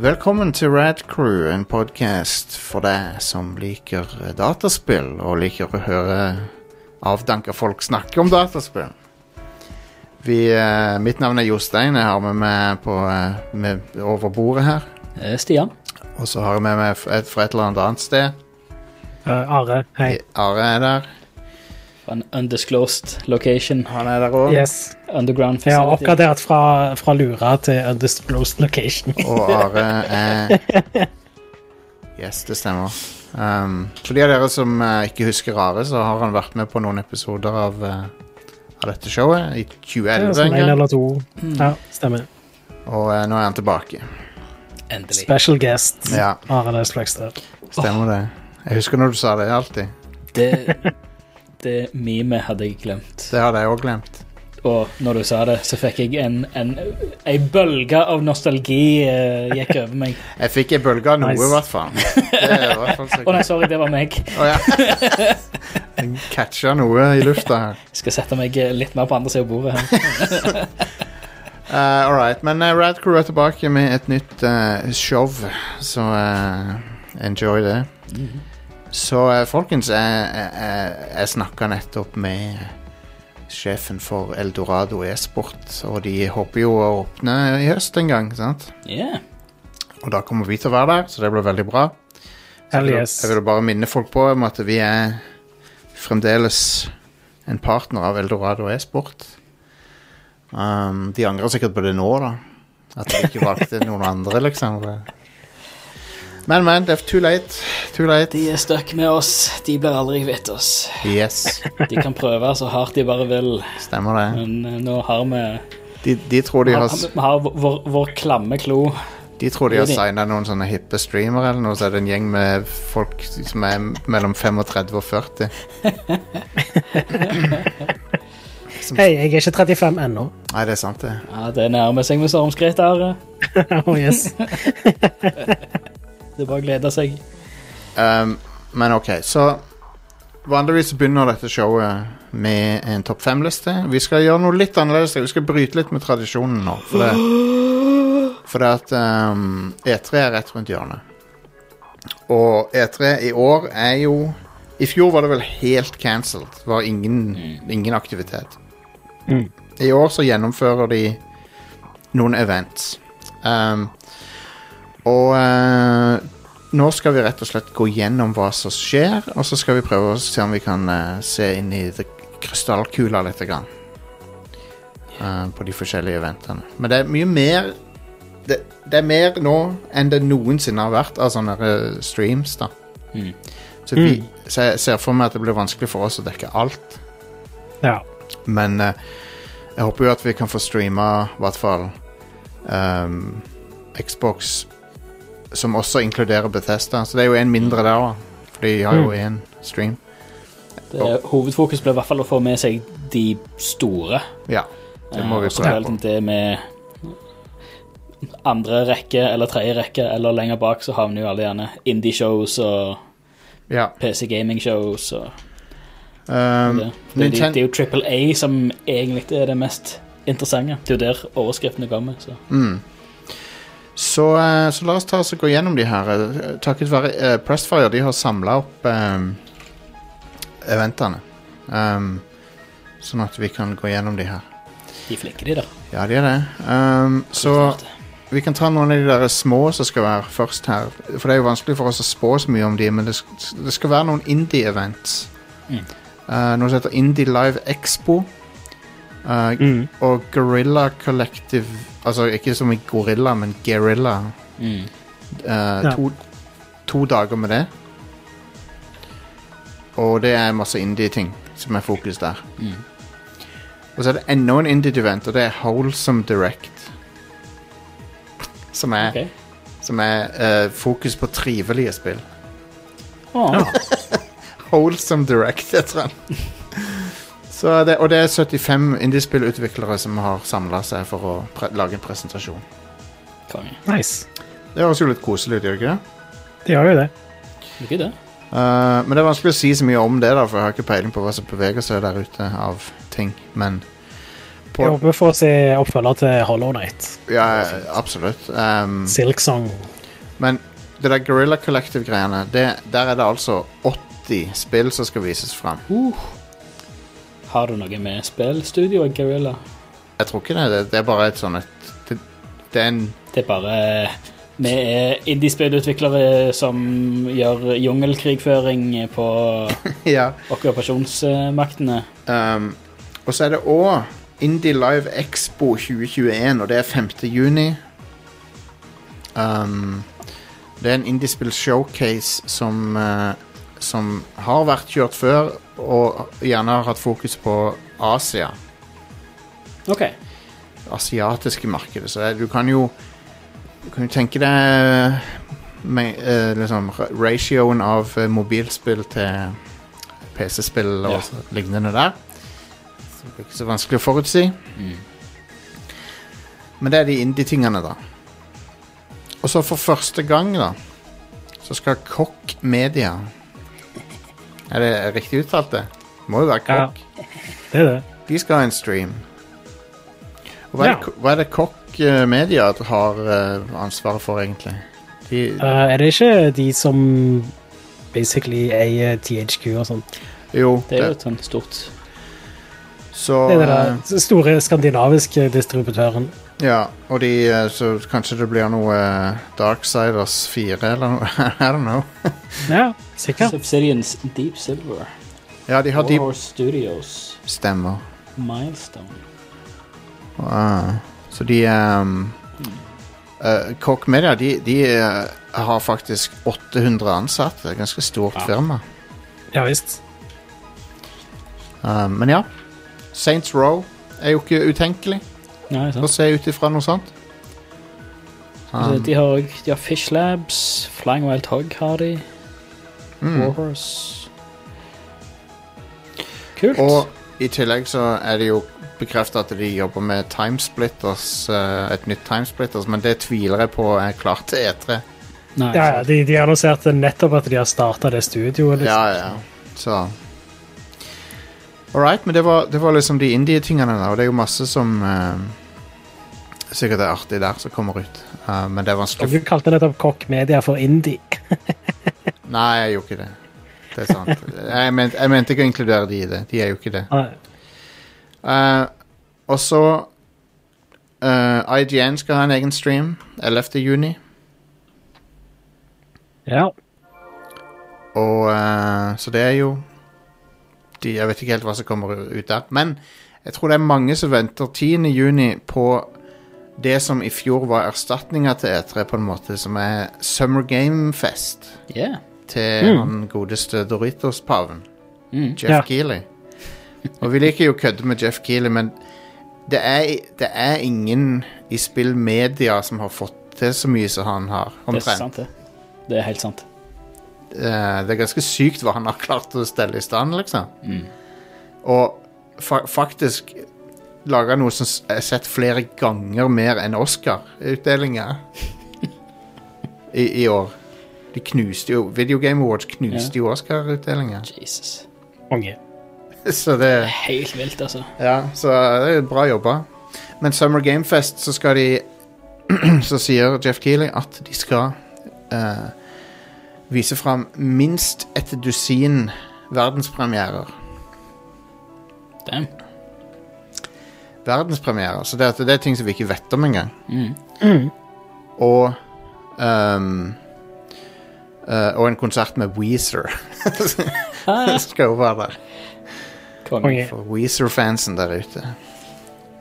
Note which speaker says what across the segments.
Speaker 1: Velkommen til Rad Crew, en podkast for deg som liker eh, dataspill og liker å høre avdanka folk snakke om dataspill. Vi, eh, mitt navn er Jostein. Jeg har med meg på, eh, med, over bordet her.
Speaker 2: Eh, Stian.
Speaker 1: Og så har jeg med meg f- et, fra et eller annet annet sted.
Speaker 3: Eh, Are, hei.
Speaker 1: Are er der.
Speaker 2: Fra en undisclosed location.
Speaker 1: Han er der òg.
Speaker 3: Yes.
Speaker 2: Underground
Speaker 3: Jeg har
Speaker 2: facility.
Speaker 3: oppgradert fra, fra lura til undisclosed location.
Speaker 1: Og Are er Yes, det stemmer. Um, for de av dere som eh, ikke husker Are, så har han vært med på noen episoder av, eh, av dette showet. I
Speaker 3: Ja,
Speaker 1: 2011
Speaker 3: Som
Speaker 1: en
Speaker 3: en
Speaker 1: gang.
Speaker 3: eller to. Ja, stemmer.
Speaker 1: Og eh, nå er han tilbake.
Speaker 2: Endelig.
Speaker 3: Special guest.
Speaker 1: Ja,
Speaker 3: Are Næss Fløgstad.
Speaker 1: stemmer det. Jeg husker når du sa det alltid.
Speaker 2: Det, det memet hadde jeg glemt.
Speaker 1: Det hadde jeg òg glemt.
Speaker 2: Og når du sa det, så fikk jeg en, en, ei bølge av nostalgi eh, gikk over meg.
Speaker 1: Jeg fikk ei bølge av noe,
Speaker 3: Nice.
Speaker 1: i hvert fall. Det er i hvert fall
Speaker 2: Å nei,
Speaker 1: sikkert.
Speaker 2: sorry, det var meg.
Speaker 1: Å ja. Jeg catcha noe i lufta her.
Speaker 2: Jeg skal sette meg eh, litt mer på andre siden av bordet. her.
Speaker 1: Uh, all right, men uh, Rad Crew er tilbake med et nytt eh, show, så eh, enjoy det. Så eh, folkens, jeg, jeg- jeg, jeg snakka nettopp med sjefen for Eldorado e-sport, og de håper jo å åpne i høst en gang, sant?
Speaker 2: Yeah.
Speaker 1: Og da kommer vi til å være der, så det blir veldig bra.
Speaker 3: Hell
Speaker 1: Jeg vil-
Speaker 3: yes.
Speaker 1: Jeg vil bare minne folk på om at vi er fremdeles en partner av Eldorado e-sport. Um, de angrer sikkert på det nå, da. At de ikke valgte noen andre, liksom. Men, men, det er too late. Too late.
Speaker 2: De er stuck med oss. De blir aldri kvitt oss.
Speaker 1: Yes,
Speaker 2: De kan prøve så hardt de bare vil,
Speaker 1: stemmer det.
Speaker 2: men eh, nå har vi
Speaker 1: De, de tror de
Speaker 2: har,
Speaker 1: har,
Speaker 2: vi har vår, vår klamme klo.
Speaker 1: de tror de har signa noen sånne hippe streamere, eller noe, så er det en gjeng med folk som er mellom 35 og 40.
Speaker 3: Hei, jeg er ikke 35 ennå.
Speaker 1: Nei, det er sant, det.
Speaker 2: Ja, Det nærmer seg med stormskritt. Are.
Speaker 3: oh, yes.
Speaker 2: Det er bare å glede seg.
Speaker 1: Um, men ok, så Vanligvis så begynner dette showet med en topp fem-liste. Vi skal gjøre noe litt annerledes. Vi skal bryte litt med tradisjonen nå. For det, for det at um, E3 er rett rundt hjørnet. Og E3 i år er jo I fjor var det vel helt cancelled. Det var ingen, ingen aktivitet.
Speaker 3: Mm.
Speaker 1: I år så gjennomfører de noen events. Um, og eh, nå skal vi rett og slett gå gjennom hva som skjer, og så skal vi prøve å se om vi kan eh, se inn i det- krystallkula litt. Grann, Eh, på de forskjellige eventene. Men det er mye mer det, det er mer nå enn det noensinne har vært av sånne eh, streams, da.
Speaker 2: Mm.
Speaker 1: Så, vi, så jeg ser for meg at det blir vanskelig for oss å dekke alt.
Speaker 3: Ja.
Speaker 1: Men eh, jeg håper jo at vi kan få streama i hvert fall ehm, Xbox, som også inkluderer Bethesda. Så det er jo en mindre der, da. For de har
Speaker 2: Mm.
Speaker 1: jo én stream.
Speaker 2: Det, hovedfokus ble i hvert fall å få med seg de store.
Speaker 1: Ja. Det må
Speaker 2: Eh,
Speaker 1: vi
Speaker 2: og så
Speaker 1: prøve
Speaker 2: vel
Speaker 1: på.
Speaker 2: Det med andre rekke eller tredje rekke eller lenger bak, så havner jo alle gjerne indie-shows og
Speaker 1: Ja.
Speaker 2: PC gaming-shows og
Speaker 1: Ehm,
Speaker 2: det. Det, er de-
Speaker 1: Ninten-
Speaker 2: det er jo Triple A som egentlig er det mest interessante. Det er jo der overskriftene kommer. Så.
Speaker 1: mm. så, eh, så la oss ta oss og gå gjennom de her. eh, Takket være eh, Pressfire, de har samla opp ehm, eventene. Ehm, sånn at vi kan gå gjennom de her.
Speaker 2: De er flinke, de der.
Speaker 1: Ja, de er det. Ehm, så Vi kan ta noen av de der små som skal være først her. For det er jo vanskelig for oss å spå så mye om de, men det, sk- det skal være noen indie-events.
Speaker 2: Mm.
Speaker 1: Eh, noe som heter Indie Live Expo. eh,
Speaker 3: Mm.
Speaker 1: Og Gorilla Collective Altså ikke som i gorilla, men Guerrilla.
Speaker 2: Mm.
Speaker 1: Eh,
Speaker 3: Ja.
Speaker 1: to, to dager med det. Og det er masse indie-ting som er fokus der.
Speaker 2: Mm.
Speaker 1: Og så er det enda en indie-event, og det er Wholesome Direct. Som er
Speaker 2: Ok.
Speaker 1: som er eh, fokus på trivelige spill.
Speaker 2: Å,
Speaker 1: Wholesome Direct, heter den. Så det, og det er 75 indiespillutviklere som har samla seg for å pre lage en presentasjon.
Speaker 2: konge.
Speaker 3: Nice.
Speaker 1: Det høres jo litt koselig ut, gjør det ikke det?
Speaker 3: De gjør jo det.
Speaker 2: Lykke til.
Speaker 1: Eh, men det er vanskelig å si så mye om det, da, for jeg har ikke peiling på hva som beveger seg der ute av ting. Men På-
Speaker 3: Jeg håper vi får se oppfølger til Hollow Night.
Speaker 1: Ja, absolutt. Um,
Speaker 3: Silksong.
Speaker 1: men det der Gorilla Collective-greiene, det- der er det altså 80 spill som skal vises fram.
Speaker 2: Uh. Har du noe med spillstudio og Guerrilla?
Speaker 1: Jeg tror ikke det. Det, det er bare et sånn et det, det er en
Speaker 2: Det er bare Vi er indiespillutviklere som gjør jungelkrigføring på
Speaker 1: Ja.
Speaker 2: okkupasjonsmaktene.
Speaker 1: Um, og så er det òg Indie Live Expo 2021, og det er 5. juni. Um, det er en indiespill showcase som, eh, som har vært kjørt før, og gjerne har hatt fokus på Asia.
Speaker 2: OK.
Speaker 1: asiatiske markedet. Så det, du kan jo Du kan jo tenke deg med, eh, liksom, ra- ratioen av eh, mobilspill til PC-spill og
Speaker 2: Ja.
Speaker 1: så- lignende der. Så det er ikke så vanskelig å forutsi.
Speaker 2: Mm.
Speaker 1: Men det er de indie-tingene, da. Og så for første gang, da, så skal Kokk Media Er det riktig uttalt, det? Må jo være
Speaker 3: Ja.
Speaker 1: Kokk.
Speaker 3: Det er det.
Speaker 1: De skal ha en stream. Og hva, er det, hva er det Kokk eh, Media har eh, ansvaret for, egentlig? De,
Speaker 3: Eh, er det ikke de som basically eier THQ og sånn?
Speaker 1: jo,
Speaker 2: Det er jo
Speaker 1: det-
Speaker 2: et sånt stort
Speaker 1: så
Speaker 3: Det er den
Speaker 1: eh,
Speaker 3: der store skandinaviske distributøren.
Speaker 1: Ja, og de eh, Så kanskje det blir noe eh, Darksiders 4 eller noe? I don't know.
Speaker 3: Ja, sikkert.
Speaker 2: Subsidians Deep Silver.
Speaker 1: Ja, de har de
Speaker 2: Warhorse Studios.
Speaker 1: stemmer.
Speaker 2: Milestone.
Speaker 1: Ah, så de um, eh, Kokk Media, de, de eh, har faktisk 800 ansatte. Det er et Ganske stort
Speaker 2: Ja.
Speaker 1: firma.
Speaker 3: Ja visst.
Speaker 1: Eh, men ja. Saints Row er jo ikke utenkelig.
Speaker 2: Nei,
Speaker 1: å
Speaker 2: sant.
Speaker 1: se ut ifra noe sånt.
Speaker 2: Altså,
Speaker 1: Um,
Speaker 2: de har òg De har Fish Labs, Flying Wild Hog har de,
Speaker 1: mm.
Speaker 2: Warhorse Kult.
Speaker 1: Og i tillegg så er det jo bekrefta at de jobber med Timesplitters, eh, et nytt Timesplitters, men det tviler jeg på er klart til E E3.
Speaker 2: Nei,
Speaker 3: Ja, ja,
Speaker 2: sant.
Speaker 3: de, de annonserte nettopp at de har starta det studioet.
Speaker 1: Ja,
Speaker 3: Liksom.
Speaker 1: ja. Så All right, men det var, det var liksom de indie-tingene, da, og det er jo masse som eh, sikkert er artig der, som kommer ut. Eh, men det er
Speaker 3: Og Du
Speaker 1: vanskelig
Speaker 3: kalte nettopp Kokk Media for indie.
Speaker 1: Nei, jeg gjorde ikke det. Det er sant. Jeg, ment, jeg mente ikke å inkludere de i det. De er jo ikke det.
Speaker 3: Nei.
Speaker 1: Eh, og så eh, IGN skal ha en egen stream 11. juni.
Speaker 3: Ja.
Speaker 1: Og eh, så det er jo de, Jeg vet ikke helt hva som kommer ut der. Men jeg tror det er mange som venter 10. juni på det som i fjor var erstatninga til E3, på en måte, som er Summer Game Fest
Speaker 2: Yeah.
Speaker 1: til
Speaker 3: Mm.
Speaker 1: han godeste Doritos-paven.
Speaker 2: Mm.
Speaker 1: Jeff
Speaker 3: Ja.
Speaker 1: Keeley. Og vi liker jo å kødde med Jeff Keeley, men det er, det er ingen i spillmedia som har fått til så mye som han har,
Speaker 2: Det er
Speaker 1: omtrent.
Speaker 2: sant, det. Det er helt sant.
Speaker 1: Eh, Det er ganske sykt hva han har klart å stelle i stand, liksom. Og fa faktisk laga noe som s- er sett flere ganger mer enn Oscar-utdelinga I, i år. De knuste jo Video Game Awards knuste jo Oscar-utdelinga,
Speaker 2: Jesus.
Speaker 3: Konge.
Speaker 1: så det
Speaker 2: Det er helt vilt, altså.
Speaker 1: Ja, så det er bra jobba. Men Summer Game Fest så skal de Så sier Jeff Keeley at de skal eh, vise fram minst et dusin verdenspremierer.
Speaker 2: Damn.
Speaker 1: Verdenspremierer, så det, er- det er ting som vi ikke vet om engang.
Speaker 2: Mm.
Speaker 1: Og ehm, eh, Og en konsert med Weezer. Det skal jo være der.
Speaker 2: Konge.
Speaker 3: Konge.
Speaker 1: For Weezer-fansen der ute.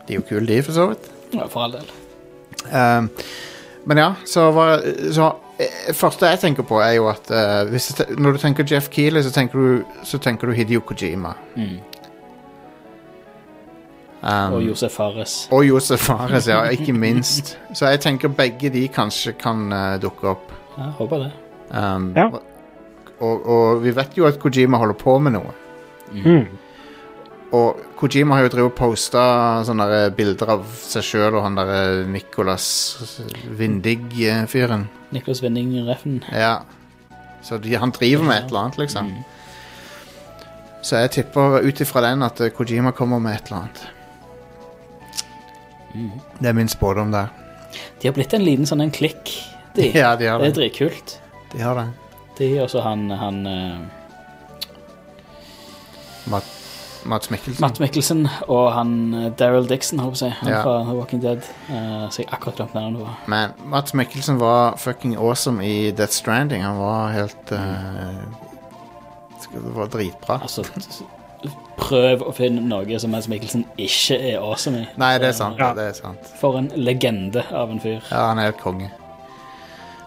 Speaker 1: De er jo kule, de, for så vidt.
Speaker 2: Ja, for all del.
Speaker 1: Um, men ja, så, var, så eh, første jeg tenker på er jo at eh, hvis du te- Når du tenker Jeff Keeley, så tenker du, så tenker du Hidio Kojima.
Speaker 2: Mm.
Speaker 1: Um,
Speaker 2: Og Josef Fares.
Speaker 1: og Josef Fares, ja, ikke minst. Så jeg tenker begge de kanskje kan eh, dukke opp.
Speaker 2: Jeg håper det.
Speaker 1: Um,
Speaker 3: Ja.
Speaker 1: og, og vi vet jo at Kojima holder på med noe.
Speaker 3: Mm.
Speaker 1: Og Kojima har jo drevet og posta sånne der bilder av seg sjøl og han derre Nicolas Vindig-fyren.
Speaker 2: Niklas Winning Reffen.
Speaker 1: Ja. Så de, han driver med et eller annet, liksom.
Speaker 2: Mm.
Speaker 1: Så jeg tipper ut ifra den at eh, Kojima kommer med et eller annet.
Speaker 2: Mm.
Speaker 1: Det er min spådom der.
Speaker 2: De har blitt en liten sånn en klikk, de.
Speaker 1: Ja, de har
Speaker 2: Det er
Speaker 1: det.
Speaker 2: dritkult.
Speaker 1: De har det.
Speaker 2: De og så han, han eh,
Speaker 1: Mat, Mats Mikkelsen.
Speaker 2: Matt Mikkelsen og han eh, Daryl Dixon, holdt jeg på å si. Han
Speaker 1: Ja.
Speaker 2: fra The Walking Dead. eh, så jeg akkurat glemte navnet på.
Speaker 1: Men Mats Mikkelsen var fucking awesome i Death Stranding. Han var helt eh, Det var dritbra.
Speaker 2: Altså, t- prøv å finne noe som Mads Mikkelsen ikke er awesome i.
Speaker 1: Nei, det er sant.
Speaker 3: Ja.
Speaker 1: Det er sant.
Speaker 2: For en legende av en fyr.
Speaker 1: Ja, han er helt konge.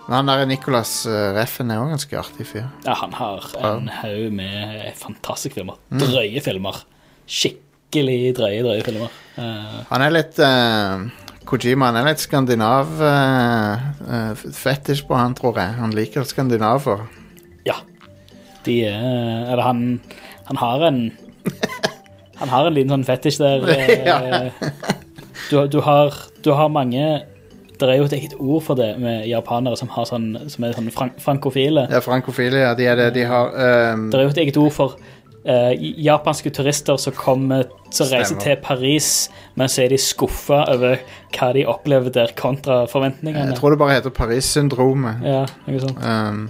Speaker 1: Men han der Nicolas eh, Reffen er òg ganske artig fyr.
Speaker 2: Ja, han har en haug med fantastiske filmer. Drøye filmer. Skikkelig drøye, drøye filmer. Eh,
Speaker 1: Han er litt eh, Kojima han er litt skandinav eh, eh, Fetish på han, tror jeg. Han liker skandinaver.
Speaker 2: ja. De er Eller han, han har en Han har en liten sånn fetisj der. eh, Du, du, har, du har mange Det er jo et eget ord for det med japanere som, har sånn, som er sånn frank frankofile.
Speaker 1: Ja, frankofile, ja. De er det. De har ehm,
Speaker 2: Det er jo et eget ord for eh, japanske turister som, kommer, som reiser
Speaker 1: Stemmer.
Speaker 2: til Paris, men så er de skuffa over hva de opplever der, kontra forventningene.
Speaker 1: Jeg tror det bare heter Paris-syndromet.
Speaker 2: Ja, noe sånt.
Speaker 1: Ehm,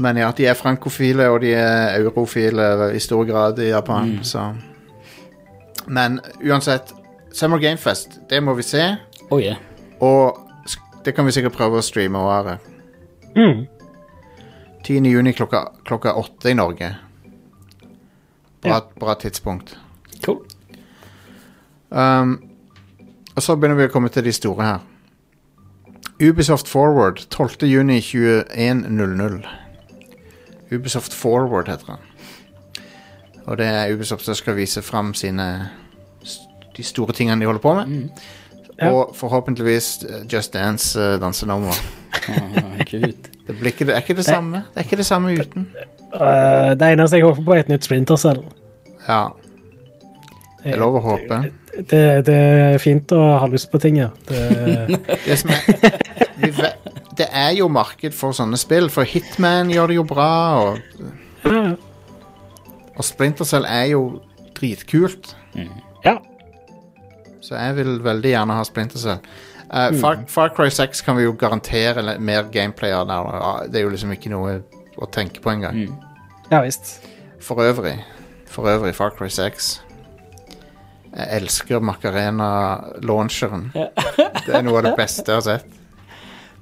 Speaker 1: men ja, de er frankofile, og de er eurofile i stor grad i Japan,
Speaker 2: Mm.
Speaker 1: så Men uansett, Summer Game Fest, det må vi se,
Speaker 2: Oh, yeah.
Speaker 1: og sk- det kan vi sikkert prøve å streame året.
Speaker 3: Mm.
Speaker 1: 10. juni klokka, klokka åtte i Norge. Bra, bra tidspunkt.
Speaker 2: Cool.
Speaker 1: Ehm, og så begynner vi å komme til de store her. Ubisoft Forward, 12. juni 21.00. Ubisoft Forward heter han. Og det er Ubisoft som skal vise fram sine de store tingene de holder på med.
Speaker 3: Ja.
Speaker 1: Og forhåpentligvis eh, Just Dance eh, dansenummer.
Speaker 2: Mm.
Speaker 1: Det, blir Ah, ikke, det er ikke det samme. Det er ikke det samme uten.
Speaker 3: Eh, det eneste jeg håper på, er et nytt sprintercell.
Speaker 1: Ja, det er lov å håpe.
Speaker 3: Det, det er fint å ha lyst på ting, ja. Det,
Speaker 1: Det, som er, vi ve- det er jo marked for sånne spill, for Hitman gjør det jo bra, og, og Splinter Cell er jo dritkult.
Speaker 3: ja.
Speaker 1: Så jeg vil veldig gjerne ha Splinter Cell. Eh, Far, Far Cry 6 kan vi jo garantere le- mer gameplay av. der, og Det er jo liksom ikke noe å tenke på engang.
Speaker 2: Mm.
Speaker 3: ja visst.
Speaker 1: For øvrig, for øvrig, Far Cry 6 Jeg elsker Macarena-launcheren. det er noe av det beste jeg har sett.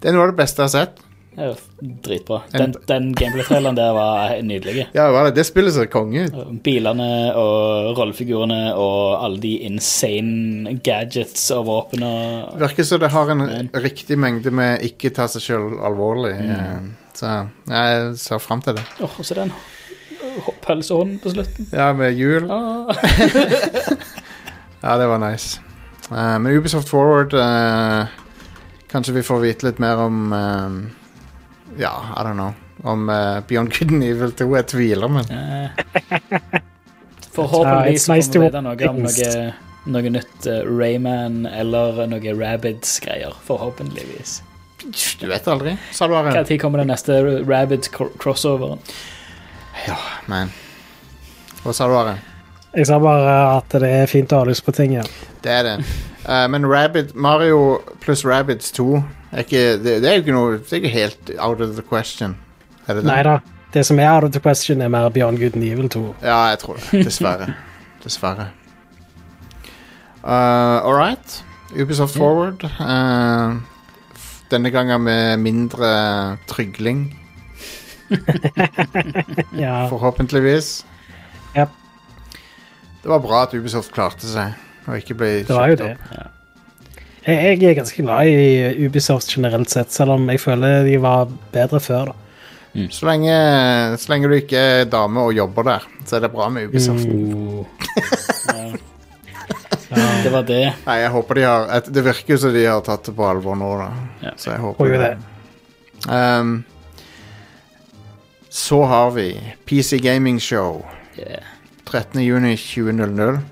Speaker 1: Det er noe av det beste jeg har sett.
Speaker 2: Det er jo dritbra. Den, den gameplay-traileren der var nydelig.
Speaker 1: Ja, hva er det? Det spillet ser konge ut.
Speaker 2: Bilene og rollefigurene og alle de insane gadgets og våpen og
Speaker 1: Virker som det har en riktig mengde med ikke ta seg sjøl alvorlig. eh, Så jeg ser fram til det.
Speaker 2: Åh, Og så den h- pølsehånden på slutten.
Speaker 1: Ja, med jul.
Speaker 2: Ah.
Speaker 1: Ja, det var nice. Eh, men Ubisoft Forward eh, Kanskje vi får vite litt mer om eh, Ja, I don't know. Om eh, Beyond Good and Evil 2. Jeg tviler, men
Speaker 2: Eh, Forhåpentligvis
Speaker 3: Ja, it's nice
Speaker 2: kommer det
Speaker 3: to-
Speaker 2: da noe om noe, noe nytt eh, Rayman eller noe Rabbids-greier. Forhåpentligvis.
Speaker 1: du vet aldri. Sa du Are?
Speaker 2: Når kommer den neste Rabbids-crossoveren?
Speaker 1: Man. Hva sa du, Are?
Speaker 3: Jeg sa bare at det er fint å ha lyst på ting, ja.
Speaker 1: Det er det. Eh, men Rabbids- Mario pluss Rabbids 2 er ikke, det, det er jo ikke noe Det er ikke helt out of the question. Er det det?
Speaker 3: Nei da. Det som er out of the question, er mer Beyond Good and Evil 2.
Speaker 1: Ja, jeg tror det. Dessverre. Dessverre. Uh, All right. Ubisoft Forward. Eh, f- denne gangen med mindre trygling,
Speaker 3: Ja.
Speaker 1: forhåpentligvis.
Speaker 3: Japp.
Speaker 1: Det var bra at Ubisoft klarte seg og ikke ble
Speaker 3: Det var jo
Speaker 1: kjøpt
Speaker 3: det.
Speaker 1: opp.
Speaker 3: Jeg, jeg er ganske glad i Ubisoft generelt sett, selv om jeg føler de var bedre før. da.
Speaker 1: Så lenge, så lenge du ikke er dame og jobber der, så er det bra med Ubisoft.
Speaker 3: Mm. Uh.
Speaker 2: Ja. Det var det.
Speaker 1: Nei, jeg håper de har et- Det virker jo som de har tatt det på alvor nå, da.
Speaker 2: Ja.
Speaker 1: Så jeg
Speaker 3: Tror
Speaker 1: håper
Speaker 3: jo det.
Speaker 1: Ehm, så har vi PC Gaming Show
Speaker 2: Yeah.
Speaker 1: 13.6.2000.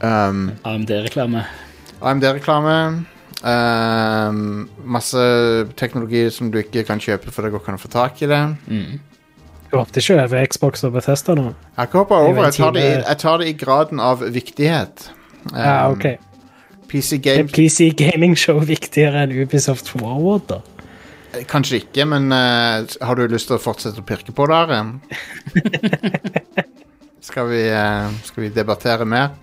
Speaker 1: Um,
Speaker 2: AMD-reklame.
Speaker 1: AMD-reklame. ehm, masse teknologi som du ikke kan kjøpe, for det går ikke an å få tak i det.
Speaker 2: Mm.
Speaker 3: Jeg håpet ikke over Xbox og Bethesda nå.
Speaker 1: Jeg kan hoppe
Speaker 3: er jo
Speaker 1: over.
Speaker 3: en
Speaker 1: Jeg tar det i,
Speaker 3: time-
Speaker 1: jeg tar det i graden av viktighet.
Speaker 3: Ja,
Speaker 1: Ehm,
Speaker 3: Ah, ok.
Speaker 1: PC
Speaker 3: Er
Speaker 1: Game
Speaker 3: PC Gaming Show viktigere enn Ubisoft Forward, da?
Speaker 1: eh, Kanskje ikke, men eh, har du lyst til å fortsette å pirke på det, Are? skal, vi, eh, skal vi debattere mer?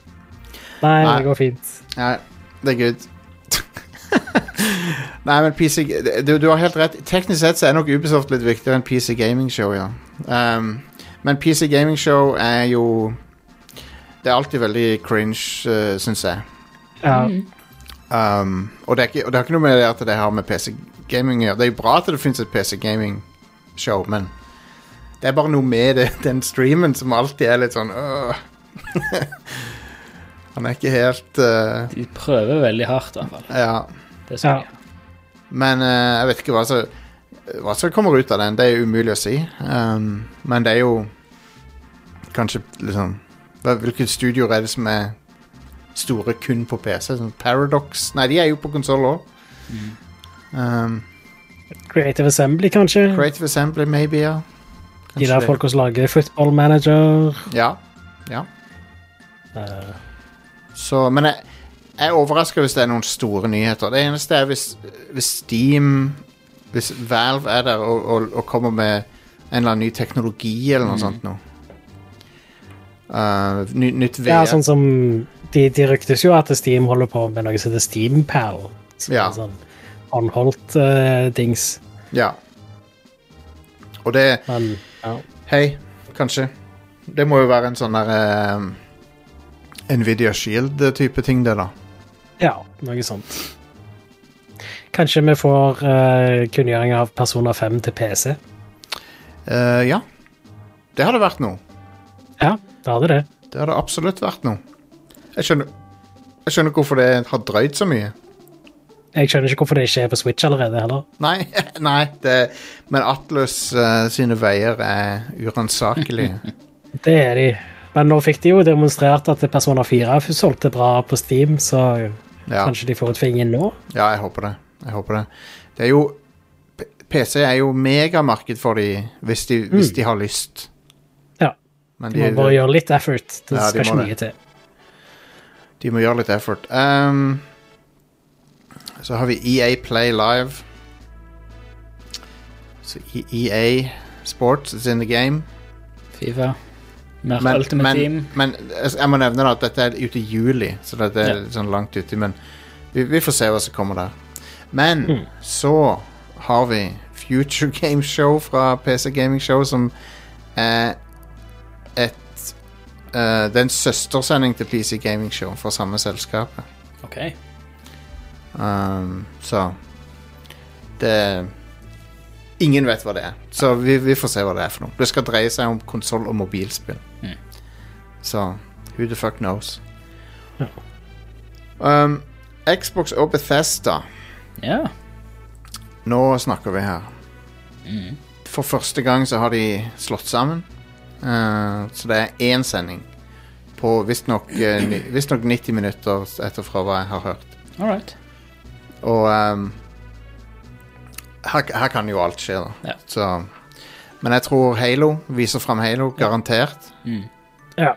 Speaker 3: Nei,
Speaker 1: Nei.
Speaker 3: det går fint.
Speaker 1: Nei, det er good. Nei, men PC g- du, du har helt rett. Teknisk sett så er nok Ubisoft litt viktigere enn PC Gaming Show, ja. Um, men PC Gaming Show er jo Det er alltid veldig cringe, uh, syns jeg.
Speaker 3: Ja.
Speaker 1: Um, og, det er ikke, og det har ikke noe med det at det har med PC Gaming å gjøre. Det er jo bra at det fins et PC Gaming Show, men det er bare noe med det, den streamen som alltid er litt sånn øh. Han er ikke helt uh,
Speaker 2: De prøver veldig hardt, i hvert fall.
Speaker 1: Ja.
Speaker 2: Det
Speaker 3: Ja.
Speaker 2: så jeg.
Speaker 1: Men eh, jeg vet ikke hva som, hva som kommer ut av den. Det er jo umulig å si. Um, men det er jo kanskje liksom hva- Hvilke studioer er det som er store kun på PC? Sånn Paradox Nei, de er jo på konsoll òg.
Speaker 2: Mm.
Speaker 1: Um,
Speaker 3: Creative Assembly, kanskje?
Speaker 1: Creative Assembly, maybe, ja.
Speaker 3: De der
Speaker 1: det.
Speaker 3: folka som lager Football Manager.
Speaker 1: Ja. ja.
Speaker 3: Eh,
Speaker 1: Så, men jeg, jeg er overraska hvis det er noen store nyheter. Det eneste er hvis, hvis Steam Hvis Valve er der og, og, og kommer med en eller annen ny teknologi eller
Speaker 3: Mhm.
Speaker 1: noe sånt noe. Uh, ny, nytt VR.
Speaker 3: ja, sånn som de, de ryktes jo at Steam holder på med noe som heter Steampal.
Speaker 1: Ja.
Speaker 3: Sånn eh, anholdt-dings.
Speaker 1: ja. Og det
Speaker 3: Men ja.
Speaker 1: Hei, kanskje. Det må jo være en sånn der eh, Nvidia Shield-type ting, det, da.
Speaker 3: ja, noe sånt. Kanskje vi får eh, kunngjøring av Persona 5 til PC.
Speaker 1: Eh, ja. Det hadde vært noe.
Speaker 3: Ja, det hadde det.
Speaker 1: Det hadde absolutt vært noe. Jeg skjønner, jeg skjønner ikke hvorfor det har drøyd så mye.
Speaker 3: Jeg skjønner ikke hvorfor det ikke er på Switch allerede heller.
Speaker 1: Nei, nei det, men Atlus eh, sine veier er uransakelige.
Speaker 3: Det er de. Men nå fikk de jo demonstrert at Persona 4 solgte bra på Steam, så
Speaker 1: Ja.
Speaker 3: kanskje de får et finger nå?
Speaker 1: ja, jeg håper det. Jeg håper det. Det er jo P- PC er jo megamarked for de hvis de, hvis de har lyst.
Speaker 3: Mm. Ja.
Speaker 1: Men
Speaker 3: De må bare gjøre litt effort. Det
Speaker 1: Ja, de
Speaker 3: skal
Speaker 1: må det.
Speaker 3: ikke mye til.
Speaker 1: De må gjøre litt effort. Ehm, så har vi EA Play Live. Så E- EA Sports is in the game.
Speaker 2: Fifa. Mer
Speaker 1: Men,
Speaker 2: Ultimate Team.
Speaker 1: men, men altså, jeg må nevne da at dette er ute i juli, så dette er sånn langt uti. Men vi, vi får se hva som kommer der. Men så har vi Future Game Show fra PC Gaming Show, som er et eh, Det er en søstersending til PC Gaming Show fra samme selskapet.
Speaker 2: OK.
Speaker 1: Um, så Det Ingen vet hva det er, så vi, vi får se hva det er for noe. Det skal dreie seg om konsoll og mobilspill.
Speaker 2: Mm.
Speaker 1: Så who the fuck knows?
Speaker 3: Ja.
Speaker 1: Um, Xbox og Bethesda.
Speaker 2: Ja.
Speaker 1: Nå snakker vi her.
Speaker 2: Mm.
Speaker 1: For første gang så har de slått sammen. Uh, så det er én sending på visstnok eh, ni- visstnok 90 minutter etter fra hva jeg har hørt.
Speaker 2: All right.
Speaker 1: Og ehm, her, her kan jo alt skje, da.
Speaker 2: Ja.
Speaker 1: Så, men jeg tror Halo viser fram Halo, garantert.
Speaker 2: Mm.
Speaker 3: Ja.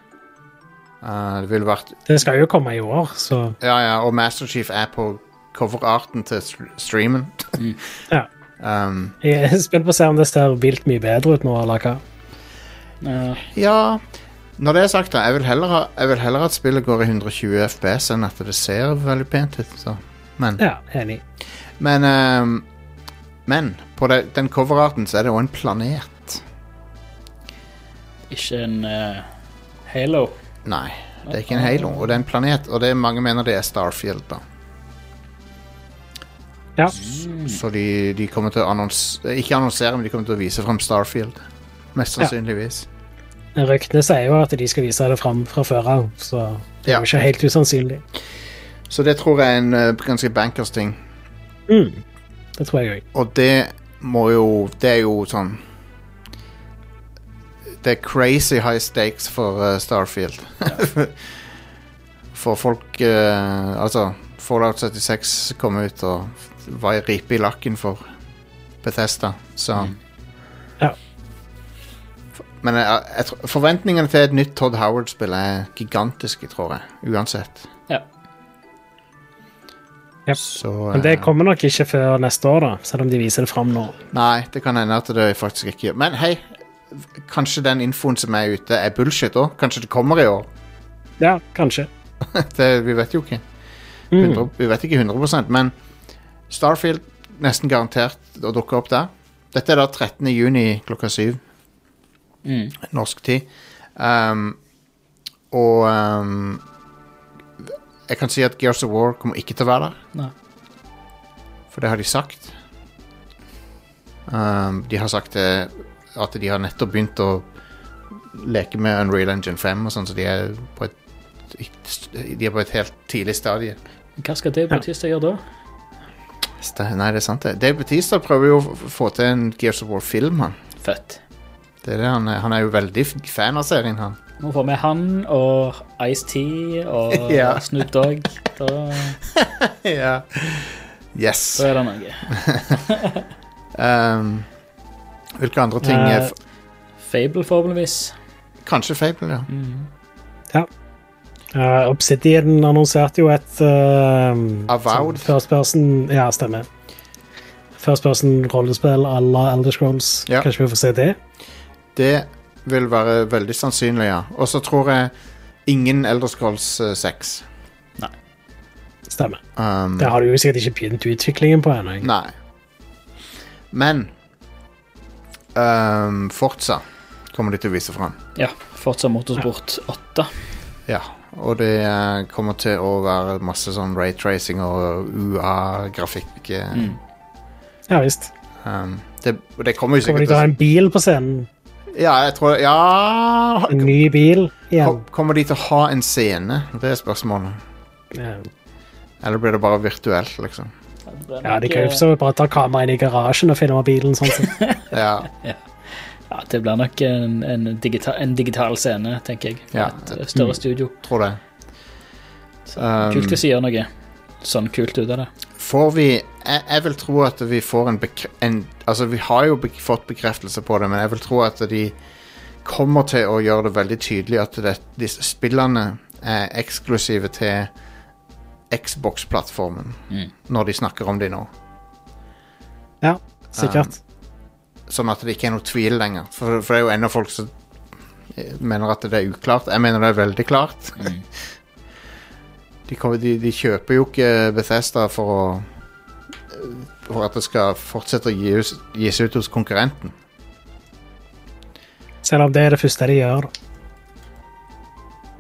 Speaker 1: Eh, det ville vært
Speaker 3: Det skal jo komme i år, så
Speaker 1: Ja, ja, og Masterchief er på coverarten til str- streamen.
Speaker 3: ja.
Speaker 1: Ehm,
Speaker 3: Jeg er spent på å se om det ser vilt mye bedre ut nå, eller hva.
Speaker 2: Ja.
Speaker 1: ja Når det er sagt, da, jeg vil heller, ha, jeg vil heller at spillet går i 120 FPS enn at det ser veldig pent ut. Så. Men,
Speaker 3: Ja, enig.
Speaker 1: men, ehm, men på det, den coverarten så er det òg en planet.
Speaker 2: Ikke en eh, Halo.
Speaker 1: Nei, det er ikke en halo, og det er en planet, og det er mange mener det er Starfield, da.
Speaker 3: Ja.
Speaker 1: Så de, de kommer til å annonsere Ikke annonsere, men de kommer til å vise frem Starfield. Mest
Speaker 3: Ja.
Speaker 1: sannsynligvis.
Speaker 3: Ryktene sier jo at de skal vise det fram fra før av, så det er
Speaker 1: Ja.
Speaker 3: jo ikke helt usannsynlig.
Speaker 1: Så det tror jeg er en eh, ganske bankers ting.
Speaker 3: Mm. Det tror jeg òg.
Speaker 1: Og det må jo Det er jo sånn Det er crazy high stakes for eh, Starfield. for folk eh, Altså, Fallout 76 kom ut og var ei ripe i lakken for Bethesda, så
Speaker 3: Ja.
Speaker 1: Men jeg, jeg, tror- forventningene til et nytt Todd Howard-spill er gigantiske, tror jeg. Uansett.
Speaker 2: Ja.
Speaker 3: Jep.
Speaker 1: Så
Speaker 3: Men det
Speaker 1: eh,
Speaker 3: kommer nok ikke før neste år, da, selv om de viser det fram nå.
Speaker 1: Nei, det kan hende at det faktisk ikke gjør Men hei, kanskje den infoen som er ute, er bullshit òg? Kanskje det kommer i år?
Speaker 3: Ja, kanskje. Mm.
Speaker 1: Det, vi vet jo ikke. 100, Vi vet ikke 100 men Starfield nesten garantert å dukke opp der. Dette er da 13. juni klokka syv
Speaker 2: Mm.
Speaker 1: norsk tid. Um, og um, jeg kan si at Gears of War kommer ikke til å være der.
Speaker 2: Nei.
Speaker 1: For det har de sagt. Um, de har sagt eh, at de har nettopp begynt å leke med Unreal Engine 5 og sånn, så de er på et de er på et helt tidlig stadie.
Speaker 2: Hva skal det Bautista gjøre da?
Speaker 1: Sta- Nei, det er sant, det. Dave Batista prøver jo å f- få til en Gears of War-film. Han.
Speaker 2: Født.
Speaker 1: Det er det han, er. han er jo veldig f- fan av serien, han.
Speaker 2: Må få med han og Ice-T og
Speaker 1: Ja.
Speaker 2: Snoop Dogg. Da,
Speaker 1: ja. Yes.
Speaker 2: da er det noe.
Speaker 1: Um, hvilke andre ting er f
Speaker 2: Fable, forhåpentligvis.
Speaker 1: Kanskje Fable, ja.
Speaker 3: Eh, Obsidian annonserte jo et uh,
Speaker 1: Avowed.
Speaker 3: First person Ja, stemmer. First person rollespill à la Elder Scrolls.
Speaker 1: Ja.
Speaker 3: Kanskje vi får se det?
Speaker 1: Det vil være veldig sannsynlig, ja. Og så tror jeg ingen Elder Scrolls eh, 6.
Speaker 3: Stemmer.
Speaker 1: Um,
Speaker 3: Det har du jo sikkert ikke begynt utviklingen på ennå. ikke?
Speaker 1: Nei. Men um, Forza kommer de til å vise fram.
Speaker 2: Ja, fortsatt Motorsport 8.
Speaker 1: Ja. Og det eh, kommer til å være masse sånn raytracing og UA-grafikk. eh,
Speaker 2: Mm.
Speaker 3: Ja visst.
Speaker 1: Um, det, og det kommer jo
Speaker 3: Kommer
Speaker 1: sikkert
Speaker 3: de til å ha
Speaker 1: til
Speaker 3: en bil på scenen?
Speaker 1: Ja, jeg tror Ja!
Speaker 3: En ny bil igjen?
Speaker 1: Kom- Kommer de til å ha en scene? Det er spørsmålet.
Speaker 3: Ja,
Speaker 1: Eller blir det bare virtuelt, liksom?
Speaker 3: Ja, de kan jo så bare ta kameraet inn i garasjen og filme bilen. sånn sett.
Speaker 1: Ja.
Speaker 2: Ja, det blir nok en, en, digital, en digital scene, tenker jeg.
Speaker 1: Ja.
Speaker 2: Et eh, større studio.
Speaker 1: Tror det.
Speaker 2: Så,
Speaker 1: Um,
Speaker 2: kult hvis de gjør noe sånn kult ut av det.
Speaker 1: Får vi jeg, jeg vil tro at vi får en, bek en Altså, vi har jo bek fått bekreftelse på det, men jeg vil tro at de kommer til å gjøre det veldig tydelig at det, disse spillene er eksklusive til Xbox-plattformen
Speaker 2: Mm.
Speaker 1: når de snakker om de nå.
Speaker 3: Ja, sikkert.
Speaker 1: Sånn at det ikke er noe tvil lenger. For, for det er jo ennå folk som eh, mener at det er uklart. Jeg mener det er veldig klart.
Speaker 2: Mm.
Speaker 1: De, kommer, de, de kjøper jo ikke eh, Bethesda for å eh, For at det skal fortsette å gis, gis ut hos konkurrenten.
Speaker 3: Selv om det er det første de gjør. da.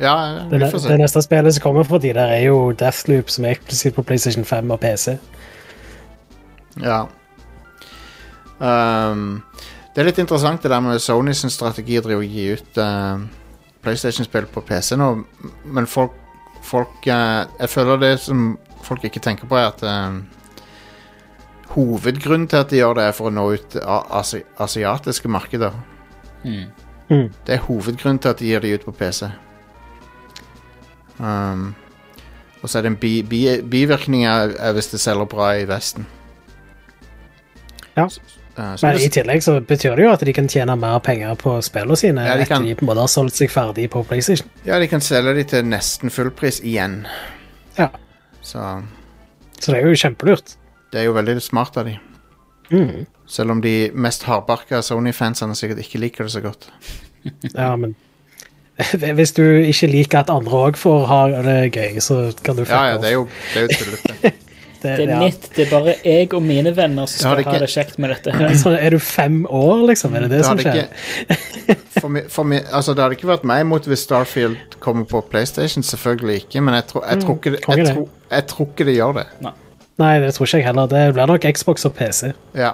Speaker 1: Ja,
Speaker 3: Det,
Speaker 1: vi får
Speaker 3: det
Speaker 1: se.
Speaker 3: neste spillet som kommer fra de der, er jo Deathloop, som er eksklusivt på PlayStation 5 og PC.
Speaker 1: Ja. Um, det er litt interessant det der med Sony sin strategi driver å gi ut eh, PlayStation-spill på PC nå, men folk, folk eh, Jeg føler det som folk ikke tenker på, er at eh, hovedgrunnen til at de gjør det, er for å nå ut a- asi asiatiske markeder.
Speaker 2: Mm.
Speaker 3: Mm.
Speaker 1: Det er hovedgrunnen til at de gir de ut på PC. Um, og så er det en bi, bi, bivirkning er, er hvis det selger bra i Vesten.
Speaker 3: Ja.
Speaker 1: S- eh, så
Speaker 3: Men
Speaker 1: det-
Speaker 3: i tillegg så betyr det jo at de kan tjene mer penger på spillene sine
Speaker 1: Ja, de kan.
Speaker 3: etter de på en måte har solgt seg ferdig på PlayStation.
Speaker 1: ja, de kan selge de til nesten fullpris igjen.
Speaker 3: Ja,
Speaker 1: Så
Speaker 3: Så det er jo kjempelurt.
Speaker 1: det er jo veldig smart av de.
Speaker 3: Mm.
Speaker 1: Selv om de mest hardbarka Sony-fansene sikkert ikke liker det så godt.
Speaker 3: Ja, men hvis du ikke liker at andre òg får ha det gøy, så kan du
Speaker 1: Ja, ja, det er jo, det er jo tullete.
Speaker 2: Det er
Speaker 3: ja.
Speaker 2: mitt, det er bare jeg og mine venner som
Speaker 1: Ja,
Speaker 2: skal
Speaker 1: det er
Speaker 2: ha
Speaker 1: ikke-
Speaker 2: det kjekt med dette.
Speaker 3: Så er du fem år, liksom? Er det det,
Speaker 1: Det
Speaker 3: som
Speaker 1: hadde
Speaker 3: skjer?
Speaker 1: ikke for mi, for mi, altså, Det hadde ikke vært meg imot hvis Starfield kommer på PlayStation, selvfølgelig ikke, men jeg, tror-
Speaker 2: Mm,
Speaker 1: jeg, tror, ikke, det-
Speaker 3: konge
Speaker 1: jeg,
Speaker 3: det.
Speaker 1: tror, jeg tror ikke det gjør det.
Speaker 3: Nei, det tror ikke jeg heller. Det blir nok Xbox og PC.
Speaker 1: Ja.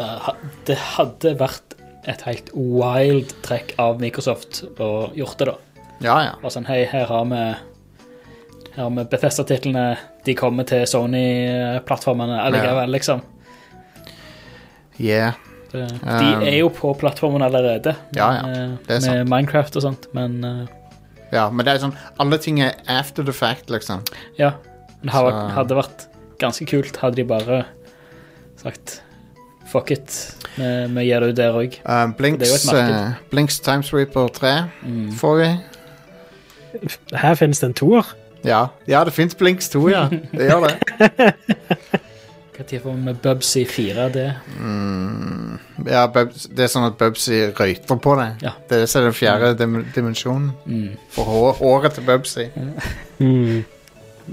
Speaker 2: Det, ha- det hadde vært et helt wild trekk av Microsoft å gjort det, da.
Speaker 1: Ja, ja.
Speaker 2: Bare sånn, hei, her har vi her har vi Bethesda-titlene. De kommer til Sony-plattformene
Speaker 1: Ja.
Speaker 2: allikevel, liksom.
Speaker 1: Yeah.
Speaker 2: Det,
Speaker 1: Um,
Speaker 2: de er jo på plattformen allerede,
Speaker 1: Ja, ja.
Speaker 2: med-
Speaker 1: Det er sant.
Speaker 2: med Minecraft og sånt, men eh,
Speaker 1: ja. Men det er sånn Alle ting er after the fact, liksom.
Speaker 2: ja. Men Det har vært-
Speaker 1: Så-
Speaker 2: hadde vært ganske kult hadde de bare sagt fuck it, vi, vi gir det ut der òg.
Speaker 1: Eh,
Speaker 2: Det er jo
Speaker 1: Blinks,
Speaker 2: et marked.
Speaker 1: eh,
Speaker 2: Mm.
Speaker 1: Blinks Timesweeper 3 får vi.
Speaker 3: Her finnes det en toer.
Speaker 1: Ja, ja det fins Blinks 2, ja. Det gjør det.
Speaker 2: Når får vi med Bubsy 4D?
Speaker 1: Mm. Ja, Bubs, det er sånn at Bubsy røyter på det.
Speaker 2: Ja.
Speaker 1: Det er så den fjerde dim dimensjonen.
Speaker 2: Mm.
Speaker 1: For hå- håret til Bubsy.
Speaker 3: Mm.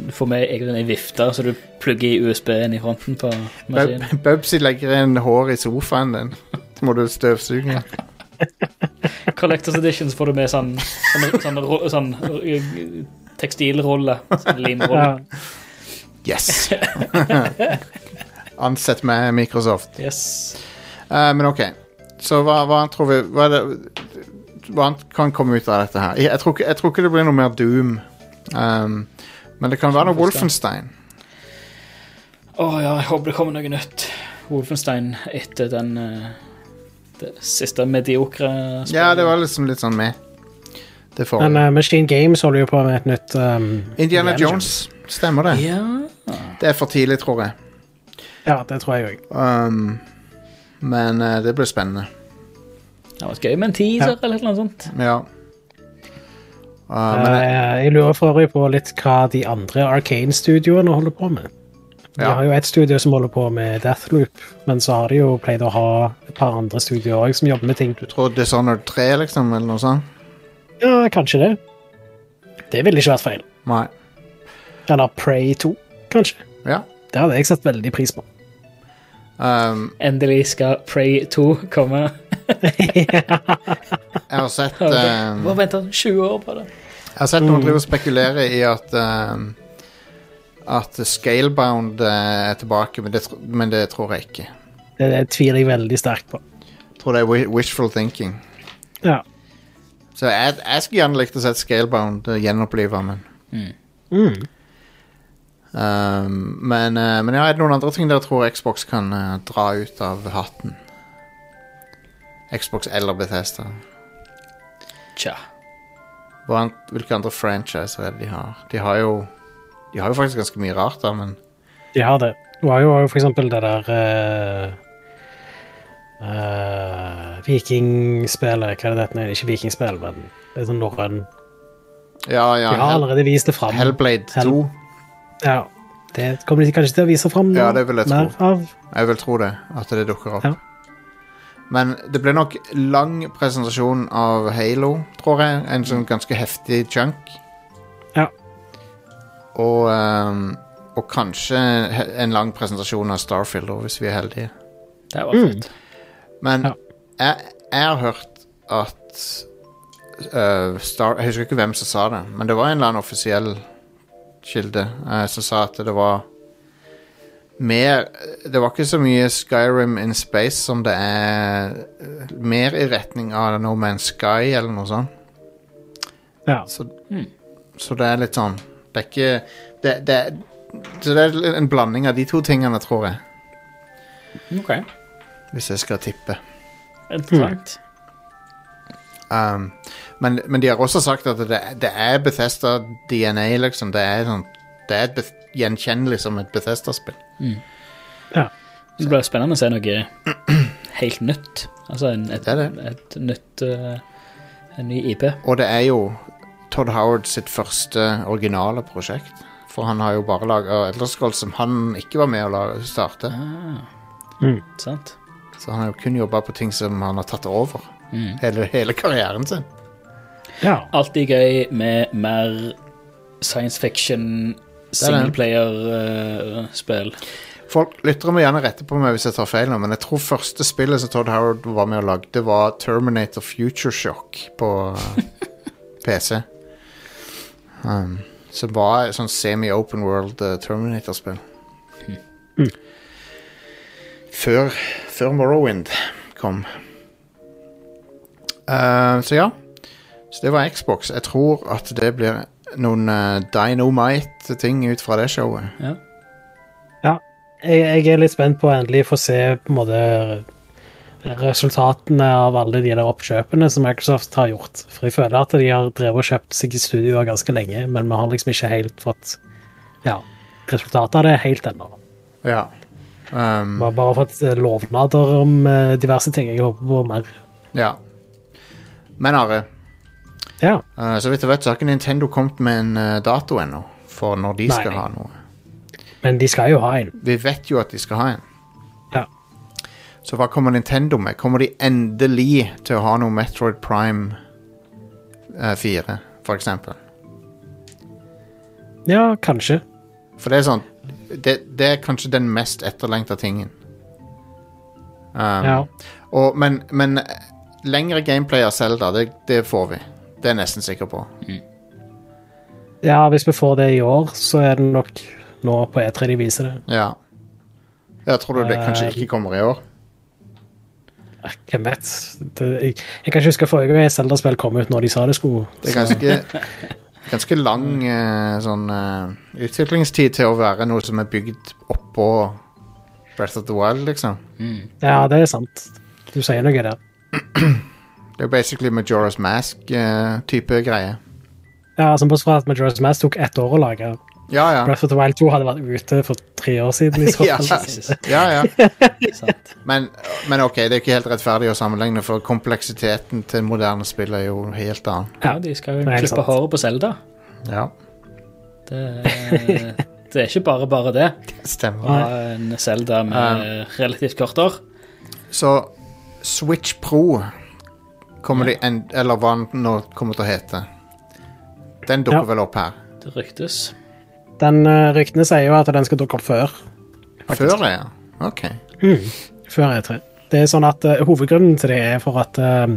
Speaker 2: Du får med egen en vifte, så du plugger i USB-en i fronten på maskinen.
Speaker 1: Bub- Bubsy legger inn hår i sofaen din. Så må du støvsuge.
Speaker 2: Collectors Editions får du med sånn, sånn, sånn, ro- sånn eh, tekstilrolle. Sånn limrolle.
Speaker 3: Ja.
Speaker 1: Yes! Ansett med Microsoft.
Speaker 2: Yes.
Speaker 1: Eh, men ok, så hva, hva annet tror vi hva, er det, hva annet kan komme ut av dette her? Jeg, jeg, tror, ikke- jeg tror ikke det blir noe mer Doom. Ehm, men det kan være noe Wolfenstein.
Speaker 2: Å ja, jeg håper det kommer noe nytt. Wolfenstein etter den eh, det siste mediokre spillet.
Speaker 1: Ja, det var liksom litt sånn med. Det får
Speaker 3: Men eh, Machine Games holder jo på med et nytt um,
Speaker 1: Indiana Jones. Stemmer det.
Speaker 2: Ja.
Speaker 1: Det er for tidlig, tror jeg.
Speaker 3: Ja, det tror jeg òg.
Speaker 1: Ehm, men eh, det blir spennende.
Speaker 2: Det var gøy med en teaser
Speaker 3: Ja.
Speaker 2: eller noe sånt.
Speaker 1: Ja. Ah, men jeg,
Speaker 3: Eh, Jeg lurer for øvrig på litt hva de andre Arcane-studioene holder på med. De
Speaker 1: Ja.
Speaker 3: har jo et studio som holder på med Deathloop, men så har de jo pleid å ha et par andre studioer òg som jobber med ting.
Speaker 1: tror Dishonored 3, liksom, eller noe sånt.
Speaker 3: Ja, kanskje det. Det ville ikke vært feil.
Speaker 1: Nei.
Speaker 3: Eller Prey 2, kanskje.
Speaker 1: Ja.
Speaker 3: Det hadde jeg satt veldig pris på.
Speaker 1: Ehm,
Speaker 2: Endelig skal Prey 2 komme.
Speaker 1: jeg har sett
Speaker 2: Har det-
Speaker 1: ehm,
Speaker 2: Må vente 20 år på det.
Speaker 1: Jeg har sett noen drive og spekulere i at ehm, At Scalebound eh, er tilbake, men det, tr- men det tror jeg ikke.
Speaker 3: Det, det tviler jeg veldig sterkt på.
Speaker 1: Jeg tror det er wi- wishful thinking.
Speaker 3: Ja.
Speaker 1: Så jeg, jeg skulle gjerne likt å sett Scalebound eh, gjenoppliva, men
Speaker 3: Mm.
Speaker 1: ehm, men, eh, men ja, er det noen andre ting dere tror Xbox kan eh, dra ut av hatten? Xbox eller Bethesda?
Speaker 2: Tja.
Speaker 1: Hva, an- hvilke andre franchiser er det de har? De har jo De har jo faktisk ganske mye rart, da, men
Speaker 3: De har det. Du har jo for eksempel det der eh, eh, Vikingspillet Hva er det det heter? Ikke vikingspill, men det er sånn norrøn
Speaker 1: Ja, ja.
Speaker 3: De har
Speaker 1: Hell,
Speaker 3: allerede vist det fram.
Speaker 1: Hellblade
Speaker 3: Hell-
Speaker 1: 2.
Speaker 3: Ja. Det kommer de kanskje til å vise fram
Speaker 1: Ja, det vil jeg
Speaker 3: mer av.
Speaker 1: Jeg vil tro det, at det dukker opp.
Speaker 3: Ja.
Speaker 1: Men det ble nok lang presentasjon av Halo, tror jeg. En sånn ganske heftig chunk.
Speaker 3: Ja.
Speaker 1: Og, ehm, og kanskje he- en lang presentasjon av Starfield, også, hvis vi er heldige.
Speaker 2: Det var flott.
Speaker 1: Men
Speaker 3: Ja.
Speaker 1: jeg, jeg har hørt at øh, Star, Jeg husker ikke hvem som sa det, men det var en eller annen offisiell kilde eh, som sa at det var mer Det var ikke så mye Skyrim in space som det er eh, mer i retning av No Man's Sky eller noe sånt.
Speaker 3: Ja.
Speaker 1: Så,
Speaker 2: Mm.
Speaker 1: så det er litt sånn Det er ikke det, det, Så det er en blanding av de to tingene, tror jeg,
Speaker 2: OK.
Speaker 1: hvis jeg skal tippe.
Speaker 2: Interessant.
Speaker 1: Um, men, men de har også sagt at det, det er Bethesda-DNA, liksom. Det er, sånn, det er et Beth- gjenkjennelig som et Bethesda-spill.
Speaker 2: Det blir spennende å se noe helt nytt. Altså en, et,
Speaker 1: Det er
Speaker 2: et nytt eh, En ny IP.
Speaker 1: Og det er jo Todd Howard sitt første originale prosjekt. For han har jo bare laga Elderskål som han ikke var med å la- starte.
Speaker 2: Ah.
Speaker 3: Mm.
Speaker 2: Sant?
Speaker 1: Så han har jo kun jobba på ting som han har tatt over.
Speaker 2: Mm.
Speaker 1: Hele, hele karrieren sin.
Speaker 3: ja.
Speaker 2: Alltid gøy med mer science fiction, eh, singleplayer-spill.
Speaker 1: Folk lytter meg gjerne rette på meg hvis jeg tar feil, nå, men jeg tror første spillet som Todd Howard var med og lagde, var Terminator Future Shock på eh, PC. Um, som var et sånn semi-open world eh, Terminator-spill. Før, før Morrowind kom. Eh, så ja. Så det var Xbox. Jeg tror at det blir noen eh, dynamite-ting ut fra det showet.
Speaker 2: Ja.
Speaker 3: Jeg, jeg er litt spent på å endelig få se på en måte resultatene av alle de der oppkjøpene som Microsoft har gjort. For jeg føler at de har drevet og kjøpt seg i studioer ganske lenge, men vi har liksom ikke helt fått ja, resultatet av det helt ennå.
Speaker 1: Ja. Um,
Speaker 3: Vi har bare fått eh, lovnader om eh, diverse ting. Jeg håper på mer.
Speaker 1: Ja. Men Are,
Speaker 3: Ja.
Speaker 1: eh, så vidt jeg vet, så har ikke Nintendo kommet med en eh, dato ennå for når de skal
Speaker 3: Nei.
Speaker 1: ha noe.
Speaker 3: Men de skal jo ha en.
Speaker 1: Vi vet jo at de skal ha en.
Speaker 3: Ja.
Speaker 1: Så hva kommer Nintendo med? Kommer de endelig til å ha noe Metroid Prime eh, 4, for eksempel?
Speaker 3: ja, kanskje.
Speaker 1: For det er sånn Det, det er kanskje den mest etterlengta tingen. Um,
Speaker 3: Ja.
Speaker 1: og, men, men eh, lengre gameplay av Zelda, det, det får vi. Det er jeg nesten sikker på.
Speaker 3: ja, hvis vi får det i år, så er det nok nå på E3 de viser det.
Speaker 1: Ja. Jeg tror du det kanskje
Speaker 3: Eh,
Speaker 1: ikke kommer i år?
Speaker 3: Eh, Hvem vet? Det, jeg, jeg kan ikke huske forrige gang et Zelda-spill kom ut når de sa det skulle.
Speaker 1: Det er ganske, ganske lang eh, sånn eh, utviklingstid til å være noe som er bygd oppå Breath of the Wild, liksom.
Speaker 2: Mm.
Speaker 3: Ja, det er sant. Du sier noe der.
Speaker 1: Det er basically Majora's Mask-type greie.
Speaker 3: Ja, som bortsett fra at Majora's Mask tok ett år å lage.
Speaker 1: Ja, ja.
Speaker 3: Breath of the Wild 2 hadde vært ute for tre år siden. i så
Speaker 1: Ja,
Speaker 3: fall.
Speaker 1: ja, ja.
Speaker 2: Sant.
Speaker 1: Men, men ok, det er ikke helt rettferdig å sammenligne, for kompleksiteten til moderne spill er jo helt annen.
Speaker 2: Ja, de skal jo
Speaker 3: Det er helt
Speaker 2: klippe
Speaker 3: sant.
Speaker 2: håret på Selda.
Speaker 1: Ja,
Speaker 2: Det, er- det er ikke bare bare det.
Speaker 1: stemmer.
Speaker 2: Ha en Selda med relativt kort år.
Speaker 1: Så Switch Pro kommer de en, Eller hva den nå kommer til å hete. Den dukker
Speaker 3: Ja.
Speaker 1: vel opp her.
Speaker 2: Det ryktes.
Speaker 3: Den eh, Ryktene sier jo at den skal dukke opp før,
Speaker 1: Før det, ja. Ok.
Speaker 3: før E3. Det er sånn at eh, Hovedgrunnen til det er for at eh,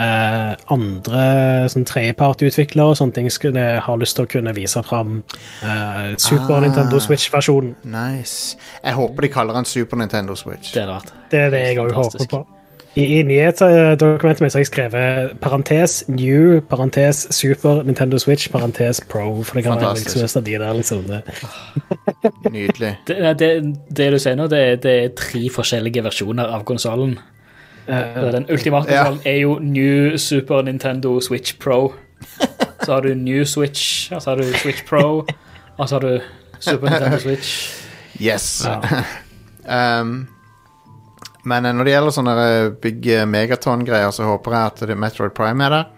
Speaker 3: eh, andre sånn tredjepartutviklere og sånne ting skulle ha lyst til å kunne vise fram eh, Super
Speaker 1: Ah.
Speaker 3: Nintendo Switch-versjonen.
Speaker 1: Nice. Jeg håper de kaller den Super Nintendo Switch.
Speaker 2: Det er det vært.
Speaker 3: Det er det jeg òg håper
Speaker 2: Fantastisk.
Speaker 3: på. I, i nyhetsdokumentet mitt så har jeg skrevet parentes new, parentes super, Nintendo Switch, parentes pro. For det kan være
Speaker 1: Fantastisk.
Speaker 3: liksom mest av de der, liksom. Det.
Speaker 1: Nydelig.
Speaker 2: Det, nei, det, det du sier nå, det er, det er tre forskjellige versjoner av konsollen.
Speaker 3: Eh,
Speaker 2: Den ultimate
Speaker 1: Ja.
Speaker 2: konsollen er jo New Super Nintendo Switch Pro. Så har du New Switch, og så har du Switch Pro, og så har du Super Nintendo Switch.
Speaker 1: Yes.
Speaker 3: ja.
Speaker 1: Um, men eh, når det gjelder sånne eh, big eh, megaton-greier, så håper jeg at det Metroid Prime er der.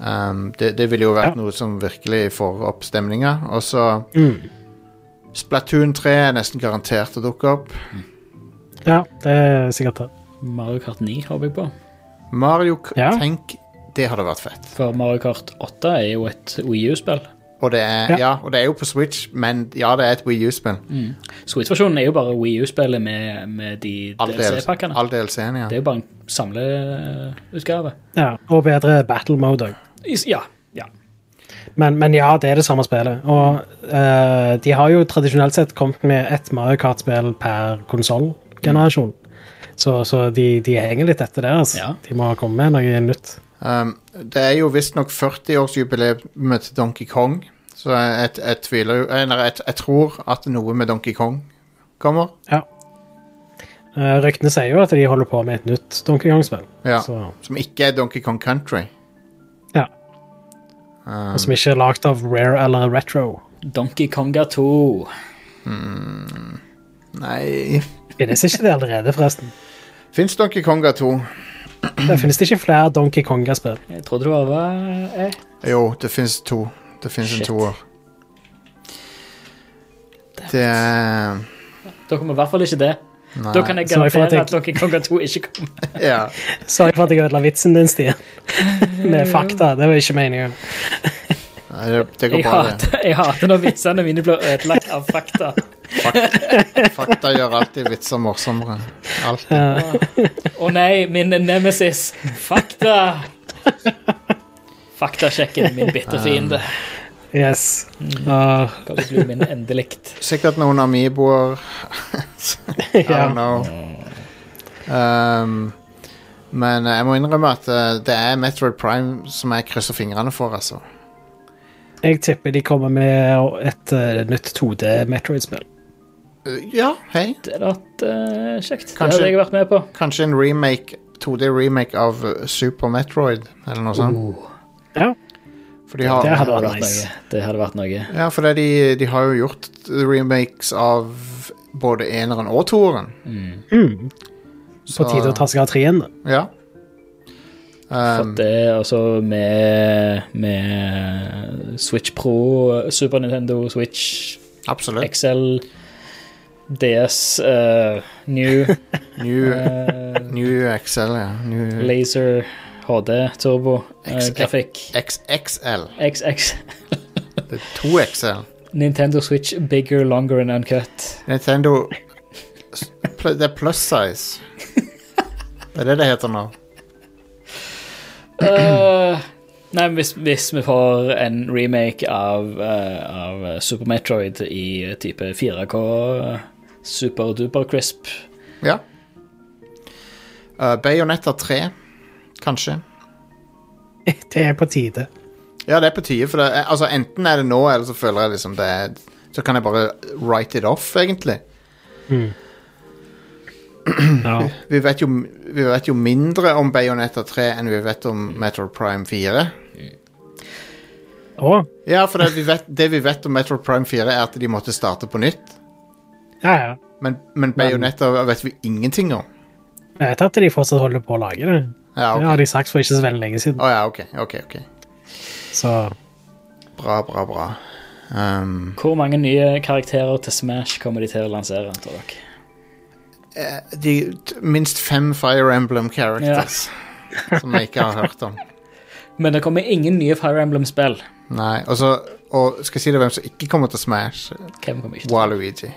Speaker 1: Um, det, det ville jo vært noe som virkelig får opp stemninga. Og så
Speaker 3: Mm.
Speaker 1: Splatoon 3 er nesten garantert å dukke opp.
Speaker 3: ja, det er sikkert det.
Speaker 2: Mario Kart 9 håper jeg på.
Speaker 1: Mario K
Speaker 3: Ja.
Speaker 1: Tenk, det hadde vært fett.
Speaker 2: For Mario Kart 8 er jo et Wii U-spill.
Speaker 1: Og det, er,
Speaker 3: Ja.
Speaker 1: ja. og det er jo på Switch, men ja, det er et Wii U-spill.
Speaker 2: Switch-versjonen er jo bare Wii U-spillet med, med de
Speaker 1: All del-
Speaker 2: DLC-pakkene.
Speaker 1: all DLC-en, ja.
Speaker 2: Det er jo bare en samleutgave.
Speaker 3: Ja, og bedre battle mode òg.
Speaker 2: Is- Ja. ja.
Speaker 3: Men, men ja, det er det samme spillet. Og eh, de har jo tradisjonelt sett kommet med ett Mario Kart-spill per konsollgenerasjon. Så, så de, de henger litt etter det. Altså.
Speaker 2: Ja.
Speaker 3: De må komme med noe nytt.
Speaker 1: Um, det er jo visstnok 40-årsjubileet til Donkey Kong, så jeg, jeg, jeg tviler jo eh, Nei, jeg, jeg tror at noe med Donkey Kong kommer.
Speaker 3: Eh, ryktene sier jo at de holder på med et nytt Donkey Kong-spill.
Speaker 1: Ja,
Speaker 3: Så,
Speaker 1: Som ikke er Donkey Kong Country.
Speaker 3: Ja.
Speaker 1: Um,
Speaker 3: og som ikke er lagd av Rare eller Retro.
Speaker 2: Donkey Konga 2.
Speaker 1: nei
Speaker 3: Finnes ikke det allerede, forresten?
Speaker 1: Fins Donkey Konga 2?
Speaker 3: Det finnes det ikke flere Donkey Konga-spill.
Speaker 2: Jeg trodde det var eh,
Speaker 1: Jo, det fins to. Det fins en
Speaker 2: Shit.
Speaker 1: toer. Det er
Speaker 2: Da kommer i hvert fall ikke det.
Speaker 1: Nei.
Speaker 2: Da kan jeg
Speaker 3: Så jeg får
Speaker 2: garantere at
Speaker 3: tenke-
Speaker 2: Donkey Konga 2 ikke kommer.
Speaker 1: ja.
Speaker 3: Sorry for at jeg ødela vitsen din, Stian. med fakta. Det var ikke meningen.
Speaker 1: Nei, det, det går
Speaker 2: Jeg
Speaker 1: bra, det.
Speaker 2: hater, jeg hater når vitsene mine blir ødelagt av fakta.
Speaker 1: Fak- Fakta gjør alltid vitser morsommere. Alt.
Speaker 3: Eh,
Speaker 2: Å nei, min nemesis. Fakta! Faktasjekken, min bitre fiende.
Speaker 3: yes. Ah,
Speaker 2: Kan du bli min endelikt?
Speaker 1: Sikkert noen amiboer. I don't
Speaker 3: ja.
Speaker 1: know. Um, men eh, jeg må innrømme at eh, det er Metroid Prime som jeg krysser fingrene for, altså.
Speaker 3: Jeg tipper de kommer med et eh, nytt 2D Metroid-spill.
Speaker 1: Eh, Ja, hei.
Speaker 2: Det hadde vært eh, kjekt. Det
Speaker 1: Kanskje.
Speaker 2: hadde jeg vært med på.
Speaker 1: Kanskje en remake, 2D-remake av eh, Super Metroid, eller noe sånt.
Speaker 3: Ja,
Speaker 1: For de har,
Speaker 3: Oh. det hadde
Speaker 2: Det
Speaker 3: vært
Speaker 2: hadde vært
Speaker 3: nice.
Speaker 2: noe. Det hadde vært noe.
Speaker 1: ja, for det er de, de har jo gjort remakes av både eneren og toeren.
Speaker 3: Mm. På
Speaker 1: Så-
Speaker 3: tide å ta seg av treen. da.
Speaker 1: Ja.
Speaker 2: For det, altså med, med Switch Pro, Super Nintendo, Switch,
Speaker 1: Absolutt.
Speaker 2: XL, DS, eh, New,
Speaker 1: New,
Speaker 2: eh,
Speaker 1: new XL, ja. New
Speaker 2: Laser, HD, Turbo, eh,
Speaker 1: Mm. X-
Speaker 2: grafikk,
Speaker 1: XXL.
Speaker 2: XX,
Speaker 1: Det er to XL.
Speaker 2: Nintendo Switch, bigger, longer and uncut.
Speaker 1: Nintendo s- pl- Det er plus size. Det er det det heter nå.
Speaker 2: Eh, nei, men hvis, hvis vi får en remake av, eh, av Super Metroid i type 4K, eh, super duper crisp,
Speaker 1: Ja. Uh, Bayonetta 3, kanskje.
Speaker 3: Det er på tide.
Speaker 1: Ja, det er på tide, for det er, altså, enten er det nå, eller så føler jeg liksom det er Så kan jeg bare write it off, egentlig. Mm.
Speaker 3: Ja.
Speaker 1: Vi vet jo, vi vet jo mindre om Bayonetta 3 enn vi vet om Metal Prime 4.
Speaker 3: Å,
Speaker 1: Ja, for det vi vet, det vi vet om Metal Prime 4, er at de måtte starte på nytt.
Speaker 3: ja, ja.
Speaker 1: Men, men Bayonetta vet vi ingenting om.
Speaker 3: Jeg vet at de fortsatt holder på å lage det.
Speaker 1: Ja,
Speaker 3: Det
Speaker 1: ok.
Speaker 3: har de sagt for ikke så veldig lenge siden.
Speaker 1: Å ja, ok, ok, ok.
Speaker 3: Så
Speaker 1: Bra, bra, bra. Um,
Speaker 2: Hvor mange nye karakterer til Smash kommer de til å lansere, tror dere?
Speaker 1: de, t- minst fem Fire Emblem characters som jeg ikke har hørt om.
Speaker 2: Men det kommer ingen nye Fire Emblem-spill.
Speaker 1: Nei, og så og skal jeg si det hvem som ikke kommer til Smash?
Speaker 2: Hvem kommer ikke til?
Speaker 1: Waluigi.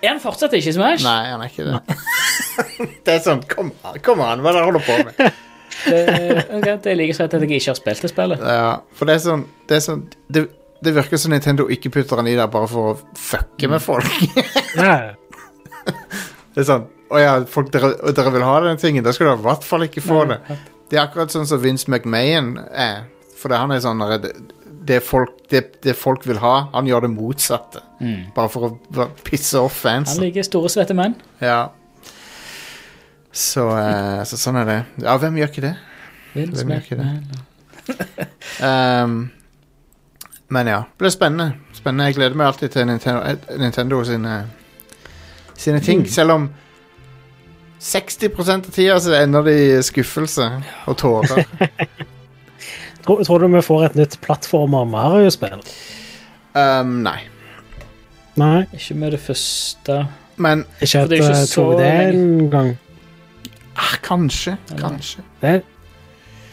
Speaker 2: Er han fortsatt ikke i Smash?
Speaker 1: Nei, han er ikke det. det er sånn, kom an, kom an hva er det du holder på med?
Speaker 2: Det, ok, det er like greit at jeg ikke har spilt det spillet.
Speaker 1: Ja, for det er sånn Det, er sånn, det, det virker som Nintendo ikke putter han i der bare for å fucke med folk.
Speaker 3: ja, ja.
Speaker 1: Det er sånn Å ja, folk, dere, og dere vil ha den tingen, da skal dere i hvert fall ikke få det. Det er akkurat sånn som Vince McMahon er. For det, han er sånn det, det, folk, det, det folk vil ha, han gjør det motsatte. Bare for å bare pisse off
Speaker 2: Mm. Han
Speaker 1: fansen.
Speaker 2: liker store, svette menn.
Speaker 1: Ja. Så, eh, så sånn er det. Ja, hvem gjør ikke det?
Speaker 2: Vince
Speaker 1: Hvem gjør ikke det?
Speaker 2: McMahon.
Speaker 1: Ehm, men ja, det blir spennende. Spennende, Jeg gleder meg alltid til Nintendo, eh, Nintendo sine, sine
Speaker 2: Mm.
Speaker 1: ting. Selv om 60 av tida så ender det i skuffelse og tårer.
Speaker 3: Tror, tror du vi får et nytt plattformer Mario-spill?
Speaker 1: Ehm, nei.
Speaker 3: Nei,
Speaker 2: Ikke med det første.
Speaker 1: Men
Speaker 3: ikke
Speaker 2: For
Speaker 3: et
Speaker 2: det er ikke
Speaker 3: eh,
Speaker 2: så
Speaker 3: 2D
Speaker 2: lenge.
Speaker 3: engang.
Speaker 1: ah, kanskje. Kanskje.
Speaker 3: Det er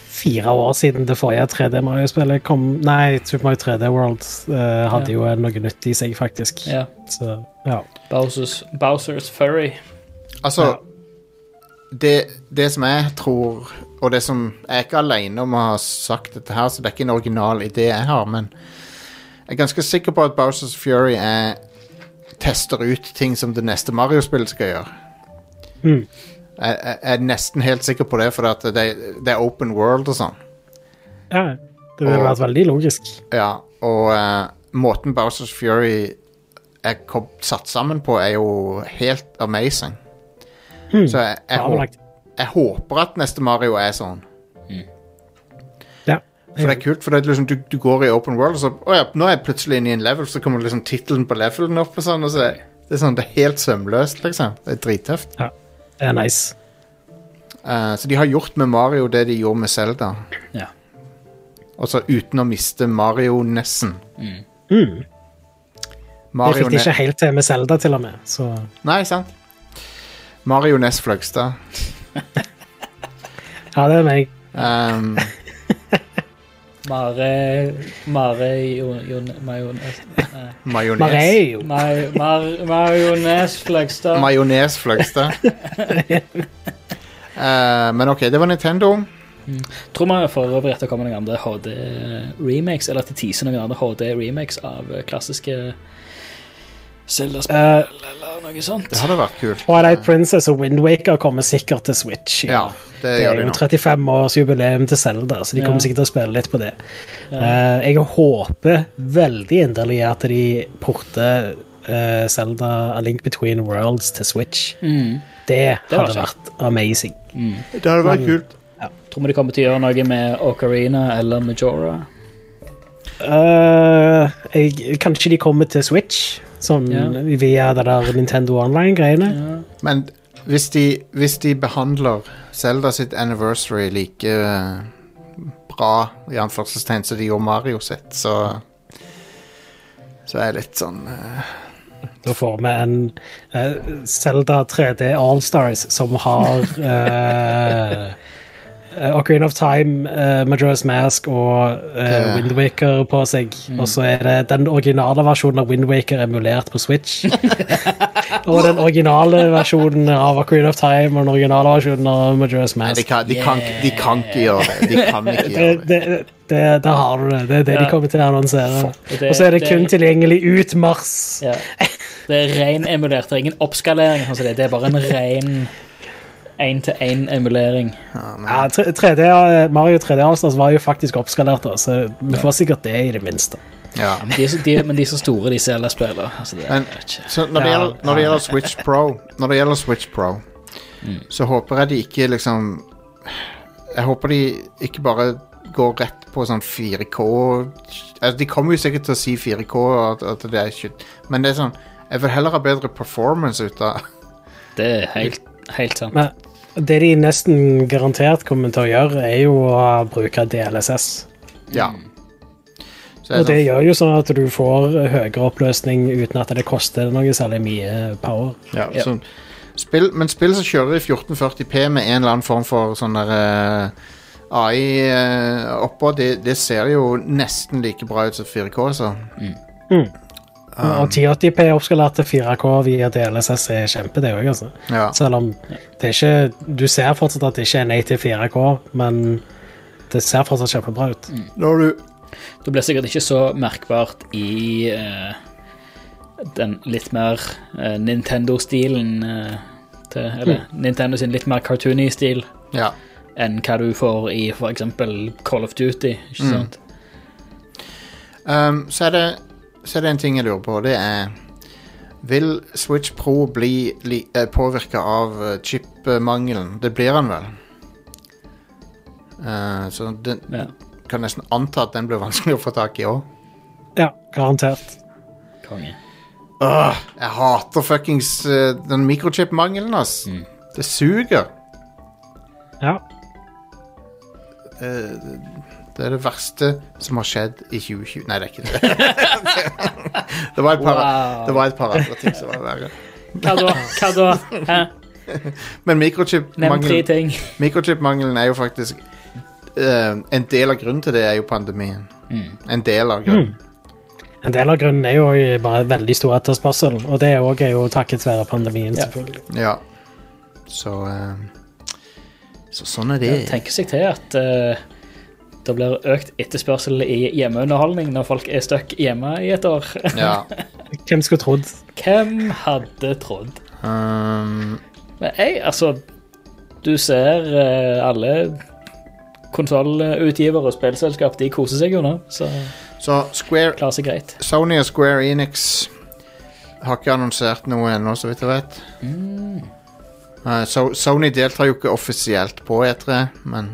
Speaker 3: fire år siden det forrige 3D Mario-spillet kom. Nei, Super Mario 3D World eh, hadde
Speaker 2: Ja.
Speaker 3: jo eh, noe nytt i seg, faktisk.
Speaker 2: Ja.
Speaker 3: Så, ja.
Speaker 2: Bowsers, Bowsers Furry.
Speaker 1: Altså det, det som jeg tror, og det som Jeg er ikke aleine om å ha sagt dette her, så det er ikke en original idé jeg har, men jeg er ganske sikker på at Bowsers Fury er, tester ut ting som det neste Mario-spillet skal gjøre.
Speaker 3: Mm.
Speaker 1: Jeg, jeg jeg er nesten helt sikker på det, for at det, det er open world og sånn.
Speaker 3: ja. Det ville
Speaker 1: Og-
Speaker 3: vært veldig logisk.
Speaker 1: Ja, og eh, måten Bowsers Fury er kom, satt sammen på, er jo helt amazing.
Speaker 3: Mm.
Speaker 1: Så jeg, jeg, håper-
Speaker 3: Planlagt.
Speaker 1: jeg håper at neste Mario er sånn.
Speaker 3: Ja.
Speaker 1: For det er kult, for det er liksom, du, du går i open world, og så «Å ja, nå er jeg plutselig inne i en level, så kommer liksom tittelen på levelen opp og sånn, og så er det er sånn, det er helt sømløst, liksom. Det er drittøft.
Speaker 3: Ja. Det er nice.
Speaker 1: Eh, så de har gjort med Mario det de gjorde med Zelda.
Speaker 2: Ja.
Speaker 1: Og så uten å miste Mario-nessen.
Speaker 3: Mm. Det
Speaker 1: Mario
Speaker 3: fikk de ikke helt til med Zelda, til og med. Så
Speaker 1: Nei, sant? Mario Ness Fløgstad.
Speaker 3: ja, det er meg.
Speaker 1: Ehm,
Speaker 2: Mare Mare Jon... Jon... Majones... nei.
Speaker 1: majones.
Speaker 3: Mareo.
Speaker 2: Mai- Mar- Majones Flagstad.
Speaker 1: Majones Fløgstad. Eh, men ok, det var Nintendo.
Speaker 2: Tror man for øvrig at det kommer noen andre HD-remakes, eller at de teaser noen andre HD-remakes av eh, klassiske Zelda-spill,
Speaker 3: Eh,
Speaker 2: eller noe sånt.
Speaker 1: Det hadde vært kult.
Speaker 3: Twilight Princess og Windwaker kommer sikkert til Switch. i
Speaker 1: Ja,
Speaker 3: år.
Speaker 1: det
Speaker 3: Det
Speaker 1: gjør
Speaker 3: er
Speaker 1: de
Speaker 3: jo
Speaker 1: nå.
Speaker 3: 35 års jubileum til Zelda, så de kommer
Speaker 2: Ja.
Speaker 3: sikkert til å spille litt på det. Eh, jeg håper veldig inderlig at de porter eh, Zelda A Link Between Worlds til Switch.
Speaker 2: Mm.
Speaker 3: Det
Speaker 2: Det var
Speaker 3: hadde
Speaker 2: kjekt.
Speaker 3: vært amazing.
Speaker 1: Det hadde vært kult.
Speaker 2: Tror vi de kommer til å gjøre noe med Ocarina eller Majora.
Speaker 3: Eh, jeg, kanskje de kommer til Switch, sånn
Speaker 2: Ja.
Speaker 3: via det der Nintendo Online-greiene.
Speaker 2: Ja.
Speaker 1: Men hvis de, hvis de behandler Zelda sitt anniversary like eh, bra i anførselstegn som de gjorde Mario sitt, så Så er jeg litt sånn eh,
Speaker 3: Da får vi en eh, Zelda 3D Allstars som har eh, eh, Ocarina of Time, eh, Majora's Mask og
Speaker 1: Ja.
Speaker 3: eh, Wind Waker på seg.
Speaker 2: Mm.
Speaker 3: Og så er det den originale versjonen av Wind Waker emulert på Switch. og den originale versjonen av Ocarina of Time og den originale versjonen av Majora's
Speaker 1: Nei, de
Speaker 3: Mask.
Speaker 1: kan, de, kan, ikke- de kan ikke gjøre det. De kan ikke
Speaker 3: Det,
Speaker 1: gjøre det.
Speaker 3: det, det, der har du det. Det er det
Speaker 2: Ja.
Speaker 3: de kommer til å annonsere.
Speaker 2: Det-
Speaker 3: Og så er det kun
Speaker 2: det-
Speaker 3: tilgjengelig ut mars.
Speaker 2: Ja. Det er ren emulert. Det er ingen oppskalering. sånn som det. det er bare en ren én-til-én-emulering.
Speaker 3: Ja, tre- 3D, eh, Mario 3D Allstars var jo faktisk oppskalert, da, så vi får sikkert det i det minste.
Speaker 1: Ja.
Speaker 2: Men de, er så- de, men de er så store, de CLS-spillene. Altså, det er
Speaker 1: Men-
Speaker 2: ikke
Speaker 1: Så når det,
Speaker 3: Ja,
Speaker 1: gjelder, når det gjelder Switch Pro Når det gjelder Switch Pro Så håper jeg de ikke liksom Jeg håper de ikke bare Går rett på sånn 4K altså, De kommer jo sikkert til å si 4K og at, at det er shit Men det er sånn Jeg vil heller ha bedre performance ut av
Speaker 2: Det er helt, helt sant.
Speaker 3: Men det de nesten garantert kommer til å gjøre, er jo å bruke DLSS.
Speaker 1: Ja Så jeg
Speaker 3: Og det
Speaker 1: er sånn,
Speaker 3: gjør jo sånn at du får høyere oppløsning uten at det koster noe særlig mye power.
Speaker 1: ja, sånn. Spill, men spill som kjører i 1440p med en eller annen form for sånn der eh, AI eh, oppå, det, det ser jo nesten like bra ut som altså. 4K, så.
Speaker 3: og 1080P oppskalert til 4K via DLSS er kjempe, det òg, altså.
Speaker 1: Ja.
Speaker 3: Selv om det er ikke Du ser fortsatt at det ikke er nei til 4K, men det ser fortsatt kjempebra ut.
Speaker 1: Når du
Speaker 2: Det blir sikkert ikke så merkbart i eh, den litt mer eh, Nintendo-stilen eh, til Eller Nintendo sin litt mer cartoony stil
Speaker 1: Ja.
Speaker 2: enn hva du får i f.eks. Call of Duty. ikke sant?
Speaker 1: Um, så, er det, så er det en ting jeg lurer på, det er Vil Switch Pro bli li, påvirka av eh, chip-mangelen? Det blir han vel? Eh, så den
Speaker 2: Ja.
Speaker 1: kan nesten anta at den blir vanskelig å få tak i òg.
Speaker 3: Ja, garantert.
Speaker 2: Konge.
Speaker 1: Jeg hater fuckings eh, den mikrochip-mangelen, ass. Det suger.
Speaker 3: Ja.
Speaker 1: Det er det verste som har skjedd i 2020 Nei, det er ikke det. det, var et par,
Speaker 2: Wow.
Speaker 1: det var et par andre ting som var verre.
Speaker 2: Hva da? Hva da? Hæ?
Speaker 1: Men
Speaker 2: Nevn tre
Speaker 1: mikrochip-mangelen
Speaker 2: ting.
Speaker 1: Mikrochip-mangelen er jo faktisk eh, En del av grunnen til det er jo pandemien. En del av grunnen.
Speaker 3: En del av grunnen er jo bare veldig stor etterspørsel, og det er jo- er jo takket være pandemien.
Speaker 2: Ja.
Speaker 3: selvfølgelig.
Speaker 1: Ja. Så eh, Så sånn er det.
Speaker 2: Tenker seg til at eh, det blir økt etterspørsel i hjemmeunderholdning når folk er stuck hjemme i et år.
Speaker 1: Ja.
Speaker 3: Hvem skulle trodd?
Speaker 2: Hvem hadde trodd?
Speaker 1: Um,
Speaker 2: Men jeg, altså Du ser eh, alle konsollutgivere og spillselskap, de koser seg jo nå, så
Speaker 1: så Square
Speaker 2: klarer seg greit.
Speaker 1: Sony og Square Enix har ikke annonsert noe ennå, så vidt jeg vet. Eh, so, Sony deltar jo ikke offisielt på E3, men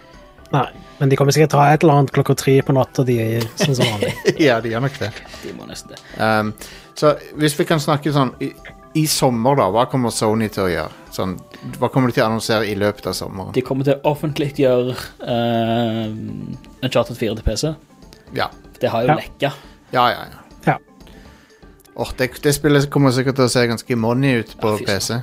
Speaker 3: Nei, men de kommer sikkert til å ha et eller annet klokka tre på natta, de, sånn som vanlig.
Speaker 1: Ja, de gjør nok det.
Speaker 2: De må nesten det.
Speaker 1: Um, så hvis vi kan snakke sånn i, I sommer, da, hva kommer Sony til å gjøre? Sånn, hva kommer de til å annonsere i løpet av sommeren?
Speaker 2: De kommer til å offentliggjøre uh, Uncharted 4 til PC.
Speaker 1: Ja,
Speaker 2: Det har jo
Speaker 3: Ja.
Speaker 2: lekka.
Speaker 1: ja, ja. ja.
Speaker 3: Ja.
Speaker 1: Åh, det, det spillet kommer sikkert til å se ganske money ut på
Speaker 2: Ja, fy
Speaker 1: PC.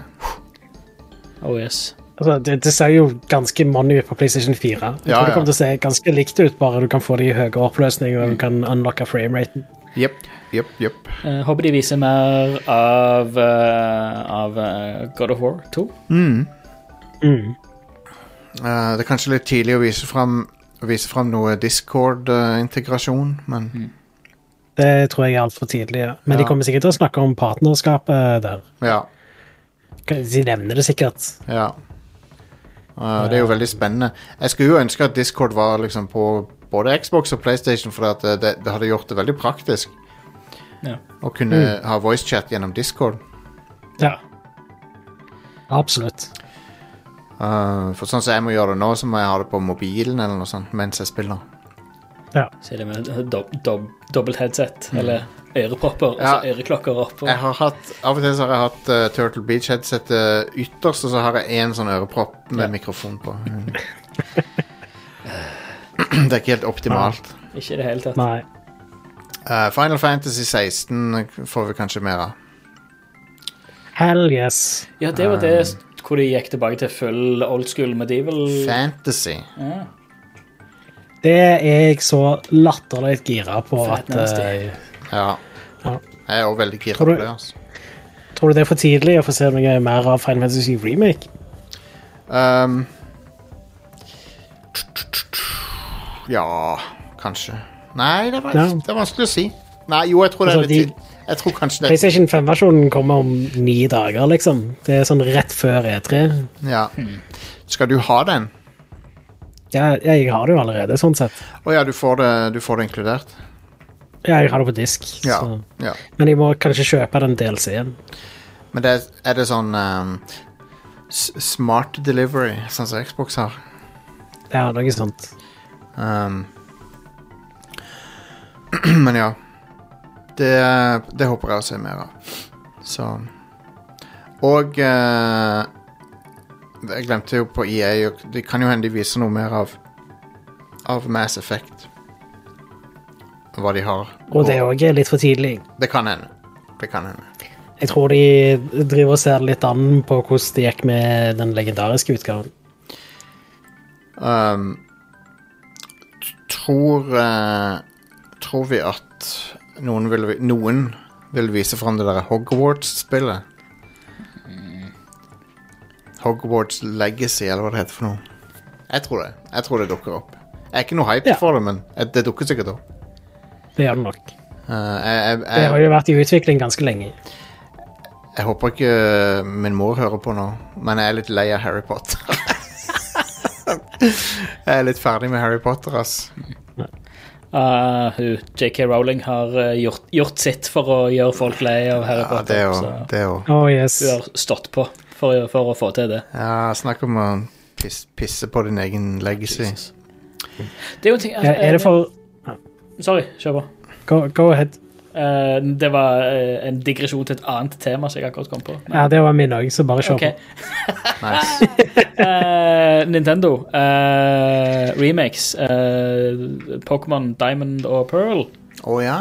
Speaker 2: Oh yes.
Speaker 3: Altså, det, det ser jo ganske money ut på PlayStation 4.
Speaker 1: Ja,
Speaker 3: Jeg tror
Speaker 1: ja.
Speaker 3: det kommer til å se ganske likt ut, bare du kan få det i høyere oppløsning, og du kan unlocke frameraten.
Speaker 1: Jepp, jepp, jepp.
Speaker 2: Eh, håper de viser mer av, eh, av eh, God of War 2.
Speaker 3: Mm.
Speaker 1: Eh, det er kanskje litt tidlig å vise fram, å vise fram noe Discord-integrasjon, men
Speaker 2: Mm.
Speaker 3: Det tror jeg er altfor tidlig, ja. Men
Speaker 1: Ja.
Speaker 3: de kommer sikkert til å snakke om partnerskapet der.
Speaker 1: ja.
Speaker 3: De nevner det sikkert.
Speaker 1: ja. Eh, det er jo veldig spennende. Jeg skulle jo ønske at Discord var liksom på både Xbox og PlayStation, for det, det, det hadde gjort det veldig praktisk.
Speaker 2: Ja.
Speaker 1: Å kunne
Speaker 3: Mm.
Speaker 1: ha voicechat gjennom Discord.
Speaker 3: Ja. Absolutt.
Speaker 1: Uh, for sånn som jeg må gjøre det nå, så må jeg ha det på mobilen eller noe sånt mens jeg spiller.
Speaker 3: Ja.
Speaker 2: Så er det med dob dob dobbelt headset, eller ørepropper
Speaker 1: Mm.
Speaker 2: og
Speaker 1: Ja.
Speaker 2: så øreklokker opp.
Speaker 1: Jeg
Speaker 2: Og,
Speaker 1: har hatt, Av og til så har jeg hatt eh, Turtle Beach headsetet ytterst, og så har jeg én sånn ørepropp med
Speaker 2: Ja.
Speaker 1: mikrofon på. Mm. Det er ikke helt optimalt.
Speaker 2: ikke i det hele tatt.
Speaker 3: Nei.
Speaker 1: Eh, Final Fantasy 16 får vi kanskje mer av.
Speaker 3: Hell yes.
Speaker 2: Ja, det var
Speaker 1: Ah.
Speaker 2: det s- hvor de gikk tilbake til full old school medieval.
Speaker 1: Fantasy.
Speaker 2: Ja.
Speaker 3: Det er jeg så latterlig gira på
Speaker 2: Fat
Speaker 3: at
Speaker 2: nasty.
Speaker 3: eh,
Speaker 1: Ja.
Speaker 3: Ja.
Speaker 1: Jeg er òg veldig gira
Speaker 3: Tror du-
Speaker 1: på det. altså.
Speaker 3: Tror du det er for tidlig å få se noe mer av Final Fantasy 7 Remake?
Speaker 1: Um, ja Kanskje. Nei, det er, vans-
Speaker 3: Ja.
Speaker 1: det er vanskelig å si. Nei, jo, jeg tror det er
Speaker 3: Altså,
Speaker 1: litt
Speaker 3: de-
Speaker 1: tid. Jeg tror kanskje det er
Speaker 3: PlayStation 5-versjonen kommer om ni dager, liksom. Det er sånn rett før E3.
Speaker 1: Ja. Skal du ha den?
Speaker 3: Ja, jeg har det jo allerede, sånn sett.
Speaker 1: Å ja, du får, det, du får det inkludert?
Speaker 3: Ja, jeg har det på disk.
Speaker 1: Ja.
Speaker 3: Så.
Speaker 1: ja.
Speaker 3: Men jeg må kanskje kjøpe den DLC-en.
Speaker 1: Men det er, er det sånn um, s- smart delivery, sånn som Xbox har?
Speaker 3: Ja, noe sånt.
Speaker 1: Um, men ja. Det, det håper jeg å se mer av. Så Og eh, Jeg glemte jo på EA og Det kan jo hende de viser noe mer av Av Mass Effect. Hva de har.
Speaker 3: Og det òg er litt for tidlig.
Speaker 1: Det kan hende. Det kan hende.
Speaker 3: Jeg tror de driver og ser litt an på hvordan det gikk med den legendariske utgaven.
Speaker 1: Um, t- tror eh, Tror vi at noen vil, vi- noen vil vise fram det der Hogwarts-spillet? Hogwarts Legacy, eller hva det heter for noe. Jeg tror det. Jeg tror det dukker opp. Jeg er ikke noe hype
Speaker 3: Ja.
Speaker 1: for det, men eh, det dukker sikkert opp.
Speaker 3: Det gjør det nok.
Speaker 1: Eh, jeg, jeg,
Speaker 3: Det har
Speaker 1: jeg,
Speaker 3: jo vært i utvikling ganske lenge.
Speaker 1: jeg håper ikke min mor hører på nå, men jeg er litt lei av Harry Potter. jeg er litt ferdig med Harry Potter, ass.
Speaker 2: Ah, hun, JK Rowling har eh, gjort, gjort sitt for å gjøre folk lei av Harry
Speaker 1: Ja, det
Speaker 2: Potter.
Speaker 1: er jo,
Speaker 2: så
Speaker 1: det er jo.
Speaker 3: Oh, yes.
Speaker 2: hun har stått på for, å- for å få til det.
Speaker 1: Ja, snakk om å pisse, pisse på din egen legacy.
Speaker 2: Det er jo en ting altså, eh,
Speaker 3: Er, er det for
Speaker 2: Sorry, kjør på.
Speaker 3: Go, go ahead.
Speaker 2: Eh, det var eh, en digresjon til et annet tema som jeg akkurat kom på.
Speaker 3: Ja, det var min òg, så bare kjør
Speaker 2: Ok.
Speaker 1: Nice.
Speaker 2: Eh, Nintendo. eh, remakes. eh, Pokémon Diamond og Pearl.
Speaker 1: Å ja.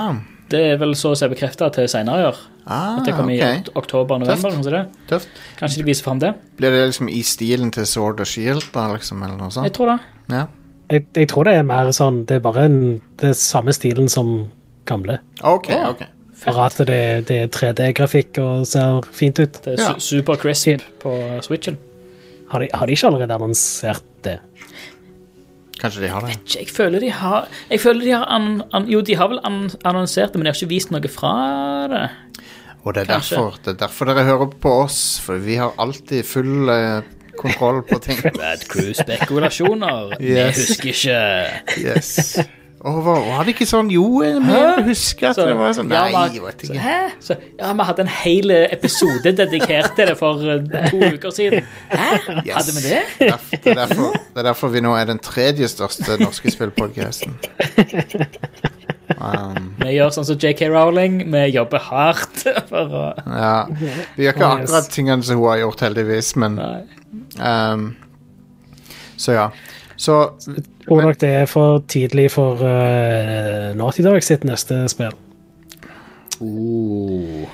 Speaker 2: Det er vel så å si bekrefta til seinere i år.
Speaker 1: Ah,
Speaker 2: At det kommer i
Speaker 1: ok.
Speaker 2: okt- oktober-november.
Speaker 1: Tøft.
Speaker 2: kanskje det?
Speaker 1: Tøft.
Speaker 2: Kanskje de viser fram det?
Speaker 1: Blir det liksom i stilen til Sword og Shield, da, liksom, eller noe
Speaker 2: Jeg
Speaker 1: sånt?
Speaker 2: tror det.
Speaker 1: Ja.
Speaker 3: på. Jeg, jeg tror det er mer sånn Det er bare en, det er samme stilen som gamle.
Speaker 1: OK,
Speaker 2: Å.
Speaker 1: OK.
Speaker 3: Bare at det, det er 3D-grafikk og ser fint ut.
Speaker 2: Det er
Speaker 1: Ja.
Speaker 2: su- super crisp på Switchen.
Speaker 3: Har de, har de ikke allerede annonsert det?
Speaker 1: Kanskje de har det.
Speaker 2: Jeg føler de har, jeg føler de har an, an, Jo, de har vel an, annonsert det, men de har ikke vist noe fra det.
Speaker 1: Og det er,
Speaker 2: Kanskje.
Speaker 1: derfor, det er derfor dere hører på oss, for vi har alltid full eh, kontroll på ting.
Speaker 2: Bad Crew-spekulasjoner.
Speaker 1: Yes.
Speaker 2: Jeg husker ikke.
Speaker 1: Yes. Og var, var det ikke sånn Jo, jeg husker at
Speaker 2: Så-
Speaker 1: det var sånn
Speaker 2: Ja,
Speaker 1: Nei,
Speaker 2: men-
Speaker 1: vet
Speaker 2: så,
Speaker 1: ikke.
Speaker 2: Hæ? Så, ja, vi hadde en hel eh, episode dedikert til det for eh, to uker siden. Hæ?
Speaker 1: Yes.
Speaker 2: Hadde vi det?
Speaker 1: Derf- Det er, derfor, det er derfor vi nå er den tredje største norske spillpodcasten. Um,
Speaker 2: Vi gjør sånn som JK Rowling, vi jobber hardt for å
Speaker 1: ja. Vi gjør ikke
Speaker 3: Yes.
Speaker 1: akkurat tingene som hun har gjort, heldigvis, men
Speaker 2: Nei.
Speaker 1: um, Så ja. Så
Speaker 3: Tror nok det er for tidlig for uh, Naughty Dog sitt neste spill.
Speaker 1: Oh.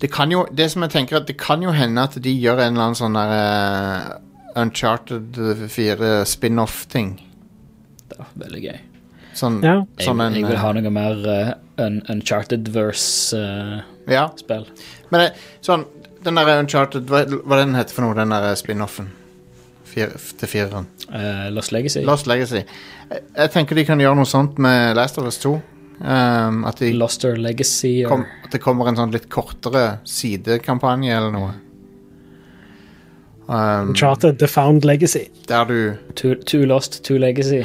Speaker 1: det kan jo Det som jeg tenker at det kan jo hende at de gjør en eller annen sånn der eh, Uncharted 4 spin-off-ting.
Speaker 2: Det var veldig gøy.
Speaker 1: Sånn,
Speaker 3: Ja.
Speaker 1: som en
Speaker 2: Jeg, jeg vil
Speaker 1: eh,
Speaker 2: ha noe mer eh, un eh, Uncharted-verse-spill.
Speaker 1: Ja. Men det, sånn Den der Uncharted, hva, hva den heter for noe, den der spin-offen? Fir, til fireren.
Speaker 2: Eh, Lost Legacy. Lost,
Speaker 1: Lost Legacy. Jeg, jeg tenker de kan gjøre noe sånt med Last of Us 2. Um, at, de
Speaker 2: Loster Legacy.
Speaker 1: kom,
Speaker 2: Kom.
Speaker 1: at det kommer en sånn litt kortere sidekampanje eller noe. Um,
Speaker 3: Charter The Found Legacy.
Speaker 1: der du,
Speaker 2: Too, too Lost, Too Legacy.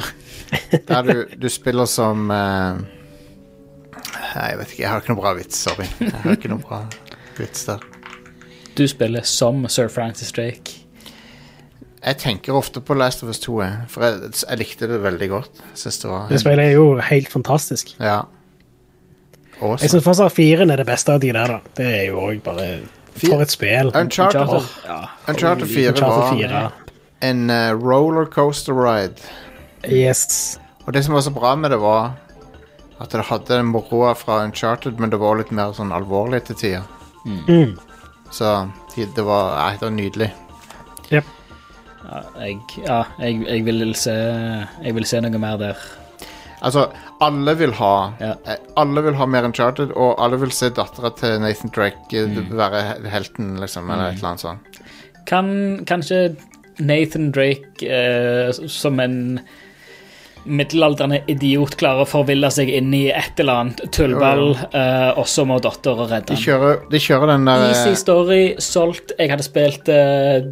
Speaker 1: der du, du spiller som eh, Nei, jeg vet ikke. Jeg har ikke noe bra vits. Sorry. Jeg har ikke noe bra vits der.
Speaker 2: Du spiller som Sir Francis Drake.
Speaker 1: Jeg tenker ofte på Last of Us 2, jeg, for jeg, jeg likte det veldig godt. Jeg synes det var
Speaker 3: Det spillet er jo helt fantastisk.
Speaker 1: Ja.
Speaker 3: Jeg
Speaker 1: Awesome.
Speaker 3: syns fortsatt firen er det beste av de der, da. Det er jo òg bare
Speaker 1: Fir-
Speaker 3: For et spill.
Speaker 1: Uncharted,
Speaker 2: Charter.
Speaker 1: Uncharted,
Speaker 2: Ja.
Speaker 1: 4
Speaker 3: Uncharted
Speaker 1: var
Speaker 3: 4.
Speaker 1: en eh, rollercoaster ride.
Speaker 3: Yes.
Speaker 1: Og det som var så bra med det, var at det hadde den moroa fra Uncharted, men det var litt mer sånn alvorlig til tider.
Speaker 3: Mm.
Speaker 1: Så de- det var, nei, det var nydelig.
Speaker 3: Yep.
Speaker 2: Ja, jeg, ja jeg, jeg, vil se, jeg vil se noe mer der.
Speaker 1: Altså, alle vil ha
Speaker 2: Ja.
Speaker 1: eh, Alle vil ha mer Uncharted, og alle vil se dattera til Nathan Drake eh, være he- helten, liksom, eller et eller annet sånt.
Speaker 2: Kan kanskje Nathan Drake eh, som en middelaldrende idiot klarer å forville seg inn i et eller annet tullball, eh, og så må dattera redde
Speaker 1: De
Speaker 2: han.
Speaker 1: kjører, de kjører den der eh,
Speaker 2: Easy story, solgt. Jeg hadde spilt eh,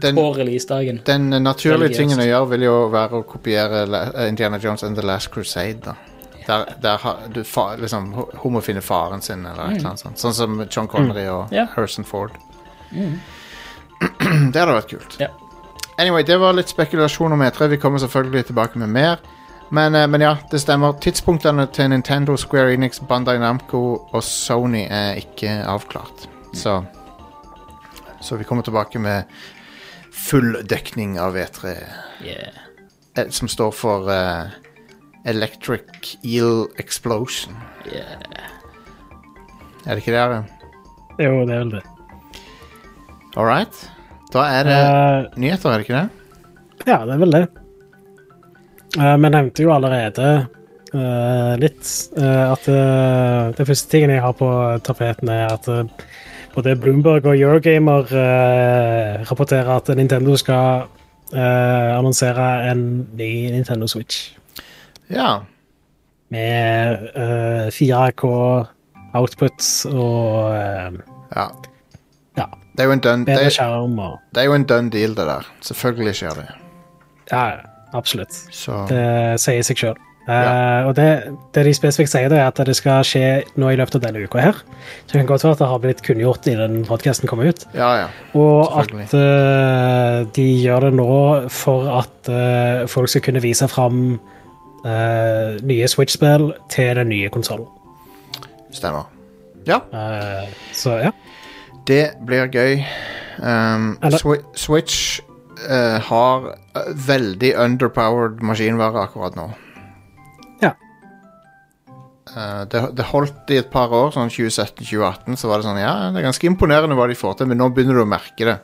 Speaker 1: den,
Speaker 2: på releasedagen.
Speaker 1: den naturlige
Speaker 2: Religiøst.
Speaker 1: tingen å gjøre vil jo være å kopiere La- eh, Indiana Jones and The Last Crusade, da. Der, der har du fa, liksom, ho- hun må finne faren sin, eller et eller annet sånt. Sånn som John Connery og
Speaker 2: Mm. Ja. Mm.
Speaker 1: Harrison Ford. det hadde vært kult.
Speaker 2: Ja.
Speaker 1: Anyway, det var litt spekulasjon om E3. Vi kommer selvfølgelig tilbake med mer. Men, eh, men ja, det stemmer. Tidspunktene til Nintendo, Square Enix, Bandai Namco og Sony er ikke avklart.
Speaker 2: Mm.
Speaker 1: Så, så vi kommer tilbake med full dekning av E3,
Speaker 2: Yeah.
Speaker 1: eh, som står for eh, Electric Eel Explosion.
Speaker 2: Yeah.
Speaker 1: Er det ikke det? Are?
Speaker 3: Jo, det er vel det.
Speaker 1: All right. Da er det
Speaker 3: Eh,
Speaker 1: nyheter, er det ikke det?
Speaker 3: ja, det er vel det. Eh, Vi nevnte jo allerede eh, litt eh, at eh, det første tingen jeg har på tapeten, er at eh, både Bloomberg og Eurogamer eh, rapporterer at Nintendo skal eh, annonsere en ny Nintendo Switch.
Speaker 1: Ja.
Speaker 3: med eh, 4K outputs og eh,
Speaker 1: ja.
Speaker 3: ja,
Speaker 1: Det er jo en done, det,
Speaker 3: bedre
Speaker 1: er-
Speaker 3: skjerm og
Speaker 1: det er jo en done deal, det der. Selvfølgelig skjer det.
Speaker 3: Ja, absolutt.
Speaker 1: Så
Speaker 3: Det sier seg sjøl.
Speaker 1: Ja.
Speaker 3: Og det, det de spesifikt sier, det er at det skal skje nå i løpet av denne uka her. Så det kan godt være at det har blitt kunngjort i den podkasten kommer ut.
Speaker 1: Ja, ja.
Speaker 3: Og at
Speaker 1: Selvfølgelig.
Speaker 3: eh, de gjør det nå for at eh, folk skal kunne vise fram eh, nye Switch-spill til den nye konsollen.
Speaker 1: Stemmer. Ja,
Speaker 3: Eh, så ja.
Speaker 1: det blir gøy. Um,
Speaker 3: Eller-
Speaker 1: Swi- Switch eh, har eh, veldig underpowered maskinvare akkurat nå.
Speaker 3: Ja.
Speaker 1: Eh, det, det holdt i et par år, sånn 2017-2018, så var det sånn Ja, det er ganske imponerende hva de får til, men nå begynner du å merke det.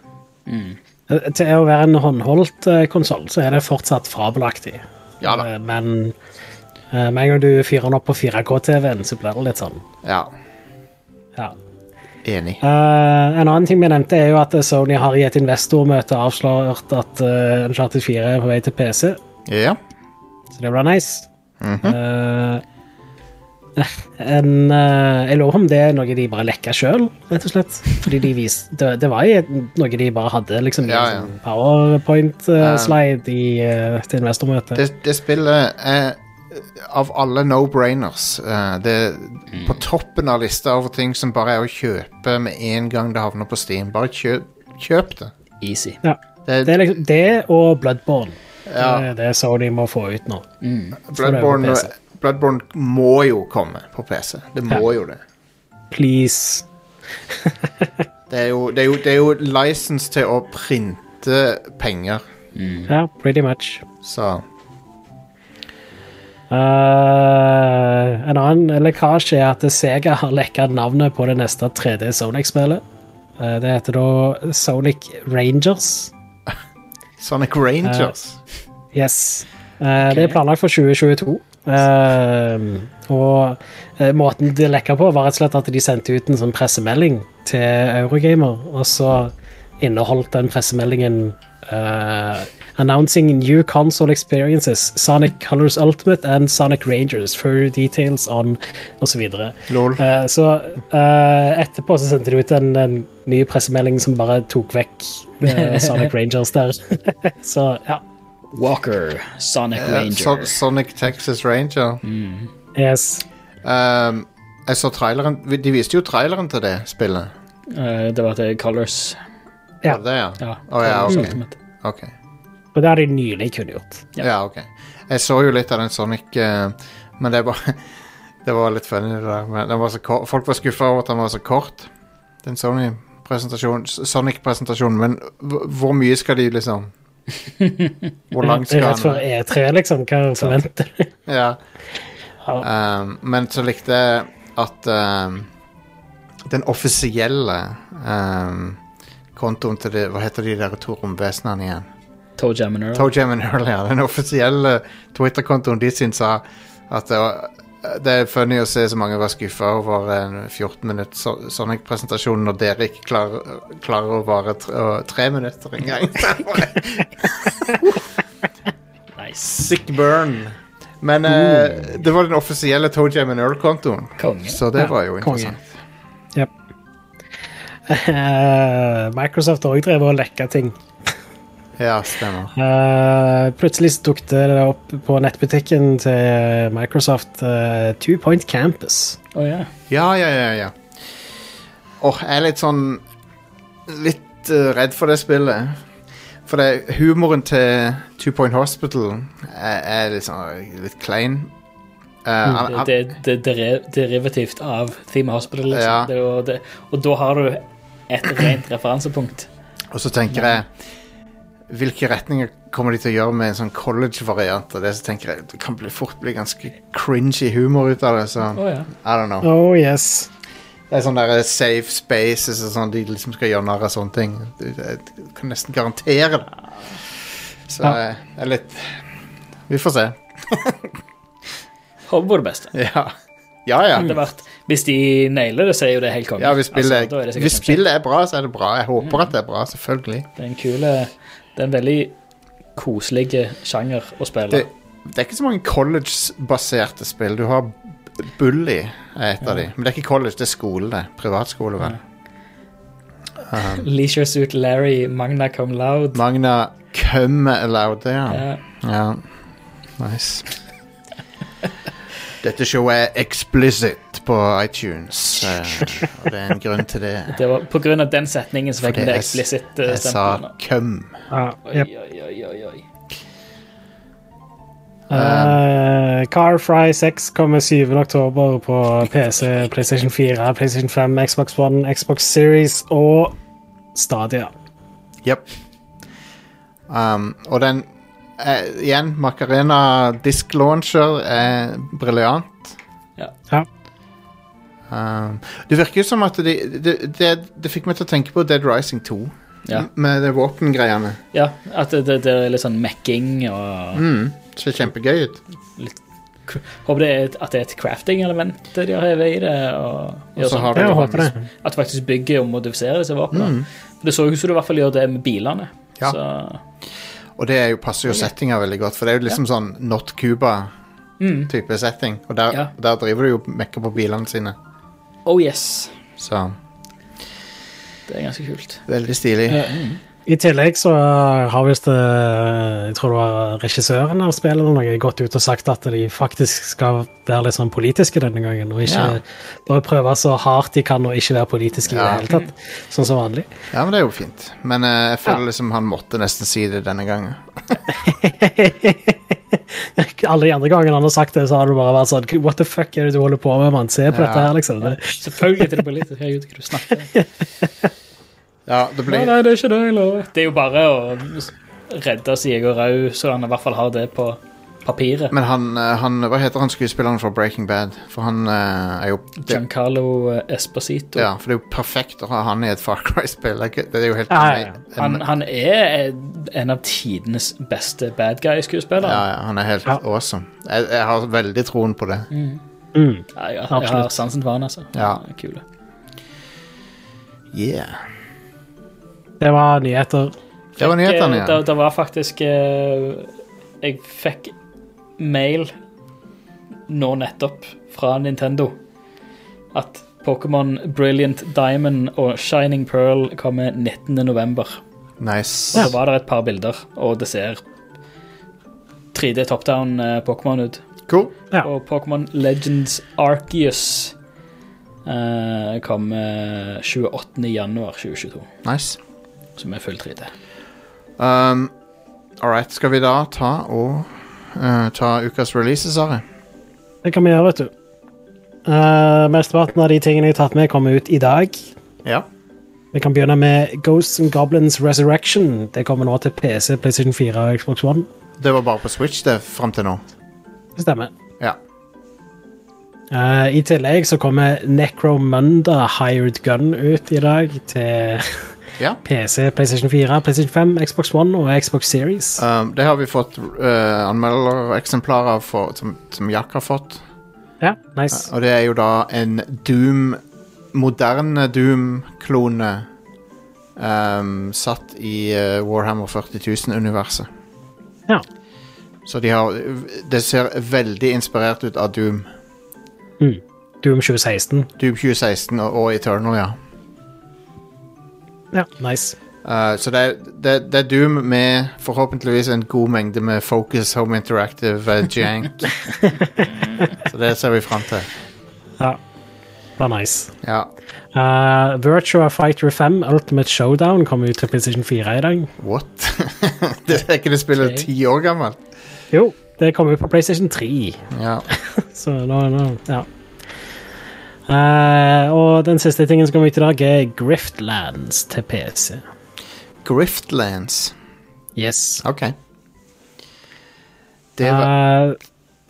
Speaker 3: Til å være en håndholdt eh, konsoll, så er det fortsatt fabelaktig.
Speaker 1: Ja da.
Speaker 3: Eh, Men eh, med en gang du fyrer den opp på 4K-TV-en, så blir det litt sånn.
Speaker 1: Ja,
Speaker 3: Ja.
Speaker 1: enig.
Speaker 3: Eh, en annen ting vi nevnte, er jo at Sony har i et investormøte avslørt at uh, Uncharted 4 er på vei til PC,
Speaker 1: Ja.
Speaker 3: så det blir nice.
Speaker 1: Mhm.
Speaker 3: Eh, en, eh, jeg lurer om det er noe de bare lekka sjøl, rett og slett. Fordi de vis, det, det var i et, noe de bare hadde, liksom. i
Speaker 1: Ja,
Speaker 3: en
Speaker 1: ja.
Speaker 3: sånn PowerPoint-slide i eh, til investormøtet.
Speaker 1: Det, det spillet er eh, av alle no-brainers. eh, det er på toppen av lista over ting som bare er å kjøpe med en gang det havner på Steam. Bare kjøp, kjøp det.
Speaker 2: Easy.
Speaker 3: Ja.
Speaker 1: Det,
Speaker 3: Det er liksom det og Bloodborne.
Speaker 1: Ja.
Speaker 3: Det er det Sony må få ut nå.
Speaker 1: Bloodborne,
Speaker 3: det er på
Speaker 1: Bloodborne må jo komme på PC. Det må jo det.
Speaker 3: Please.
Speaker 1: Det er jo, det er jo, det er jo license til å printe penger,
Speaker 3: Ja, pretty much.
Speaker 1: så
Speaker 3: Eh, en annen lekkasje er at Sega har lekka navnet på det neste 3D Sonic-spillet. Eh, det heter da Sonic Rangers.
Speaker 1: Sonic Rangers.
Speaker 3: Yes. Eh, Det er planlagt for 2022. Eh, og eh, måten det lekka på, var rett og slett at de sendte ut en sånn pressemelding til Eurogamer, og så inneholdt den pressemeldingen eh, Announcing new console experiences, Sonic Colors Ultimate and Sonic Rangers. Further details on osv.
Speaker 1: Lol.
Speaker 3: Eh, så eh, etterpå så sendte de ut en, en ny pressemelding som bare tok vekk eh, Sonic Rangers der. så ja.
Speaker 2: Walker, Sonic
Speaker 1: Eh,
Speaker 2: Ranger.
Speaker 1: Son- Sonic Texas Ranger.
Speaker 3: Mm. Yes.
Speaker 1: Um, jeg så traileren De viste jo traileren til det spillet.
Speaker 2: Eh, det var til Colors.
Speaker 3: Ja.
Speaker 1: Var det det, ja?
Speaker 2: Ja,
Speaker 1: Å, ja,
Speaker 2: Colors
Speaker 1: ok.
Speaker 2: Ultimate.
Speaker 1: Ok.
Speaker 3: Og det har de nylig kunngjort.
Speaker 1: Ja.
Speaker 2: Ja.
Speaker 1: ok. Jeg så jo litt av den Sonic, eh, men det er bare Det var litt funny, det der. Men den var så kort. Folk var skuffa over at den var så kort, den Sony-presentasjonen. S- Sonic-presentasjonen. Men hv- hvor mye skal de, liksom? Hvor langt
Speaker 3: Det
Speaker 1: skal
Speaker 3: er rett før
Speaker 1: den?
Speaker 3: E3, liksom. Hva forventer du?
Speaker 1: Ja.
Speaker 3: Ja.
Speaker 1: Um, men så likte jeg at um, den offisielle um, kontoen til det, Hva heter de der to romvesenene igjen?
Speaker 2: Toe Jam and Earl.
Speaker 1: Toe Jam and Earl, ja. Den offisielle Twitter-kontoen de sin sa at det, var, det er funny å se så mange var skuffa over en 14 minutt So- Sonic-presentasjon når dere ikke klarer, klarer å vare tre, å, tre minutter engang.
Speaker 2: Nice.
Speaker 1: Sick burn. Men eh, det var den offisielle Toe Jam and Earl-kontoen,
Speaker 2: Konge.
Speaker 1: så det var jo
Speaker 3: Ja, konge.
Speaker 1: interessant.
Speaker 3: Yep. Eh, Microsoft har òg drevet og lekka ting.
Speaker 1: Ja, stemmer.
Speaker 3: Eh, plutselig så dukket det opp på nettbutikken til Microsoft eh, Two Point Campus.
Speaker 2: Å ja.
Speaker 1: Ja, ja, ja, ja. Åh, jeg er litt sånn Litt eh, redd for det spillet. For det, humoren til Two Point Hospital er, er litt sånn litt klein. Eh, han- han-
Speaker 2: Mm, Det, det, det er dere- derivativt av Theme Hospital. Liksom.
Speaker 1: Ja.
Speaker 2: Det, er jo det, og da har du et rent referansepunkt.
Speaker 1: og så tenker jeg Hvilke retninger kommer de til å gjøre med en sånn college-variant av det? Så tenker jeg Det kan bli, fort bli ganske cringy humor ut av det.
Speaker 2: Å
Speaker 1: Så
Speaker 2: ja.
Speaker 1: I don't know.
Speaker 3: Oh yes.
Speaker 1: Det er sånn der safe spaces og sånn. De liksom skal gjøre narr av sånne ting. Du- Jeg kan nesten garantere det. Så
Speaker 3: Ja.
Speaker 1: jeg er litt Vi får se.
Speaker 2: Håper på det beste.
Speaker 1: Ja. Ja, ja.
Speaker 2: Det har vært, hvis de nailer det, så er jo det helt konge.
Speaker 1: ja hvis spillet,
Speaker 2: Altså, da er det sikkert Mm.
Speaker 1: hvis
Speaker 2: kjempe-
Speaker 1: spillet er bra, så er det bra. Jeg håper at det er bra, selvfølgelig.
Speaker 2: Det er en kule Det er en veldig koselig sjanger å spille.
Speaker 1: Det, det er ikke så mange college-baserte spill. Du har B- Bully er et av de. Men det er ikke college, det er skole. det. Privatskole, vel. Um,
Speaker 2: Leisure Suit Larry, Magna Cum Loud.
Speaker 1: Magna Kømme Laude, ja.
Speaker 2: Ja.
Speaker 1: ja. Nice. Dette showet er explicit på iTunes, eh, og det er en grunn til det.
Speaker 2: Det var på grunn av den setningen som fikk
Speaker 1: Fordi
Speaker 2: vi det
Speaker 1: jeg s-
Speaker 2: eksplisitt
Speaker 1: Jeg sa
Speaker 2: stempelet.
Speaker 1: køm.
Speaker 3: Ja,
Speaker 2: Oi,
Speaker 3: yep.
Speaker 2: oi, oi, oi, oi.
Speaker 3: Eh, Car Fry 6 kommer 7. oktober på PC, PlayStation 4, PlayStation 5, Xbox One, Xbox Series og Stadia.
Speaker 1: Yep. Um, og den eh, Igjen, Macarena Disk Launcher er briljant.
Speaker 2: Ja.
Speaker 3: Ja.
Speaker 1: Um, det virker jo som at de, det, det, det fikk meg til å tenke på Dead Rising 2.
Speaker 2: Ja.
Speaker 1: m- Med de våpengreiene.
Speaker 2: ja, at det, det, det er litt sånn mekking og
Speaker 1: Mm, ser kjempegøy ut.
Speaker 2: Håper det er, et- at det er et crafting-element de har hevet i det. Og,
Speaker 1: Og så
Speaker 2: sånn.
Speaker 1: har du
Speaker 3: Jeg
Speaker 1: jo
Speaker 3: håper det.
Speaker 2: At du faktisk bygger og modifiserer disse
Speaker 1: Mm.
Speaker 2: våpnene. Det så ut som du i hvert fall gjør det med bilene.
Speaker 1: Ja.
Speaker 2: Så,
Speaker 1: Og det er jo, passer jo settinga veldig godt, for det er jo liksom sånn Not Cuba-type
Speaker 2: mm.
Speaker 1: setting. Og der,
Speaker 2: Ja.
Speaker 1: der driver du jo og mekker på bilene sine.
Speaker 2: Oh yes.
Speaker 1: Så
Speaker 2: Det er ganske kult. Eh, mm.
Speaker 1: veldig stilig.
Speaker 3: Ja. I tillegg så har visst eh, jeg tror det var regissøren av spillet eller noe, gått ut og sagt at de faktisk skal være litt sånn politiske denne gangen, og ikke
Speaker 1: Ja.
Speaker 3: bare prøve så hardt de kan å ikke være politiske
Speaker 1: Ja.
Speaker 3: i det hele tatt, sånn som vanlig.
Speaker 1: Ja, men det er jo fint. Men eh, jeg føler liksom han måtte nesten si det denne gangen.
Speaker 3: Alle de andre gangene han har sagt det, så har det bare vært sånn What the fuck er det du holder på med, mann? Se på
Speaker 1: Ja.
Speaker 3: dette her, liksom. Det,
Speaker 2: Selvfølgelig til det blir litt Herregud, hva du snakker om?
Speaker 1: Ja, det
Speaker 2: Nei,
Speaker 1: blir
Speaker 2: nei, det er ikke det jeg lover. Det er jo bare å redde Sieg og Rau, så han i hvert fall har det på papiret.
Speaker 1: Men han, eh, han Hva heter han skuespilleren fra Breaking Bad? For han eh, er jo det,
Speaker 2: Giancarlo Esposito.
Speaker 1: Ja, for det er jo perfekt å ha han i et Far Cry-spill. Det er ikke- det er jo helt
Speaker 3: Ja, ja, ja.
Speaker 2: Han,
Speaker 1: Han,
Speaker 2: han er en av tidenes beste bad
Speaker 1: ja,
Speaker 2: guy-skuespillere.
Speaker 1: ja, han er helt
Speaker 3: Ja.
Speaker 1: awesome. Jeg, jeg har veldig troen på det.
Speaker 3: mm.
Speaker 2: Ja, jeg, jeg
Speaker 3: Absolutt.
Speaker 2: har sansen for han, altså.
Speaker 1: Ja.
Speaker 2: Han er Kule.
Speaker 1: Yeah.
Speaker 3: det var nyheter.
Speaker 1: Det var nyhetene,
Speaker 2: eh, Det,
Speaker 1: ja.
Speaker 2: det var faktisk eh, Jeg fikk mail nå nettopp fra Nintendo at Pokémon Brilliant Diamond og Shining Pearl kommer 19.11. Og
Speaker 1: Nice.
Speaker 2: så var det et par bilder, og det ser 3D Top Down eh, Pokémon ut.
Speaker 1: Cool.
Speaker 3: Ja.
Speaker 2: Og Pokémon Legends Arceus eh, kom eh, 28. januar 2022,
Speaker 1: Nice.
Speaker 2: som er full 3D.
Speaker 1: Um, All right, skal vi da ta og eh, ta ukas releases, Are?
Speaker 3: Det kan vi gjøre, vet du. Eh, mesteparten av de tingene jeg har tatt med, kommer ut i dag.
Speaker 1: Ja.
Speaker 3: Vi kan begynne med Ghosts and Goblins Resurrection. Det kommer nå til PC, PlayStation 4 og Xbox One.
Speaker 1: Det var bare på Switch det fram til nå.
Speaker 3: Det stemmer.
Speaker 1: Ja.
Speaker 3: Eh, I tillegg så kommer Necromunda Hired Gun ut i dag til
Speaker 1: ja.
Speaker 3: PC, PlayStation 4, PlayStation 5, Xbox One og Xbox Series.
Speaker 1: Um, det har vi fått uh, anmeldereksemplarer av for- som, som Jack har fått.
Speaker 3: Ja, nice.
Speaker 1: Og det er jo da en Doom Moderne Doom-klone um, satt i uh, Warhammer 40 000-universet.
Speaker 3: Ja.
Speaker 1: Så de har Det ser veldig inspirert ut av Doom.
Speaker 3: Mm. Doom 2016.
Speaker 1: Doom 2016 og, og Eternal, ja.
Speaker 3: Ja, nice.
Speaker 1: Uh, så det er, det, det er Doom med forhåpentligvis en god mengde med Focus Home Interactive uh, jank. så det ser vi fram til.
Speaker 3: Ja, det er nice.
Speaker 1: Ja.
Speaker 3: Eh, Virtua Fighter 5 Ultimate Showdown kommer ut til PlayStation 4 i dag.
Speaker 1: What? det er ikke det spillet
Speaker 2: Ok.
Speaker 1: ti år gammelt?
Speaker 3: Jo, det kommer ut på PlayStation 3.
Speaker 1: Ja.
Speaker 3: Så nå, nå ja. Eh, og den siste tingen som kommer ut i dag, er Griftlands til PC.
Speaker 1: Griftlands.
Speaker 3: Yes.
Speaker 1: Ok. Det, var,
Speaker 3: Eh,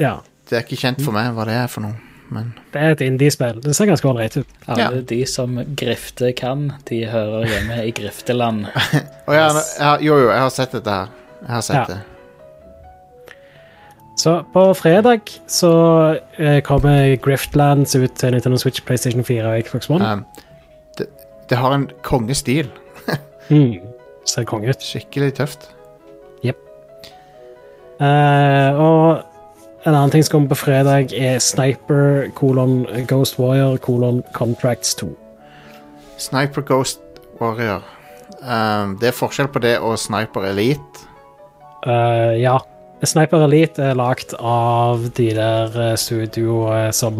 Speaker 3: ja.
Speaker 1: det er ikke kjent for meg hva det er for noe, men
Speaker 3: Det er et indie-spill. Det ser ganske ålreit ut.
Speaker 2: Alle de som grifte kan, de hører hjemme i grifteland.
Speaker 1: Å ja, jeg har- jo, jo, jeg har sett dette her. Jeg har sett
Speaker 3: Ja.
Speaker 1: det.
Speaker 3: Så på fredag så eh, kommer Griftlands ut til Nintendo Switch, PlayStation 4 og Xbox One.
Speaker 1: Um, det. Det har en kongestil.
Speaker 3: Mm. Ser konge ut.
Speaker 1: Skikkelig tøft.
Speaker 3: Eh, og en annen ting som kommer på fredag, er Sniper kolon Ghost Warrior kolon Contracts 2.
Speaker 1: Sniper Ghost Warrior. Um, det er forskjell på det og Sniper Elite.
Speaker 3: Eh, ja. Sniper Elite er lagd av de der eh, studioet som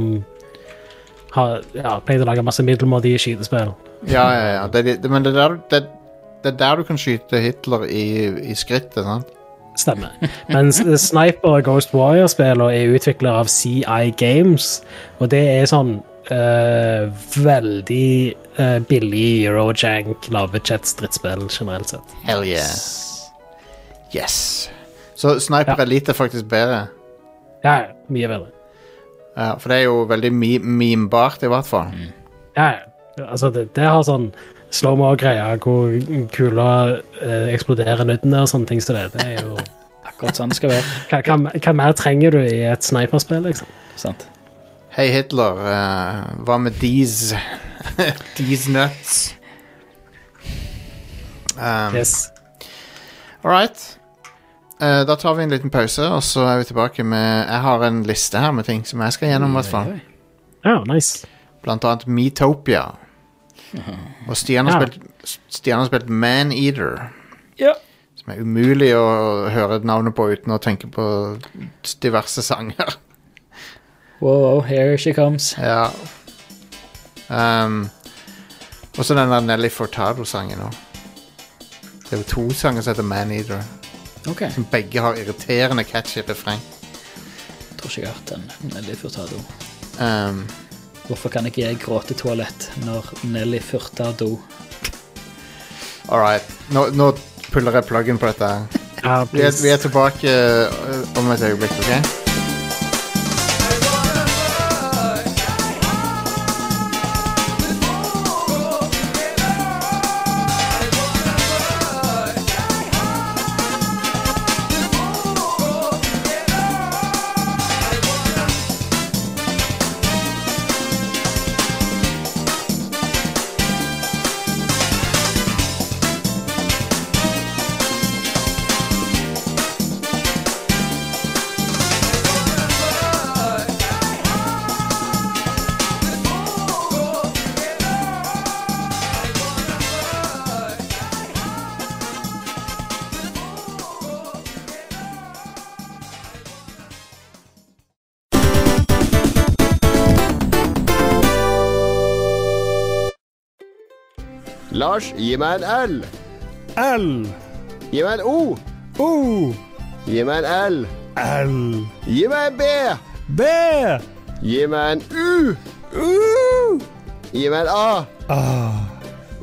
Speaker 3: har ja, pleid å lage masse middelmådige skytespill.
Speaker 1: Ja, ja, ja. Det, er de- det, men det er, der, det, det er der du kan skyte Hitler i, i skrittet, sant?
Speaker 3: Stemmer. Mens eh, Sniper og Ghost Warrior-spillene er utvikla av CI Games, og det er sånn eh, veldig eh, billig Eurojank, lavbudsjett-strittspill generelt sett.
Speaker 1: Hell yeah. Yes. Så Sniper
Speaker 3: Ja.
Speaker 1: Elite er faktisk bedre.
Speaker 3: Ja, ja, mye bedre.
Speaker 1: Ja, for det er jo veldig me memebart, i hvert fall.
Speaker 3: Ja, ja. altså det, det har sånn slow-mo-greier hvor kula eh, eksploderer nuddene og sånne ting som det. det er jo,
Speaker 2: Akkurat sånn det skal være.
Speaker 3: hva, hva, hva mer trenger du i et sniperspill, liksom?
Speaker 2: Sant?
Speaker 1: Hei, Hitler. eh, hva med these These nuts? Um,
Speaker 3: Yes.
Speaker 1: All right. Eh, da tar vi en liten pause, og så er vi tilbake med Jeg har en liste her med ting som jeg skal gjennom. i hvert fall.
Speaker 3: Ja, nice.
Speaker 1: Blant annet Metopia. Og Stian har
Speaker 3: Ja.
Speaker 1: spilt, Stian har spilt Maneater.
Speaker 2: Ja.
Speaker 1: Som er umulig å høre navnet på uten å tenke på diverse sanger.
Speaker 2: Wow, here she comes.
Speaker 1: ja. Um, og så den der Nelly Furtado-sangen òg. Det er jo to sanger som heter Maneater.
Speaker 2: Ok, jeg
Speaker 1: Som begge har irriterende catchy refreng.
Speaker 2: tror ikke jeg har hørt den. Nelly Furtado.
Speaker 1: Um,
Speaker 2: Hvorfor kan ikke jeg gråte toalett når Nelly Furtado
Speaker 1: All right. Nå, nå puller jeg pluggen på dette. her.
Speaker 3: Ja,
Speaker 1: Vi er, vi er
Speaker 3: please.
Speaker 1: tilbake eh, om et øyeblikk, OK?
Speaker 4: Lars, gi meg en L.
Speaker 5: L.
Speaker 4: Gi meg en O.
Speaker 5: O.
Speaker 4: Gi meg en L.
Speaker 5: L.
Speaker 4: Gi meg en B.
Speaker 5: B.
Speaker 4: Gi meg en U. Gi meg en A.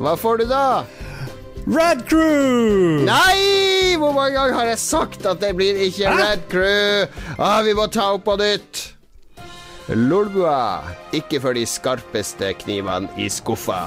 Speaker 4: Hva får du da?
Speaker 5: Red Crew!
Speaker 4: Nei! Hvor mange ganger har jeg sagt at det blir ikke Red Crew? Ah, vi må ta opp på nytt. Lolbua. Ikke for de skarpeste knivene i skuffa.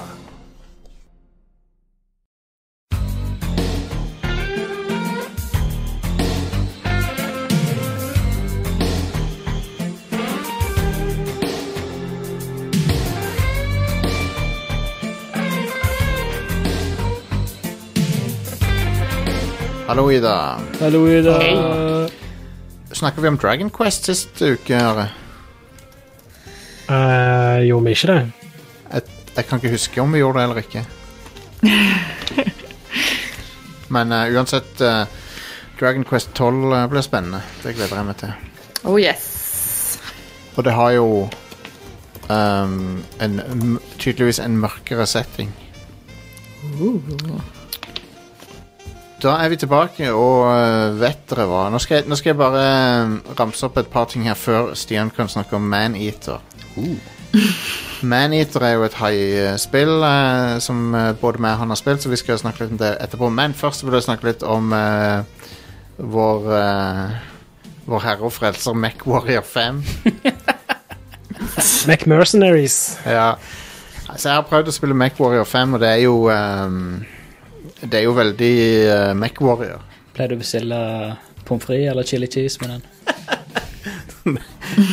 Speaker 1: Hallo, Ida.
Speaker 2: Hallo, Ida.
Speaker 1: Snakker vi om Dragon Quest siste uke? Are?
Speaker 3: Eh, gjorde vi ikke det?
Speaker 1: Jeg, jeg kan ikke huske om vi gjorde det eller ikke. Men eh, uansett, eh, Dragon Quest 12 blir spennende. Det gleder jeg meg til.
Speaker 6: Oh yes.
Speaker 1: Og det har jo ehm, en, m- tydeligvis en mørkere setting. Da er vi tilbake, og eh, vet dere hva Nå skal jeg, nå skal jeg bare eh, ramse opp et par ting her før Stian kan snakke om Maneater. Maneater er jo et haispill eh, som eh, både meg og han har spilt, så vi skal snakke litt om det etterpå. Men først vil jeg snakke litt om eh, vår eh, Vår herre og frelser MacWarrior 5.
Speaker 3: Mac Mercenaries.
Speaker 1: Ja. Altså, jeg har prøvd å spille MacWarrior 5, og det er jo ehm, Det er jo veldig eh, MacWarrior.
Speaker 2: Pleier du å bestille pommes frites eller chili cheese med den?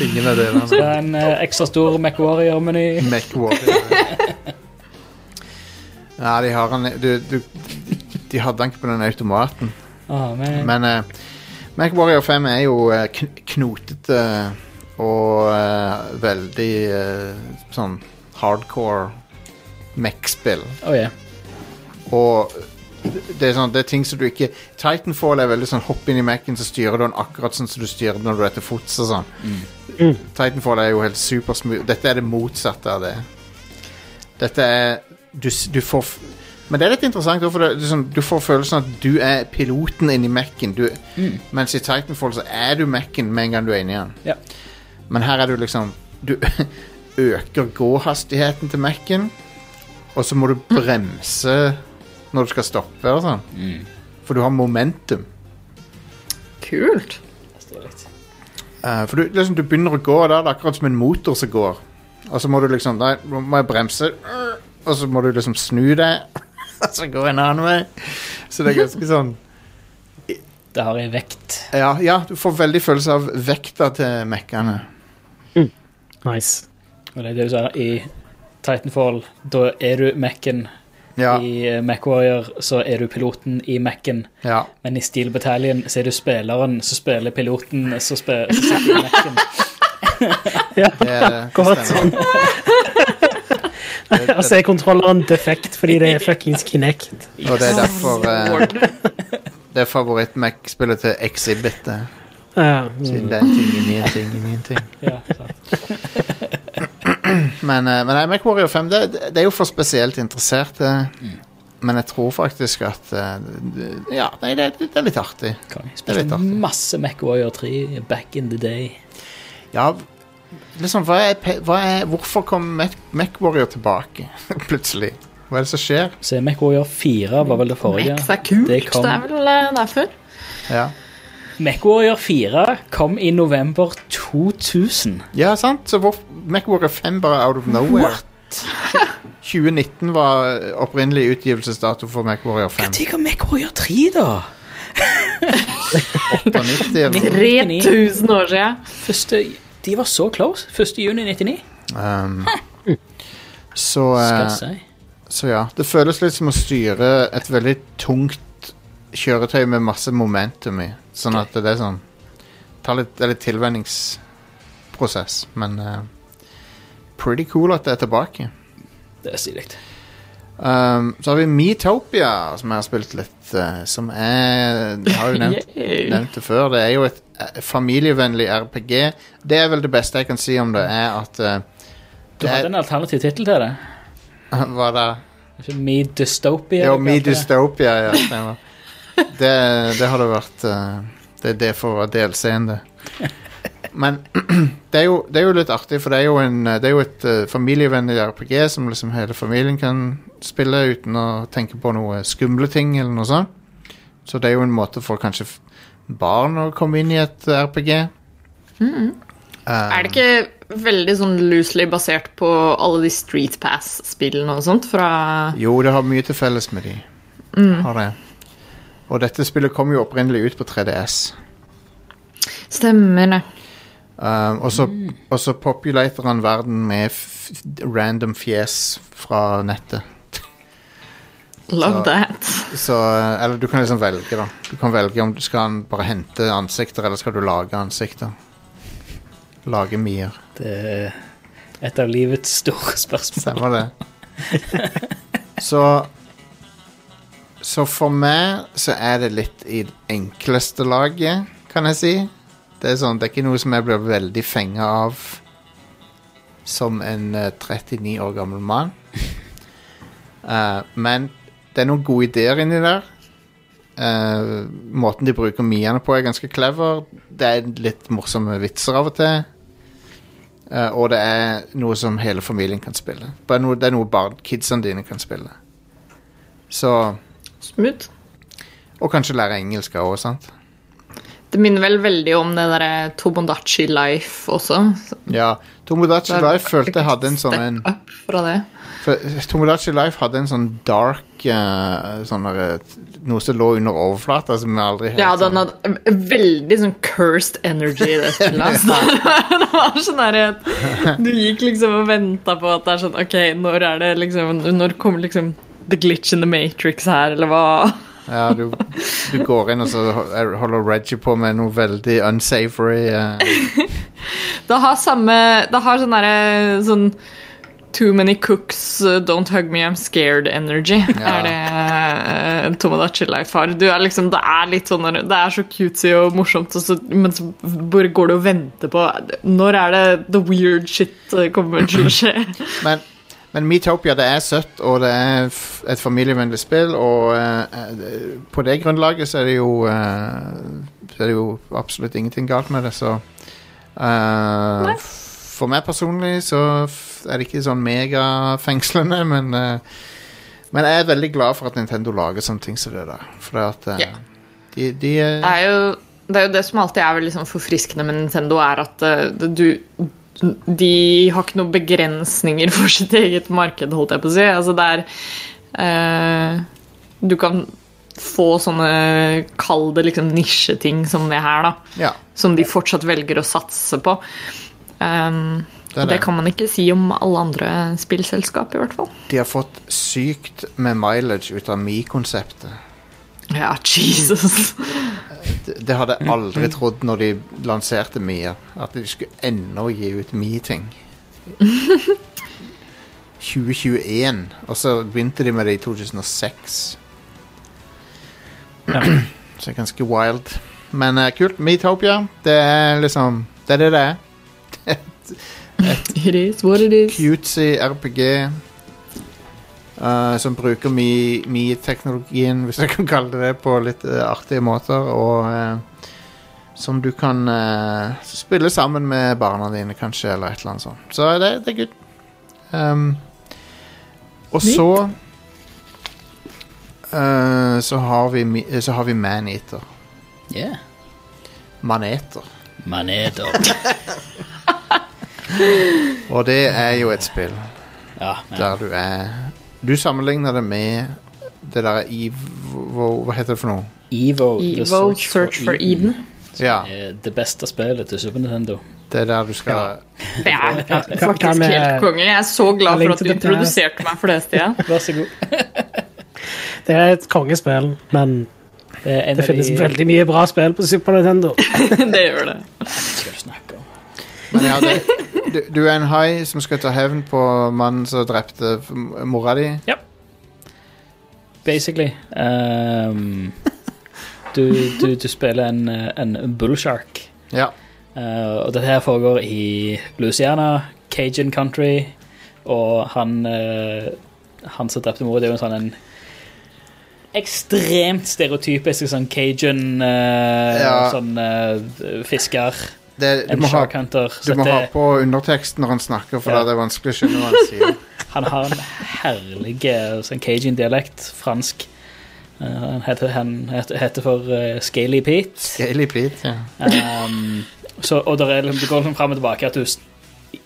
Speaker 1: Ingen av delene.
Speaker 2: Det er en eh, ekstra stor McWarrior-meny.
Speaker 1: MacWarrior. Ja, de har han du, du, De hadde han ikke på den automaten.
Speaker 2: Ah, men-
Speaker 1: Men eh, MacWarrior 5 er jo eh, kn knotete og eh, veldig eh, sånn hardcore Mac-spill.
Speaker 2: Å, ja.
Speaker 1: Og det er, sånn, det er ting som du ikke Titanfall er veldig sånn hopp inn i Mac-en, så styrer du den akkurat sånn som du styrer den når du er til fots og sånn. Titanfall er jo helt supersmooth. Dette er det motsatte av det. Dette er Du, s- du får f- Men det er litt interessant, også, for det, det er sånn, du får følelsen at du er piloten inni Mac-en. Du- Mens i Titanfall så er du Mac-en med en gang du er inni den.
Speaker 2: Ja.
Speaker 1: Men her er du liksom Du øker gåhastigheten til Mac-en, og så må du bremse når du skal stoppe og sånn. For du har momentum.
Speaker 6: Kult.
Speaker 1: Eh, for du, liksom, du begynner å gå, og da er det akkurat som en motor som går. Og så må du liksom Nei, nå må jeg bremse. Og så må du liksom snu deg, og så gå en annen vei. Så det er ganske sånn
Speaker 2: Det har jeg vekt.
Speaker 1: Ja, ja du får veldig følelse av vekta til mekkene.
Speaker 3: Nice.
Speaker 2: Og det er det du sier i Titanfall. Da er du Mac-en.
Speaker 1: Ja,
Speaker 2: I eh, MacWarrior så er du piloten i Mac-en.
Speaker 1: ja.
Speaker 2: Men i Steel Battalion så er du spilleren som spiller piloten som spe- som sitter i Mac-en.
Speaker 3: Ja,
Speaker 1: Det, er det
Speaker 3: Godt altså,
Speaker 1: stemmer. Det,
Speaker 3: Og så er kontrolleren defekt fordi det er fuckings Kinect.
Speaker 6: sånn.
Speaker 1: det, og det er derfor eh, Det er favoritt-Mac-spillet til Exhibit. det.
Speaker 3: Ja, mm.
Speaker 1: Siden det er en ting inni en ting inni en ting.
Speaker 2: Ja, sant.
Speaker 1: Men, eh, men nei, MacWarrior 5 det, det er jo for spesielt interesserte.
Speaker 2: Mm.
Speaker 1: Men jeg tror faktisk at eh, det- Ja, nei, det, det er litt artig.
Speaker 2: Kong. Jeg
Speaker 1: Det er litt
Speaker 2: Spilte
Speaker 1: artig.
Speaker 2: masse MacWarrior 3 back in the day.
Speaker 1: Ja, liksom, hva er, pe- hva er, hvorfor kom Mac- MacWarrior tilbake plutselig? Hva er det som skjer?
Speaker 2: Så MacWarrior 4 var vel det forrige.
Speaker 6: Ekstra kult. Det,
Speaker 2: Det kom-
Speaker 6: er vel eh, derfor.
Speaker 1: Ja,
Speaker 2: MacWarrior 4 kom i november 2000.
Speaker 1: ja sant? Så hvor, MacWarrior 5 bare out of nowhere. 2019 var opprinnelig utgivelsesdato for MacWarrior 5.
Speaker 2: Når kom MacWarrior 3, da?
Speaker 1: 98 eller noe.
Speaker 6: 3000 år siden.
Speaker 2: Første, de var så close. 1. juni 99,
Speaker 1: Um, så
Speaker 2: skal
Speaker 1: eh,
Speaker 2: jeg si.
Speaker 1: Så ja, det føles litt som å styre et veldig tungt kjøretøy med masse momentum i. Sånn at det er sånn tar litt, Det er litt tilvenningsprosess, men eh, Pretty cool at det er tilbake.
Speaker 2: Det er stilig.
Speaker 1: Um, så har vi Metopia, som jeg har spilt litt, eh, som er Jeg har jo nevnt,
Speaker 6: Yay.
Speaker 1: nevnt det før. Det er jo et eh, familievennlig RPG. Det er vel det beste jeg kan si om det, er at eh,
Speaker 2: Du hadde en alternativ tittel til det.
Speaker 1: Hva da?
Speaker 2: Ikke Me Dystopia.
Speaker 1: Ja,
Speaker 2: eller hva
Speaker 1: Me
Speaker 2: heter det?
Speaker 1: Dystopia, ja. stemmer. Det, det hadde vært eh, Det er det for DLC-en, det. Men det er, jo, det er jo litt artig, for det er jo, en, eh, det er jo et eh, familievennlig RPG som liksom hele familien kan spille uten å tenke på noe skumle ting eller noe sånt. Så det er jo en måte for kanskje f- barn å komme inn i et eh, RPG.
Speaker 6: Mm-hmm.
Speaker 1: Eh,
Speaker 6: Er det ikke veldig sånn loosely basert på alle de Street Pass-spillene og sånt fra
Speaker 1: Jo, det har mye til felles med de.
Speaker 6: Mm.
Speaker 1: Har det. Og dette spillet kom jo opprinnelig ut på 3DS.
Speaker 6: Stemmer, det.
Speaker 1: Um, og så- og så populater han verden med f random fjes fra nettet.
Speaker 6: Love
Speaker 1: Så-
Speaker 6: that.
Speaker 1: Så, eh, eller du kan liksom velge, da. Du kan velge om du skal han bare hente ansikter, eller skal du lage ansikter. Lage mier.
Speaker 2: Det er eh, et av livets store spørsmål.
Speaker 1: Stemmer det. Så Så for meg så er det litt i det enkleste laget, kan jeg si. Det er sånn, det er ikke noe som jeg blir veldig fenga av som en eh, 39 år gammel mann. Eh, men det er noen gode ideer inni der. Eh, måten de bruker miene på, er ganske clever. Det er litt morsomme vitser av og til. Eh, og det er noe som hele familien kan spille. Bare noe, det er noe barn, kidsene dine kan spille. Så
Speaker 6: Smooth.
Speaker 1: Og kanskje lære engelsk òg, sant?
Speaker 6: Det minner vel veldig om det derre Tobondachi Life også.
Speaker 1: Ja. Tomodachi Life følte jeg hadde en sånn en
Speaker 6: Step up fra det.
Speaker 1: For eh, Tomodachi Life hadde en sånn dark eh, sånn der, eh, Noe som lå under overflata, som vi aldri helt
Speaker 6: Ja,
Speaker 1: sånn-
Speaker 6: den hadde en veldig sånn cursed energy i det spillet. Altså. det var sånn der, Du gikk liksom og venta på at det er sånn OK, når er det liksom Når kommer liksom the glitch in the matrix her, eller hva?
Speaker 1: ja, du, du går inn, og så ho- holder Reggie på med noe veldig unsavory eh,
Speaker 6: Det har samme Det har sånn derre sånn Too many cooks, uh, don't hug me, I'm scared energy.
Speaker 1: Ja.
Speaker 6: Er det uh, Tomodachi Life har. Du er liksom, det er litt sånn der- Det er så cutesy og morsomt, og så, men så bare går du og venter på Når er det the weird shit uh, kommer til å skje?
Speaker 1: Men, men Metopia, det er søtt, og det er f et familievennlig spill, og eh, eh, på det grunnlaget så er det jo eh, Så er det jo absolutt ingenting galt med det, så eh, f- For meg personlig så f er det ikke sånn megafengslende, men eh, Men jeg er veldig glad for at Nintendo lager sånne ting som det der, for det at eh,
Speaker 6: Ja.
Speaker 1: de, de eh,
Speaker 6: Det er jo det, er jo det som alltid er veldig sånn forfriskende med Nintendo, er at eh, det- du De har ikke noen begrensninger for sitt eget marked, holdt jeg på å si. Altså, det er eh, Du kan få sånne Kall det liksom nisjeting som det her, da.
Speaker 1: Ja.
Speaker 6: Som de fortsatt velger å satse på. Um,
Speaker 1: er
Speaker 6: og
Speaker 1: det.
Speaker 6: det kan man ikke si om alle andre spillselskap, i hvert fall.
Speaker 1: De har fått sykt med mileage ut av Me-konseptet.
Speaker 6: Ja, Jesus.
Speaker 1: Det det hadde jeg aldri trodd når de lanserte Mia. At de skulle ennå gi ut Me-ting. 2021. Og så begynte de med det i 2006. Så det er ganske wild. Men eh, kult. Metopia, det er liksom Det er det det er.
Speaker 6: It is what it is.
Speaker 1: Cutesy RPG eh, som bruker Mi- Mi-teknologien, hvis jeg kan kalle det det, på litt eh, artige måter. Og eh, som du kan eh, spille sammen med barna dine, kanskje, eller et eller annet sånt. Så det, det er good. Ehm, og så eh, så har vi, Mi- eh, så har vi Maneater.
Speaker 2: Yeah.
Speaker 1: Maneter.
Speaker 2: Maneter.
Speaker 1: Og det er jo et spill.
Speaker 2: Ja, men
Speaker 1: Der du er Du sammenligner det med det der Evo Hva heter det for noe?
Speaker 2: Evo, The
Speaker 6: Evo, Search for Eden.
Speaker 1: Ja,
Speaker 2: er Det beste spillet til Super Nintendo.
Speaker 1: det er der du skal
Speaker 6: Det er faktisk
Speaker 3: kan vi-
Speaker 6: helt konge. Jeg er så glad
Speaker 3: Link
Speaker 6: for at
Speaker 3: to
Speaker 6: du
Speaker 3: the past.
Speaker 6: introduserte meg for det, Stian.
Speaker 2: Vær så god.
Speaker 3: Det er et kongespill, men
Speaker 2: Det, er en
Speaker 3: det
Speaker 2: av de-
Speaker 3: finnes veldig mye bra spill på Super Nintendo.
Speaker 6: Det gjør det.
Speaker 2: Skal vi snakke om.
Speaker 1: Men ja, det, du, du er en hai som skal ta hevn på mannen som drepte f- mora di.
Speaker 2: Basically. ehm, du, du, du spiller en, eh, en bullshark.
Speaker 1: Ja.
Speaker 2: Eh, og dette her foregår i Louisiana, Cajun country, og han, eh, han som drepte mora, det er jo en sånn en ekstremt stereotypisk sånn Cajun eh,
Speaker 1: Ja.
Speaker 2: sånn eh, fisker.
Speaker 1: det, du,
Speaker 2: en
Speaker 1: må ha,
Speaker 2: shark hunter.
Speaker 1: du
Speaker 2: Så
Speaker 1: må
Speaker 2: det,
Speaker 1: ha på undertekst når han snakker, for
Speaker 2: Ja.
Speaker 1: da er det vanskelig å skjønne hva han sier.
Speaker 2: han har en herlig sånn Cajun-dialekt, fransk. Eh, han heter, han heter, heter for eh, Scaly Pete.
Speaker 1: Gaily Pete, ja.
Speaker 2: Um, så, og der er, liksom- det går liksom fram og tilbake at du s-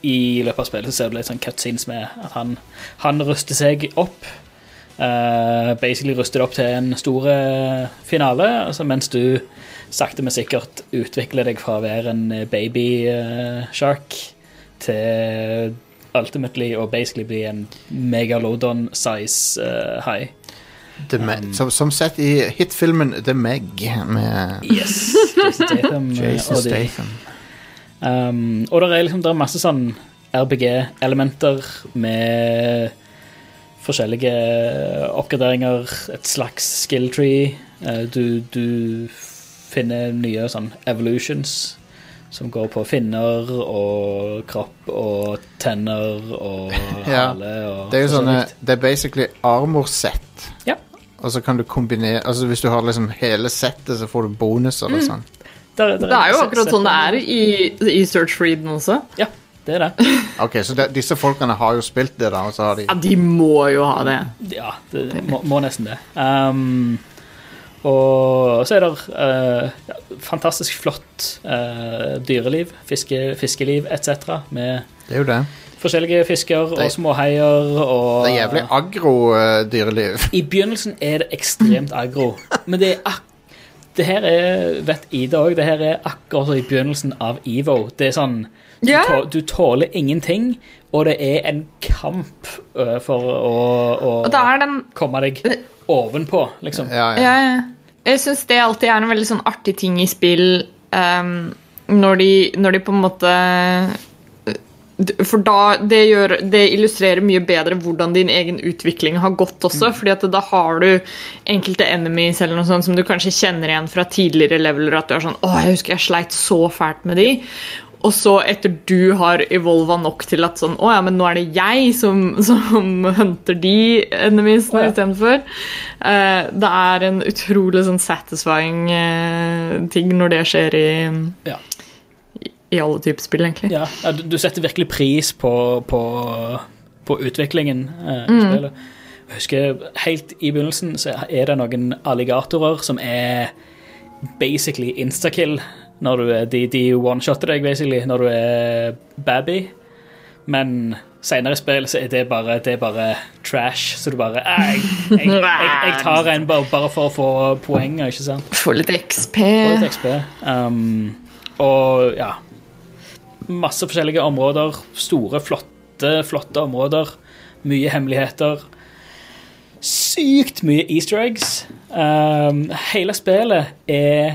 Speaker 2: i løpet av spillet så ser du litt sånn cutscenes med at han, han ruster seg opp. eh, basically ruster det opp til en stor eh, finale, altså, mens du sakte, men sikkert utvikler deg fra å være en eh, baby eh, shark til ultimately og basically bli en megalodon-size eh, high.
Speaker 1: The Meg-
Speaker 2: Um.
Speaker 1: som, som sett i hitfilmen The Meg med
Speaker 2: Yes! Jason Statham. eh,
Speaker 1: Jason
Speaker 2: og de-
Speaker 1: Statham.
Speaker 2: Um, og det er liksom der er masse sånn RBG-elementer med forskjellige eh, oppgraderinger, et slags skill tree. Eh, Du, du finner nye sånn evolutions som går på finner og kropp og tenner og
Speaker 1: Ja,
Speaker 2: hale og
Speaker 1: Det er jo
Speaker 2: for så
Speaker 1: sånne
Speaker 2: vidt.
Speaker 1: Det er basically armorsett.
Speaker 2: Ja.
Speaker 1: Og så kan du kombinere Altså Hvis du har liksom hele settet, så får du bonus eller sånn.
Speaker 2: Der- der
Speaker 6: Det er jo
Speaker 2: se-
Speaker 6: akkurat
Speaker 2: se-
Speaker 6: sånn det er i, i Search for Eden også.
Speaker 2: Ja, det er det.
Speaker 1: Ok, Så det, disse folkene har jo spilt det, da, og så har de
Speaker 6: Ja, de må jo ha det.
Speaker 2: Ja, det, det må, må nesten det. Um, og så er det eh, ja, fantastisk flott eh, dyreliv, fiske, fiskeliv etc. Med
Speaker 1: Det er jo det.
Speaker 2: forskjellige fisker og
Speaker 1: Det-
Speaker 2: småheier og
Speaker 1: Det er jævlig eh, agro-dyreliv.
Speaker 2: I begynnelsen er det ekstremt aggro, men det er ak det her er, vet Ida òg, det her er akkurat i begynnelsen av Evo. Det er sånn du,
Speaker 6: Ja.
Speaker 2: tå- du tåler ingenting, og det er en kamp eh, for å, å
Speaker 6: Og det er den
Speaker 2: komme deg ovenpå, liksom.
Speaker 1: Ja, ja.
Speaker 6: Jeg, jeg syns det alltid er en veldig sånn artig ting i spill ehm, når, de, når de på en måte For da det, gjør, det illustrerer mye bedre hvordan din egen utvikling har gått
Speaker 2: Mm.
Speaker 6: også. fordi at da har du enkelte enemies eller noe sånt som du kanskje kjenner igjen fra tidligere leveler. At du er sånn Å, jeg husker jeg sleit så fælt med de. Og så etter du har evolva nok til at sånn, å ja, men nå er det jeg som, som hunter de
Speaker 2: Å,
Speaker 6: enemiesene
Speaker 2: ja.
Speaker 6: istedenfor. Eh, det er en utrolig sånn satisfying eh, ting når det skjer i,
Speaker 2: Ja.
Speaker 6: i alle typer spill, egentlig.
Speaker 2: Ja, ja, du, du setter virkelig pris på, på, på utviklingen eh, i spillet. Jeg husker helt i begynnelsen så er det noen alligatorer som er basically instakill. Når du er, de de one-shotter deg basically når du er baby. Men senere i spill så er det bare, det er bare trash, så du bare «Ah, jeg, jeg, jeg, jeg tar en bare, bare for å få poenger, ikke sant?
Speaker 6: Få litt XP.
Speaker 2: Og litt XP. Um, og ja Masse forskjellige områder. Store, flotte, flotte områder. Mye hemmeligheter. Sykt mye easter eggs. Um, hele spillet er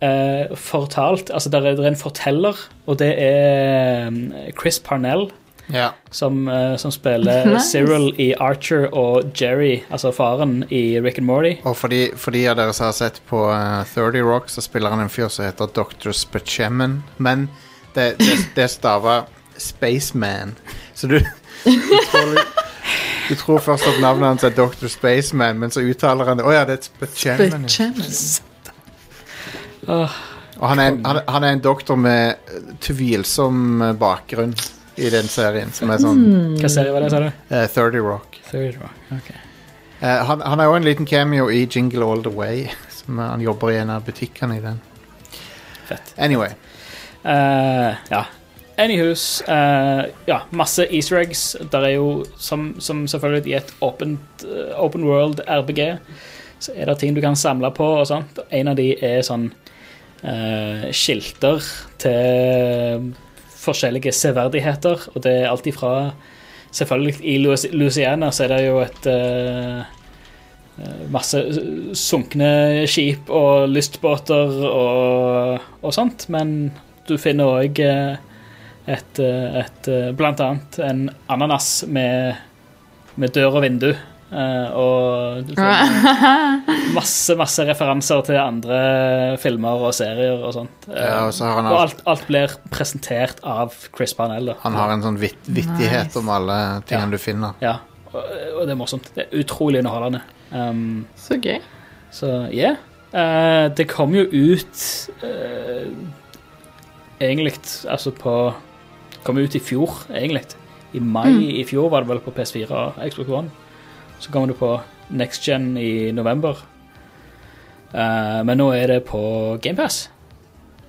Speaker 2: eh, fortalt Altså, der er, der er en forteller, og det er um, Chris Parnell.
Speaker 1: ja.
Speaker 2: Som, eh, som spiller
Speaker 6: Nice.
Speaker 2: Cyril i Archer og Jerry, altså faren i Rick and Morty.
Speaker 1: Og for de, for de av dere som har sett på eh, 30 Rock, så spiller han en fyr som heter Dr. Spachemin. Men det, det, det staver Spaceman. Så du, du, tror, litt- du tror først at navnet hans er Dr. Spaceman, men så uttaler han det. Å ja, det er Spachemin. Og han er, en- han, han er en doktor med eh, tvilsom eh, bakgrunn i den serien, som er sånn
Speaker 2: Hva serie var det, sa du?
Speaker 1: eh, 30 Rock.
Speaker 2: Third Rock. ok.
Speaker 1: Eh, han, han er jo en liten cameo i Jingle All The Way, som eh, han jobber i en av butikkene i den.
Speaker 2: Fett.
Speaker 1: Anyway.
Speaker 2: Eh, ja. Anyhus, eh, ja, masse easter eggs. Der er jo, som, som selvfølgelig i et åpent, eh, open world RPG, så er det ting du kan samle på og sånt. En av de er sånn eh, skilter til forskjellige severdigheter, og det er alt ifra Selvfølgelig, i Louis- Louisiana så er det jo et eh, eh, Masse sunkne skip og lystbåter og, og sånt, men du finner òg et, eh, et eh, Blant annet en ananas med, med dør og vindu. eh, Og du finner masse, masse referanser til andre filmer og serier og sånt. Eh,
Speaker 1: Ja, og så har han
Speaker 2: og
Speaker 1: alt,
Speaker 2: alt, alt blir presentert av Chris Parnell. da.
Speaker 1: Han har en sånn vitt, vittighet
Speaker 6: Nice.
Speaker 1: om alle tingene du finner.
Speaker 2: Ja, og, og det er morsomt. Det er utrolig underholdende. Um,
Speaker 6: Så gøy.
Speaker 2: så yeah. Eh, det kom jo ut eh, egentlig altså på Kom ut i fjor, egentlig. I mai
Speaker 1: Mm.
Speaker 2: i fjor var det vel på PS4 og Xbox One. Så kom det på Next Gen i november. Eh, men nå er det på GamePass.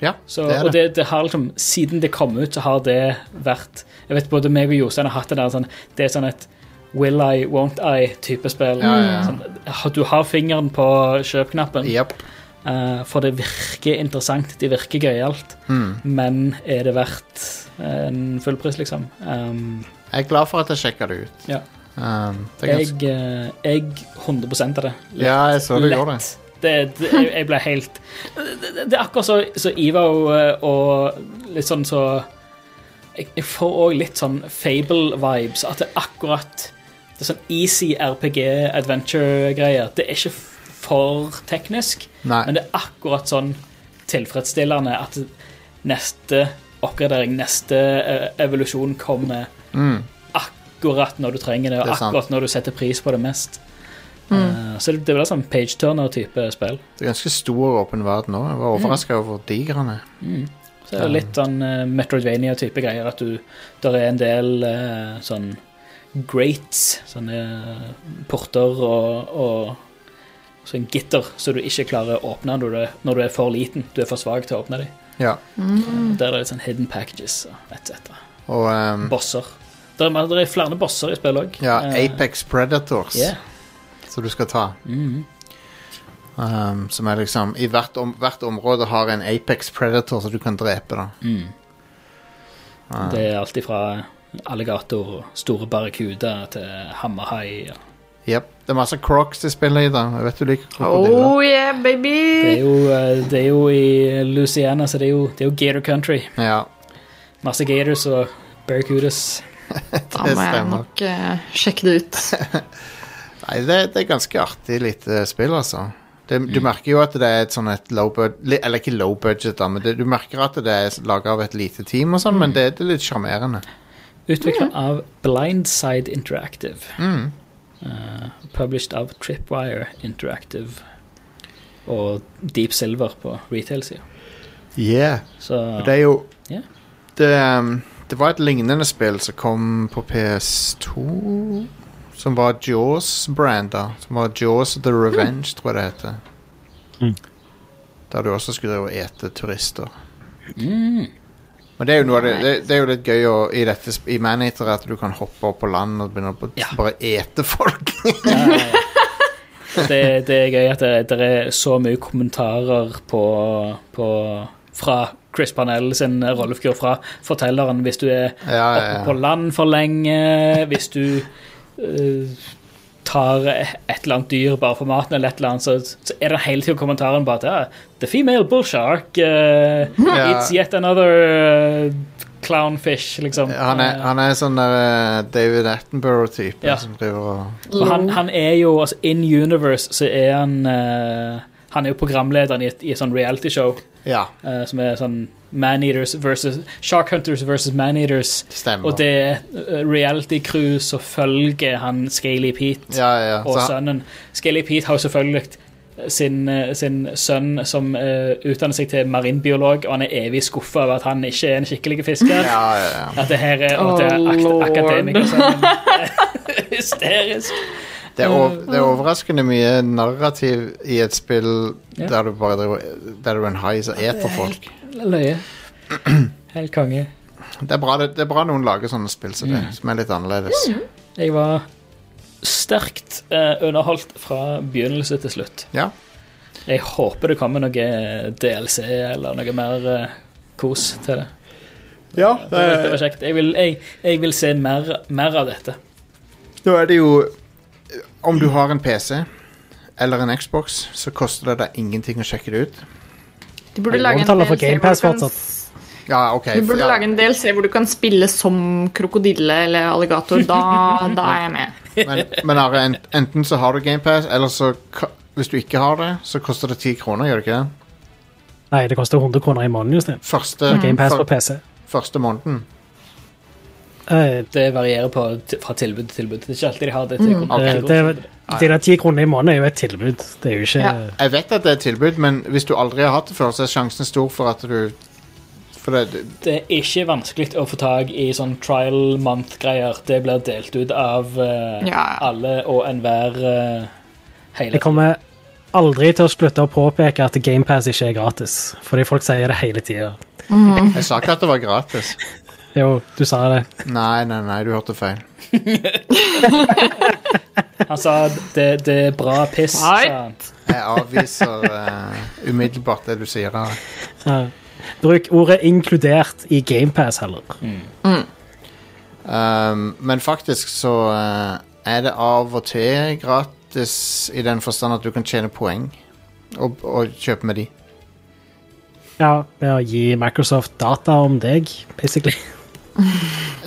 Speaker 1: Ja,
Speaker 2: Så,
Speaker 1: det er det.
Speaker 2: Og det, det har liksom, siden det kom ut, så har det vært Jeg vet både meg og Jostein har hatt det der sånn Det er sånn et will I, won't I-type spill.
Speaker 1: Ja, ja, ja.
Speaker 2: Sånn, du har fingeren på kjøpknappen.
Speaker 1: Japp.
Speaker 2: Eh, for det virker interessant, det virker gøyalt,
Speaker 1: Hmm.
Speaker 2: men er det verdt eh, en fullpris, liksom? Um,
Speaker 1: Jeg er glad for at jeg sjekka det ut.
Speaker 2: Ja.
Speaker 1: Um, det er
Speaker 2: jeg,
Speaker 1: ganske,
Speaker 2: eh, jeg 100 av det.
Speaker 1: ja, jeg så du gjorde det.
Speaker 2: Det, det, jeg, jeg ble helt Det, det, det er akkurat så, så Iva og, og litt sånn så Jeg, jeg får òg litt sånn Fable-vibes. At det er akkurat Det er sånn easy RPG-adventure-greier. Det er ikke f- for teknisk,
Speaker 1: Nei.
Speaker 2: men det er akkurat sånn tilfredsstillende at neste oppgradering, neste eh, evolusjon, kommer
Speaker 1: Hmm.
Speaker 2: akkurat når du trenger det, og
Speaker 1: Det er sant.
Speaker 2: akkurat når du setter pris på det mest. Eh, så det, det blir sånn page-turner-type spill.
Speaker 1: Det er ganske stor åpen verden òg. Jeg var overraska over hvor diger han er.
Speaker 2: Så det er litt sånn eh, Metroidvania-type greier, at du Der er en del eh, sånn Greats, sånne eh, porter og, og sånn gitter som du ikke klarer å åpne når du, er- når du er for liten. Du er for svak til å åpne dem.
Speaker 1: Ja. Mm.
Speaker 2: Der er det litt sånn hidden packages etc.
Speaker 1: Og um,
Speaker 2: Bosser. Der er, der er flere bosser i spillet òg.
Speaker 1: ja, Apex Predators
Speaker 2: Yeah. Mm,
Speaker 1: som du skal ta. Um, som er liksom I hvert, om, hvert område har en Apex Predator som du kan drepe, da.
Speaker 2: mm.
Speaker 1: Ah. Uh,
Speaker 2: Det er alt ifra alligator og store barracuda til hammerhai. og-
Speaker 1: Jep. Det er masse crocs de spiller i, da. Jeg vet du liker krokodiller.
Speaker 6: Oh yeah,
Speaker 2: Det er
Speaker 6: baby!
Speaker 2: jo, eh, det er jo i Louisiana, så det er jo, det er jo gator country.
Speaker 1: Ja,
Speaker 2: Masse gators og barracudas.
Speaker 6: Da må jeg
Speaker 1: stemmer.
Speaker 6: nok eh, sjekke det ut.
Speaker 1: Nei, det, det er ganske artig lite spill, altså. Det, du merker jo at det er et sånn et low budget Eller ikke low budget, da, men det, du merker at det er laga av et lite team, og sånn, men det, det er litt sjarmerende.
Speaker 2: Utvikla av Blindside Interactive. Eh, published av Tripwire Interactive og Deep Silver på retail-sida.
Speaker 1: Yeah.
Speaker 2: Så
Speaker 1: Det er jo
Speaker 2: Ja.
Speaker 1: det, um, det var et lignende spill som kom på PS2, som var Jaws-branda. Som var Jaws The Revenge, tror jeg det heter.
Speaker 3: Mm.
Speaker 1: Der du også skulle drive og ete turister.
Speaker 2: Mm.
Speaker 1: Men det er jo, noe av det, det, det er jo litt gøy å, i, dette, sp- i Maneater at du kan hoppe opp på land og begynne å b-
Speaker 2: Ja.
Speaker 1: bare ete folk.
Speaker 2: det, det er gøy at det, det er så mye kommentarer på, på fra Chris Parnell sin rollefigur fra fortelleren. Hvis du er
Speaker 1: ja, ja,
Speaker 2: oppe på
Speaker 1: ja.
Speaker 2: land for lenge, hvis du eh, tar et eller annet dyr bare for maten, eller et eller annet, så, så er det hele tiden kommentaren på at ja, The female bull shark eh,
Speaker 1: Ja.
Speaker 2: It's yet another eh, clownfish, liksom.
Speaker 1: Han er, han er sånn der eh, David Attenborough-type
Speaker 2: Ja.
Speaker 1: som driver og
Speaker 2: Og Eh, han, han er jo, altså In Universe så er han eh, Han er jo programlederen i et, i et sånn realityshow
Speaker 1: Ja,
Speaker 2: uh, som er sånn Maneaters versus Shark Hunters versus Maneaters.
Speaker 1: det stemmer.
Speaker 2: Og det er eh, reality-crew som følger han Scaly Pete
Speaker 1: ja, altså- ja.
Speaker 2: og
Speaker 1: Så han,
Speaker 2: sønnen. Scaly Pete har jo selvfølgelig sin, eh, sin sønn som eh, utdanner seg til marinbiolog, og han er evig skuffa over at han ikke er en skikkelig fisker.
Speaker 1: ja, ja, ja.
Speaker 2: At det her er, og at det er
Speaker 6: Oh,
Speaker 2: ak
Speaker 6: Lord.
Speaker 2: akademikersønnen. Hysterisk.
Speaker 1: Det er, ov- det er overraskende mye narrativ i et spill
Speaker 2: Ja.
Speaker 1: der du bare driver, der du er en hai som eter folk.
Speaker 2: Løye. Helt konge.
Speaker 1: Det er, bra, det, det er bra noen lager sånne spill som
Speaker 6: Mm.
Speaker 1: det, som er litt annerledes.
Speaker 2: Jeg var sterkt eh, underholdt fra begynnelse til slutt.
Speaker 1: Ja.
Speaker 2: Jeg håper det kommer noe DLC eller noe mer eh, kos til det.
Speaker 1: ja
Speaker 2: Det, det var kjekt. Jeg vil, jeg, jeg vil se mer, mer av dette.
Speaker 1: Nå er det jo eh, Om du har en PC eller en Xbox, så koster det deg ingenting å sjekke det ut.
Speaker 6: De burde
Speaker 3: Jeg
Speaker 6: lage en
Speaker 3: omtaler for
Speaker 6: DLC hvor
Speaker 3: Game Pass
Speaker 6: du kan-
Speaker 3: fortsatt.
Speaker 1: Ja, ok.
Speaker 6: Du burde
Speaker 1: ja.
Speaker 6: lage en DLC hvor du kan spille som krokodille eller alligator. Da, da er jeg med.
Speaker 1: Men, men Are, en- enten så har du GamePass, eller så ka- Hvis du ikke har det, så koster det ti kroner, gjør det ikke det?
Speaker 3: Nei, det koster 100 kroner i måneden just det.
Speaker 1: Første,
Speaker 6: Mm.
Speaker 3: GamePass på
Speaker 1: fyr-
Speaker 3: PC.
Speaker 1: første måneden.
Speaker 3: Eh,
Speaker 2: Det varierer på, t- fra tilbud til tilbud. Det er ikke alltid de har det.
Speaker 6: Mhm.
Speaker 2: Til
Speaker 3: det, det, de der 10 kroner i måneden er jo et tilbud. Det er jo ikke
Speaker 6: Ja.
Speaker 1: Jeg vet at det er et tilbud, men hvis du aldri har hatt det før, så er sjansen stor for at du For det,
Speaker 2: Det er ikke vanskelig å få tak i sånn trial month-greier. Det blir delt ut av eh,
Speaker 6: Ja.
Speaker 2: alle og enhver eh, hele
Speaker 3: Jeg kommer aldri til å slutte å påpeke at GamePass ikke er gratis, fordi folk sier det hele tida.
Speaker 1: jeg sa ikke at det var gratis.
Speaker 3: Jo, du sa det.
Speaker 1: Nei, nei, nei, du hørte feil.
Speaker 2: Han sa det, det er bra piss. sa
Speaker 6: Nei.
Speaker 2: han.
Speaker 1: Jeg avviser eh, umiddelbart det du sier. her.
Speaker 3: Ja. Bruk ordet 'inkludert' i GamePass heller.
Speaker 1: Mm. Um, men faktisk så eh, er det av og til gratis i den forstand at du kan tjene poeng og, og kjøpe med de.
Speaker 3: Ja, Ved å gi Microsoft data om deg, basically.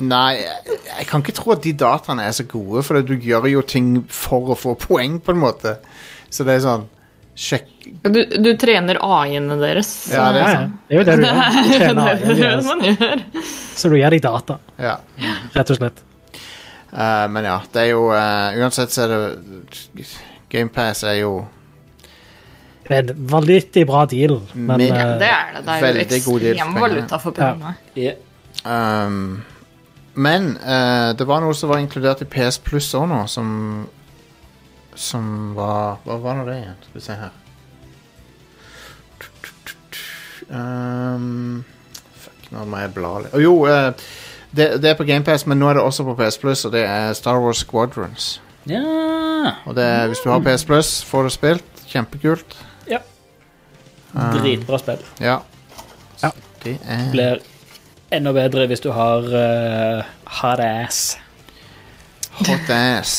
Speaker 1: Nei, jeg, jeg kan ikke tro at de dataene er så gode, for du gjør jo ting for å få poeng, på en måte. Så det er sånn Sjekk
Speaker 6: Du, du trener AI-ene deres.
Speaker 1: Ja, det er sånn.
Speaker 3: Ja, ja. det er jo det du gjør. Du
Speaker 6: Det
Speaker 3: trener
Speaker 6: er
Speaker 3: AI-en
Speaker 6: det
Speaker 3: deres.
Speaker 6: man gjør.
Speaker 3: Så du gir dem data,
Speaker 1: Ja.
Speaker 3: rett og slett.
Speaker 1: Eh, men ja, det er jo eh, Uansett så er det GamePass er jo
Speaker 3: Det er en vanvittig bra deal,
Speaker 1: Mm.
Speaker 3: men
Speaker 1: Med-
Speaker 6: Ja,
Speaker 3: eh,
Speaker 6: det er det. Det er jo
Speaker 1: Veldig god deal for
Speaker 6: ekstrem
Speaker 1: pengene.
Speaker 6: valuta for pengene.
Speaker 2: Ja.
Speaker 1: Um, men eh, det var noe som var inkludert i PS Pluss òg nå, som Som var Hva var nå det igjen? Skal vi se her um, Fuck, nå må jeg bla litt. Å, jo, eh, det, det er på GamePass, men nå er det også på PS Pluss, og det er Star Wars Squadrons.
Speaker 2: ja.
Speaker 1: Og det er, hvis du har PS Pluss, får du spilt. Kjempekult.
Speaker 2: Dritbra spill.
Speaker 1: Ja.
Speaker 3: Ja.
Speaker 1: Det er
Speaker 2: Blir enda bedre hvis du har eh, hard ass.
Speaker 1: hot ass.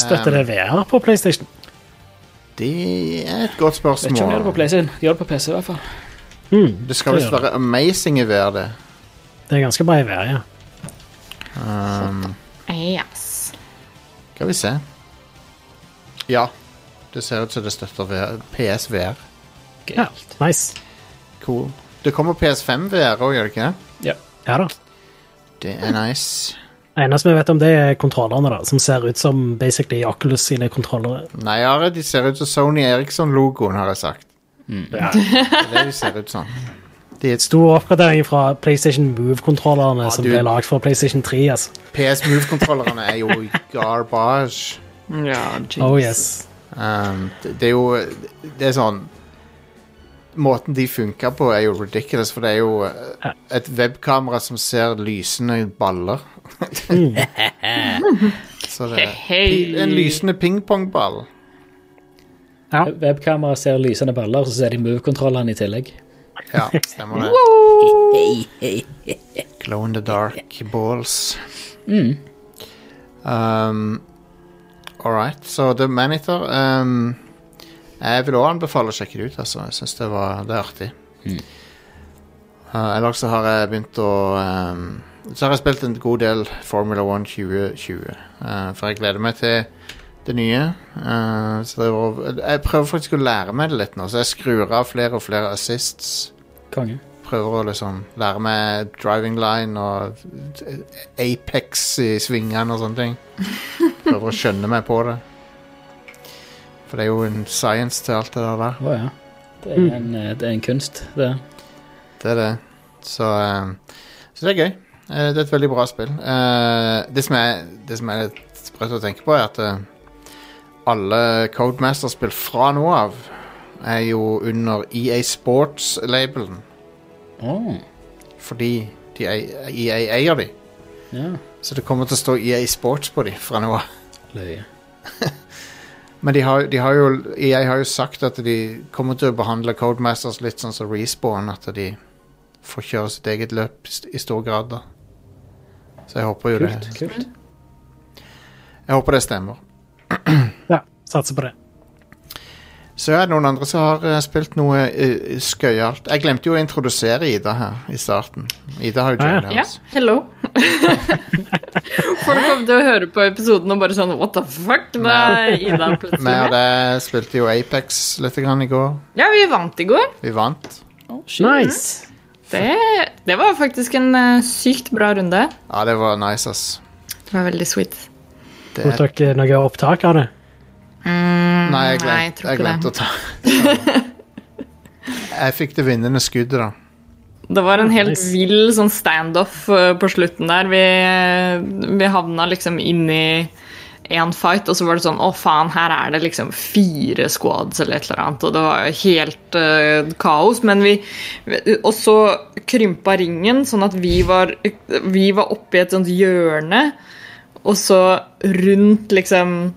Speaker 3: støtter det VR på PlayStation?
Speaker 1: Det er et godt
Speaker 2: Vet ikke om de gjør
Speaker 1: spørsmål.
Speaker 2: det på PlayStation. De gjør det på PC i hvert fall.
Speaker 3: Mm,
Speaker 1: Det skal visst
Speaker 3: Det gjør
Speaker 1: være amazing i VR, det.
Speaker 3: det er ganske bra i VR, ja.
Speaker 1: Um,
Speaker 6: Yes.
Speaker 1: skal vi se. Ja. Det ser ut som det støtter VR, PSVR.
Speaker 3: ja.
Speaker 2: Gøy.
Speaker 3: Nice.
Speaker 1: Cool. Det kommer PS5-VR òg, gjør det ikke? det?
Speaker 3: Ja da.
Speaker 1: Det er nice.
Speaker 3: Det eneste vi vet om det, er kontrollerne, da, som ser ut som basically Oculus sine kontrollere.
Speaker 1: Nei, Are, de ser ut som Sony Eriksson-logoen, har jeg sagt. Mm. Det er det de ser ut som. De er et
Speaker 3: Stor oppgradering fra PlayStation Move-kontrollerne som
Speaker 1: du-
Speaker 3: ble lagd for PlayStation 3. altså.
Speaker 1: PS Move-kontrollerne er jo garbage.
Speaker 6: Ja,
Speaker 3: Oh yes.
Speaker 1: Um, det, det er jo Det er sånn Måten de funker på, er jo ridiculous, for det er jo eh, et webkamera som ser lysende baller. Så det er pi- en lysende pingpongball.
Speaker 2: Webkamera ser lysende baller, så ser de move-kontrollene i tillegg.
Speaker 1: Ja, stemmer det. Glow in the dark balls. Um, All right, så The Manitor um, Jeg vil også anbefale å sjekke det ut, altså. Jeg syns det, var- det er artig. Uh, eller så har jeg begynt å um, Så har jeg spilt en god del Formula 1 2020. Uh, for jeg gleder meg til det nye. Uh, så det er, jo- jeg prøver faktisk å lære meg det litt nå, så jeg skrur av flere og flere assists
Speaker 2: Konge.
Speaker 1: prøver å liksom lære meg driving line og Apex i svingene og sånne ting. Prøver å skjønne meg på det. For det er jo en science til alt det der. der.
Speaker 2: Å ja. Det er,
Speaker 1: Mm.
Speaker 2: en, eh, det er en kunst, det.
Speaker 1: Det er det. Så, eh, så det er gøy. Eh, det er et veldig bra spill. Eh, det, som er, det som er litt sprøtt å tenke på, er at eh, alle Codemaster-spill fra nå av er jo under EA Sports-labelen.
Speaker 2: Å,
Speaker 1: Fordi de, ei- EA eier de.
Speaker 2: ja.
Speaker 1: Så det kommer til å stå EA Sports på de fra nå av.
Speaker 2: Løye.
Speaker 1: Men de har, de har jo, EA har jo sagt at de kommer til å behandle Codemasters litt sånn som Respawn, at de får kjøre sitt eget løp i st- i stor grad, da. Så jeg håper jo
Speaker 2: Kult.
Speaker 1: det
Speaker 2: kult.
Speaker 1: Jeg håper det stemmer.
Speaker 3: Ja, Satser på det.
Speaker 1: Så er det noen andre som har eh, spilt noe eh, skøyalt. Jeg glemte jo å introdusere Ida her i starten. Ida har jo
Speaker 3: Ah, ja.
Speaker 1: joina
Speaker 6: Ja,
Speaker 1: oss.
Speaker 6: hello. Folk kom til å høre på episoden og bare sånn What the fuck? Da er Ida plutselig
Speaker 1: Vi og
Speaker 6: med.
Speaker 1: deg spilte jo Apex litt grann i går.
Speaker 6: Ja, vi vant i går.
Speaker 1: Vi vant.
Speaker 2: Å, shit.
Speaker 3: Nice.
Speaker 6: Det, det var faktisk en eh, sykt bra runde.
Speaker 1: Ja, det var nice, ass.
Speaker 6: Det var veldig sweet.
Speaker 1: Det er-
Speaker 3: Tok dere noe opptak av det?
Speaker 1: Nei, jeg
Speaker 6: Mm, Nei, jeg
Speaker 1: glemte,
Speaker 6: tror
Speaker 1: jeg
Speaker 6: ikke
Speaker 1: glemte å ta Jeg fikk det vinnende skuddet, da.
Speaker 6: Det var en helt
Speaker 3: Nice.
Speaker 6: vill sånn standoff eh, på slutten der. Vi, vi havna liksom inn i én fight, og så var det sånn Å, faen, her er det liksom fire squads eller et eller annet. Og det var jo helt eh, kaos. Men vi Og så krympa ringen, sånn at vi var, vi var oppi et sånt hjørne, og så rundt liksom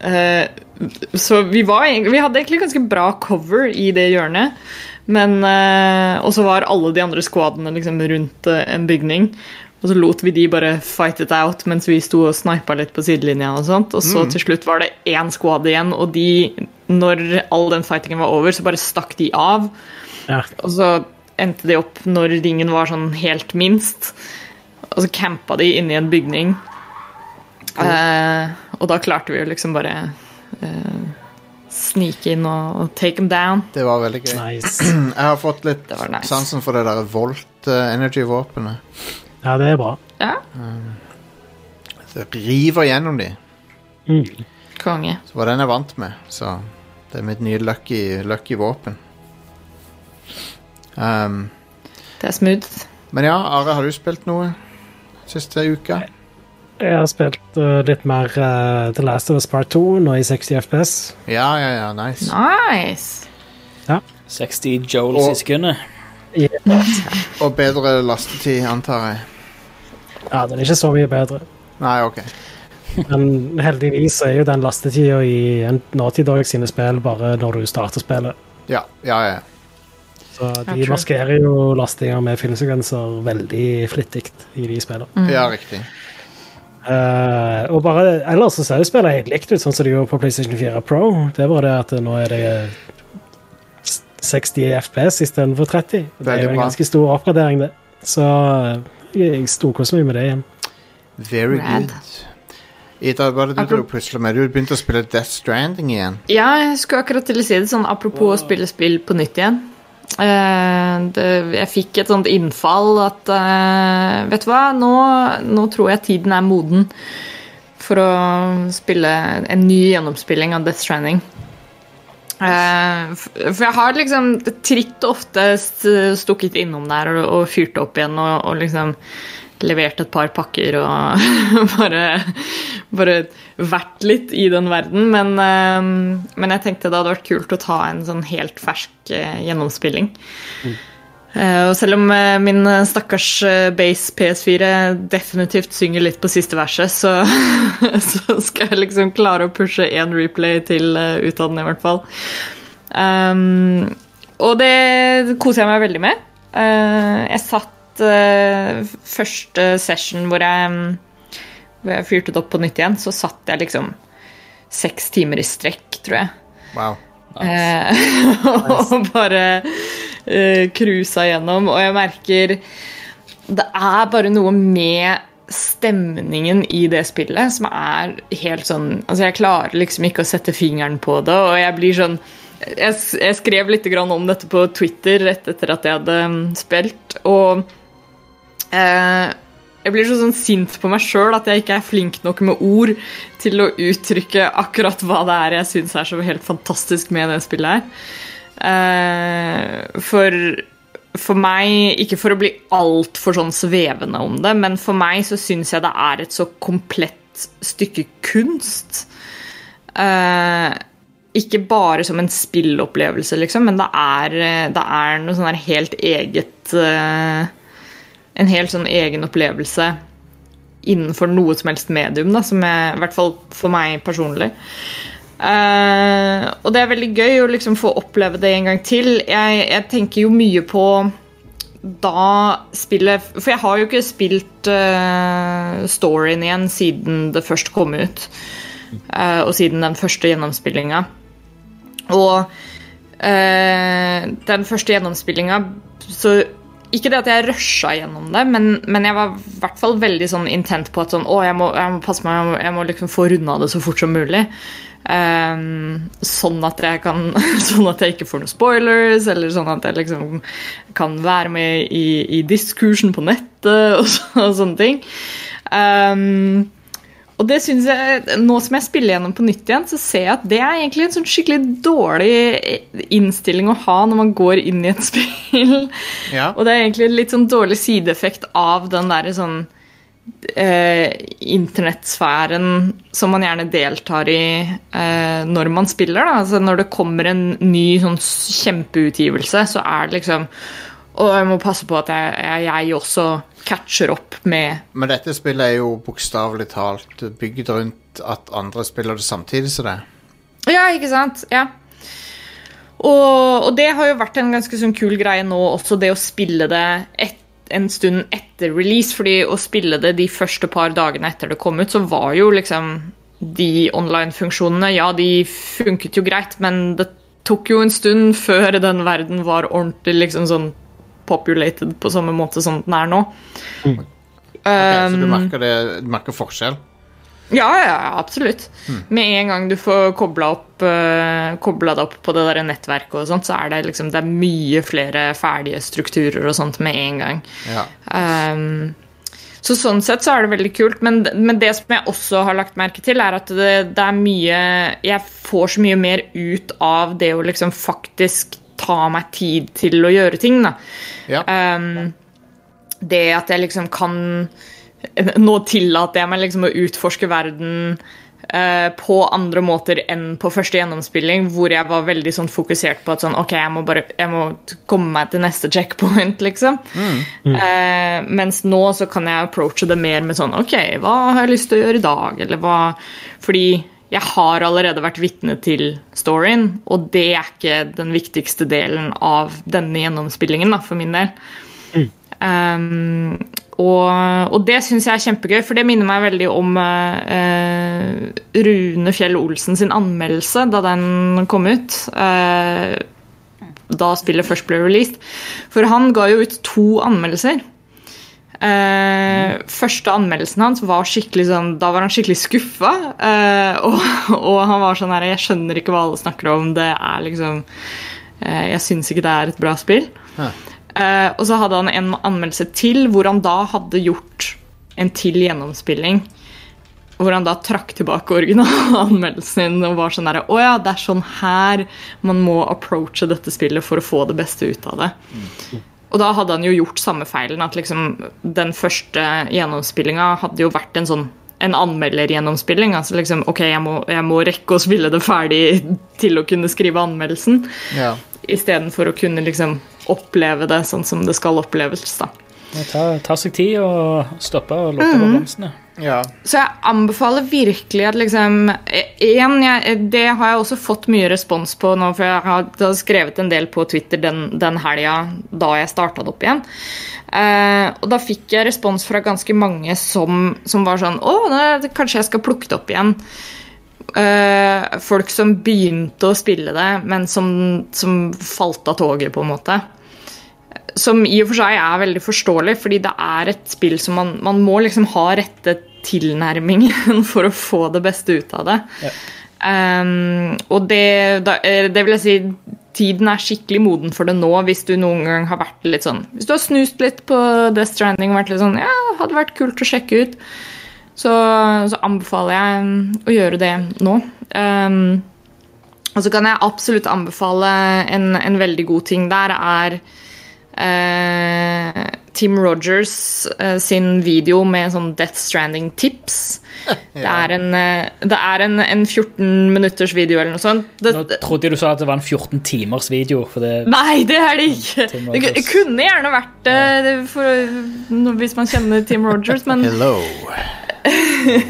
Speaker 6: eh, så vi, var, egentlig- vi hadde egentlig ganske bra cover i det hjørnet. Men, eh, og så var alle de andre squadene liksom rundt eh, en bygning. Og så lot vi de bare fight it out mens vi sto og snipa litt på sidelinja. Og sånt. Og så til slutt var det én squad igjen, og de, når all den fightingen var over, så bare stakk de av.
Speaker 3: Ja.
Speaker 6: Og så endte de opp når ringen var sånn helt minst. Og så campa de inne i en bygning. Eh, og da klarte vi jo liksom bare eh, snike inn og, og take them down.
Speaker 1: Det var veldig gøy.
Speaker 3: Nice.
Speaker 1: Jeg har fått litt
Speaker 6: Det var nice.
Speaker 1: sansen for det der Volt eh, Energy-våpenet.
Speaker 3: Ja, det er bra.
Speaker 6: Ja,
Speaker 1: Det river gjennom de.
Speaker 3: Mm.
Speaker 6: konge.
Speaker 1: Så var den jeg vant med, så det er mitt nye lucky, lucky våpen. Um,
Speaker 6: Det er smooth.
Speaker 1: men ja, Are, har du spilt noe siste uka?
Speaker 3: Jeg har spilt eh, litt mer eh, The Last of Us Part 2, nå i 60 FPS.
Speaker 1: Ja, ja, ja, nice.
Speaker 6: Nice!
Speaker 2: 60 joules
Speaker 1: Og-
Speaker 2: i sekundet.
Speaker 1: Og bedre lastetid, antar jeg.
Speaker 3: Ja, den er ikke så mye bedre.
Speaker 1: Nei, ok.
Speaker 3: Men heldigvis er jo den lastetida i en Naughty Dog sine spill bare når du starter spillet.
Speaker 1: Ja, ja, ja.
Speaker 3: Så de
Speaker 6: true.
Speaker 3: maskerer jo lastinger med filmsekvenser veldig flittig i de spillene.
Speaker 6: Mm.
Speaker 1: Ja, riktig.
Speaker 3: Eh, og bare, ellers så ser jo spillet helt likt ut, sånn som det gjorde på PlayStation 4 Pro. Det er bare det at nå er det s- 60 FPS istedenfor 30. Det er
Speaker 1: Veldig
Speaker 3: jo en
Speaker 1: bra.
Speaker 3: ganske stor oppgradering, det. Så eh, jeg storkoser meg med det igjen.
Speaker 1: Very
Speaker 6: Rad.
Speaker 1: good. Ida, hva er det du driver og pusler med? Du begynte å spille Death Stranding igjen.
Speaker 6: Ja, jeg skulle akkurat til å si det sånn apropos å spille spill på nytt igjen. Eh, det, jeg fikk et sånt innfall at eh, Vet du hva, nå, nå tror jeg tiden er moden for å spille en ny gjennomspilling av Death Stranding. Eh, f- for jeg har liksom tritt ofte st- stukket innom der og, og fyrt opp igjen og, og liksom levert et par pakker og bare, bare vært litt i den verden. Men, eh, men jeg tenkte det hadde vært kult å ta en sånn helt fersk eh, gjennomspilling. Eh, Og selv om eh, min eh, stakkars eh, base PS4 definitivt synger litt på siste verset, så, så skal jeg liksom klare å pushe én replay til eh, ut av den, i hvert fall. Um, og det koser jeg meg veldig med. Eh, jeg satt eh, første session hvor jeg, mm, hvor jeg fyrte det opp på nytt igjen, så satt jeg liksom seks timer i strekk, tror jeg.
Speaker 1: Wow.
Speaker 6: Eh, og bare eh, cruisa gjennom. Og jeg merker Det er bare noe med stemningen i det spillet som er helt sånn Altså, jeg klarer liksom ikke å sette fingeren på det, og jeg blir sånn jeg, s- jeg skrev litt grann om dette på Twitter rett etter at jeg hadde mm, spilt, og eh, jeg blir så sånn sint på meg sjøl at jeg ikke er flink nok med ord til å uttrykke akkurat hva det er jeg syns er så helt fantastisk med det spillet her. Eh, for, for meg Ikke for å bli altfor sånn svevende om det, men for meg så syns jeg det er et så komplett stykke kunst. Eh, ikke bare som en spillopplevelse, liksom, men det er, eh, det er noe sånn her helt eget eh, en helt sånn egen opplevelse innenfor noe som helst medium, da, som jeg, i hvert fall for meg personlig. Eh, og det er veldig gøy å liksom få oppleve det en gang til. Jeg, jeg tenker jo mye på da spillet For jeg har jo ikke spilt eh, storyen igjen siden det først kom ut. eh, og siden den første gjennomspillinga. Og eh, den første gjennomspillinga så ikke det at jeg rusha gjennom det, men, men jeg var i hvert fall veldig sånn intent på at sånn, å, jeg, må, jeg må passe meg, jeg må, jeg må liksom få runda det så fort som mulig. Ehm, sånn at jeg kan Sånn at jeg ikke får noen spoilers, eller sånn at jeg liksom kan være med i, i diskursen på nettet og, så, og sånne ting. Ehm, Og det synes jeg, Nå som jeg spiller gjennom på nytt igjen, så ser jeg at det er egentlig en sånn skikkelig dårlig innstilling å ha når man går inn i et spill.
Speaker 1: Ja.
Speaker 6: Og det er egentlig litt sånn dårlig sideeffekt av den derre sånn eh, internettsfæren som man gjerne deltar i eh, når man spiller. Da. Altså, når det kommer en ny sånn s- kjempeutgivelse, så er det liksom Å, jeg må passe på at jeg, jeg, jeg også catcher opp med
Speaker 1: Men dette spillet er jo bokstavelig talt bygd rundt at andre spiller det samtidig som det.
Speaker 6: Ja, ikke sant? Ja. Og, og det har jo vært en ganske sånn kul greie nå også, det å spille det et, en stund etter release. fordi å spille det de første par dagene etter det kom ut, så var jo liksom de online-funksjonene Ja, de funket jo greit, men det tok jo en stund før den verden var ordentlig liksom sånn populated på samme måte som den er nå.
Speaker 1: Ok, så du merker, det, du merker forskjell?
Speaker 6: Ja, ja, absolutt. Med en gang du får kobla, opp, eh, kobla deg opp på det der nettverket, og sånt, så er det, liksom, det er mye flere ferdige strukturer og sånt med en gang.
Speaker 1: Ja.
Speaker 6: Ehm, så sånn sett så er det veldig kult, men, men det som jeg også har lagt merke til, er at det, det er mye Jeg får så mye mer ut av det å liksom faktisk ta meg tid til å gjøre ting, da.
Speaker 1: ja.
Speaker 6: Ehm, det at jeg liksom kan Nå tillater jeg meg liksom å utforske verden eh, på andre måter enn på første gjennomspilling, hvor jeg var veldig sånn fokusert på at sånn, ok, jeg må bare jeg må t- komme meg til neste checkpoint, liksom. Eh, mens nå så kan jeg approache det mer med sånn ok, hva har jeg lyst til å gjøre i dag, eller hva Fordi jeg har allerede vært vitne til storyen, og det er ikke den viktigste delen av denne gjennomspillingen, da, for min del. Um, og, og det syns jeg er kjempegøy, for det minner meg veldig om eh, eh, Rune Fjell Olsen sin anmeldelse da den kom ut. eh, da spillet først ble released. For han ga jo ut to anmeldelser. Eh, Første anmeldelsen hans var skikkelig sånn Da var han skikkelig skuffa. eh, og, og han var sånn her Jeg skjønner ikke hva alle snakker om. Det er liksom eh, Jeg syns ikke det er et bra spill. Eh, og så hadde han en anmeldelse til hvor han da hadde gjort en til gjennomspilling. Hvor han da trakk tilbake originalanmeldelsen sin og var sånn derre Å ja, det er sånn her man må approache dette spillet for å få det beste ut av det. Og da hadde han jo gjort samme feilen, at liksom den første gjennomspillinga hadde jo vært en sånn en anmeldergjennomspilling. Altså liksom OK, jeg må, jeg må rekke å spille det ferdig til å kunne skrive anmeldelsen
Speaker 1: ja.
Speaker 6: istedenfor å kunne liksom oppleve det sånn som det skal oppleves. da.
Speaker 2: Det tar, tar seg tid å stoppe og lukte
Speaker 1: Mhm.
Speaker 2: på blomstene.
Speaker 1: ja.
Speaker 6: Så jeg anbefaler virkelig at liksom en, jeg, Det har jeg også fått mye respons på nå, for jeg har, det har skrevet en del på Twitter den, den helga da jeg starta det opp igjen. Eh, og da fikk jeg respons fra ganske mange som, som var sånn Å, det, kanskje jeg skal plukke det opp igjen. Eh, folk som begynte å spille det, men som, som falt av toget, på en måte. som i og for seg er veldig forståelig, fordi det er et spill som man, man må liksom ha rette tilnærmingen for å få det beste ut av det. Um, og det, da, eh, det vil jeg si Tiden er skikkelig moden for det nå, hvis du noen gang har vært litt sånn Hvis du har snust litt på Death Stranding og vært litt sånn Ja, hadde vært kult å sjekke ut. Så, så anbefaler jeg um, å gjøre det nå. Um, og så kan jeg absolutt anbefale en, en veldig god ting der, er eh, Tim Rogers eh, sin video med sånn Death Stranding-tips. Det er en, eh, det er en, en 14 minutters video eller noe sånt. Det,
Speaker 2: Nå trodde jeg du sa at det var en 14 timers video, for det
Speaker 6: Nei, det er det ikke.
Speaker 2: Tim
Speaker 6: Det
Speaker 2: Rogers.
Speaker 6: ku- kunne gjerne vært det det for, eh, hvis man kjenner Tim Rogers, men
Speaker 1: Hello.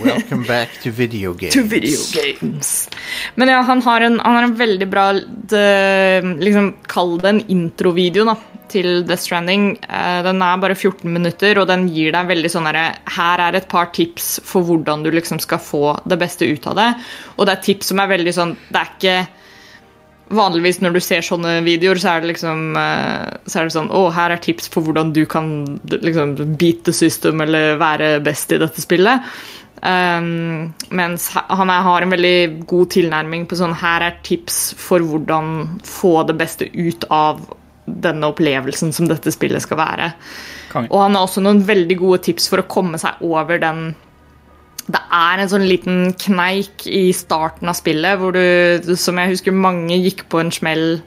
Speaker 1: Welcome back to video games.
Speaker 6: To video games. Men ja, han har en, han har en veldig bra det, liksom, Kall det en introvideo da, til Death Stranding. Eh, den er bare 14 minutter, og den gir deg veldig sånn herre Her er et par tips for hvordan du liksom skal få det beste ut av det. Og det er tips som er veldig sånn Det er ikke Vanligvis når du ser sånne videoer, så er det liksom eh, så er det sånn Å, her er tips på hvordan du kan liksom beat the system eller være best i dette spillet. Um, mens he- han er, har en veldig god tilnærming på sånn Her er tips for hvordan få det beste ut av denne opplevelsen som dette spillet skal være.
Speaker 2: Konge.
Speaker 6: Og han har også noen veldig gode tips for å komme seg over den Det er en sånn liten kneik i starten av spillet hvor du, som jeg husker mange gikk på en smell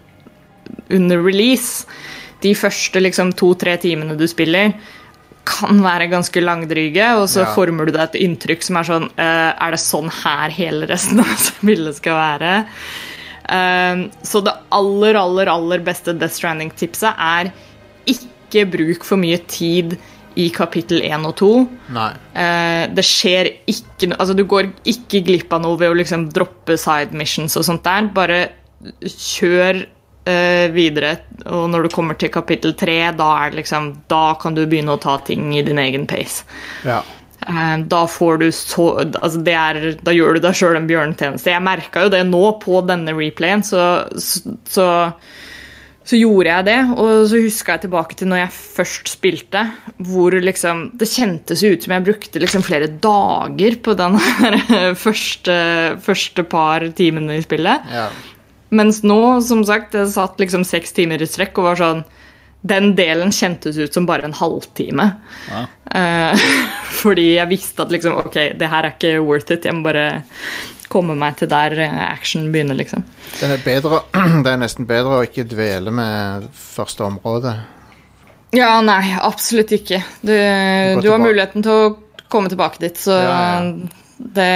Speaker 6: under release. De første liksom to-tre timene du spiller, kan være ganske langdryge, og så
Speaker 1: Ja.
Speaker 6: former du deg et inntrykk som er sånn eh, Er det sånn her hele resten av spillet skal være? Eh, så det aller, aller, aller beste Death Stranding-tipset er ikke bruk for mye tid i kapittel 1 og 2.
Speaker 1: Nei.
Speaker 6: Eh, det skjer ikke no- Altså, du går ikke glipp av noe ved å liksom droppe side missions og sånt der. Bare kjør eh, videre, og når du kommer til kapittel tre, da er det liksom Da kan du begynne å ta ting i din egen pace.
Speaker 1: Ja.
Speaker 6: Eh, Da får du så altså det er, Da gjør du deg sjøl en bjørnetjeneste. Jeg merka jo det nå på denne replayen, så, så så gjorde jeg det, og så huska jeg tilbake til når jeg først spilte, hvor liksom Det kjentes jo ut som jeg brukte liksom flere dager på den her første, første par timene i spillet.
Speaker 1: ja.
Speaker 6: Mens nå, som sagt, jeg satt liksom seks timer i strekk og var sånn Den delen kjentes ut som bare en halvtime. Eh, fordi jeg visste at liksom Ok, det her er ikke worth it. Jeg må bare komme meg til der eh, action begynner, liksom.
Speaker 1: Den er bedre, det er nesten bedre å ikke dvele med første område.
Speaker 6: Ja, nei, absolutt ikke. Du,
Speaker 1: Gå
Speaker 6: du har
Speaker 1: tilbake.
Speaker 6: muligheten til å komme tilbake dit, så
Speaker 1: Ja, ja.
Speaker 6: det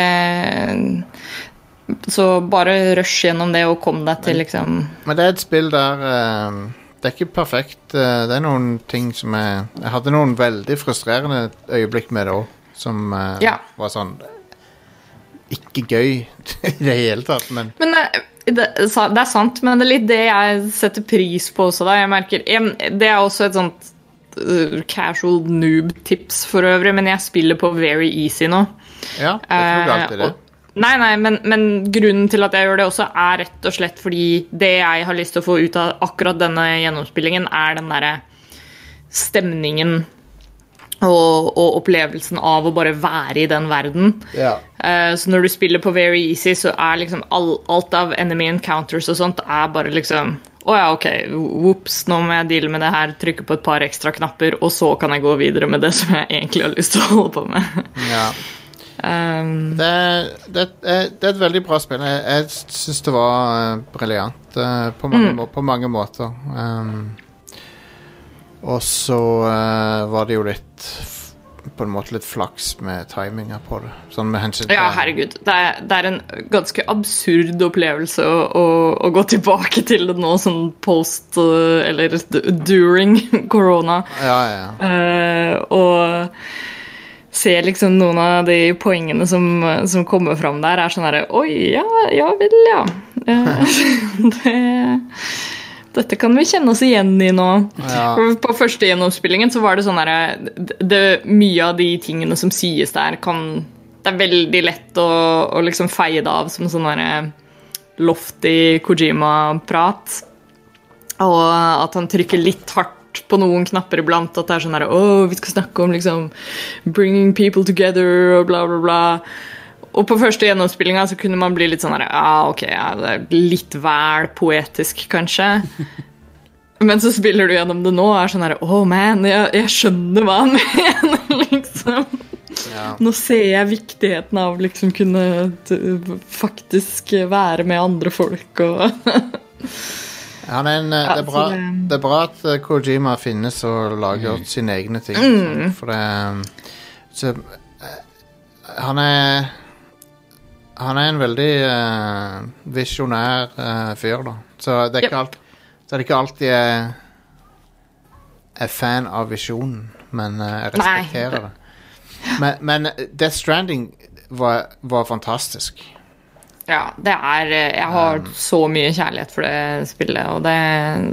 Speaker 6: Så bare rush gjennom det og kom deg til liksom
Speaker 1: Men det er et spill der eh, Det er ikke perfekt. eh, det er noen ting som er Jeg hadde noen veldig frustrerende øyeblikk med det òg, som eh,
Speaker 6: Ja.
Speaker 1: var sånn Ikke gøy i det hele tatt, men
Speaker 6: Men eh, det, sa- det er sant, men det er litt det jeg setter pris på også. Da. Jeg merker, em, det er også et sånt eh, casual noob-tips for øvrig, men jeg spiller på very easy nå.
Speaker 1: ja. Det er ikke noe galt i det.
Speaker 6: Eh, og- Nei, nei, men, men grunnen til at jeg gjør det også, er rett og slett fordi det jeg har lyst til å få ut av akkurat denne gjennomspillingen, er den derre stemningen og, og opplevelsen av å bare være i den verden.
Speaker 1: Ja.
Speaker 6: Eh, Så når du spiller på Very Easy, så er liksom all, alt av enemy encounters og sånt er bare liksom Å ja, ok, ops, nå må jeg deale med det her, trykke på et par ekstra knapper, og så kan jeg gå videre med det som jeg egentlig har lyst til å holde på med.
Speaker 1: ja.
Speaker 6: Um,
Speaker 1: Det, er, det, er, det er et veldig bra spill. Jeg, jeg syns det var eh, briljant eh, på, mange
Speaker 6: Mm.
Speaker 1: må- på mange måter. Um, og så eh, var det jo litt f- På en måte litt flaks med timinga på det. Sånn med hensyn
Speaker 6: ja, herregud. Det er, det er en ganske absurd opplevelse å, å, å gå tilbake til det nå, sånn post eh, Eller d- during corona.
Speaker 1: Ja, ja.
Speaker 6: Eh, og ser liksom noen av de poengene som, som kommer fram der, er sånn herre Oi, ja, ja vel, ja. Eh, det, dette kan vi kjenne oss igjen i nå.
Speaker 1: Ja.
Speaker 6: For På første gjennomspillingen så var det sånn herre det- det- Mye av de tingene som sies der, kan Det er veldig lett å, å liksom feie det av som sånn herre lofty Kojima-prat. Og at han trykker litt hardt på noen knapper iblant. At det er sånn her Å, vi skal snakke om liksom bringing people together og bla, bla, bla. Og på første gjennomspillinga så kunne man bli litt sånn her Ja, ok, ja, det er litt vel poetisk, kanskje. Men så spiller du gjennom det nå og er sånn her Oh man, jeg, jeg skjønner hva han mener, liksom. Nå ser jeg viktigheten av å liksom kunne t- faktisk være med andre folk og
Speaker 1: Han er en, eh, det, er
Speaker 6: så
Speaker 1: bra,
Speaker 6: det-
Speaker 1: det er bra at eh, Kojima finnes og lager sine egne ting. sånn, For det eh, så, eh, Han er Han er en veldig eh, visjonær eh, fyr, da. Så det er
Speaker 6: Yep.
Speaker 1: ikke, alt, så det er ikke alltid jeg er fan av visjonen, men eh, jeg
Speaker 6: Nei,
Speaker 1: respekterer
Speaker 6: det-
Speaker 1: det. Men, men Death Stranding var, var fantastisk.
Speaker 6: Ja, det er Jeg har så mye kjærlighet for det spillet, og det,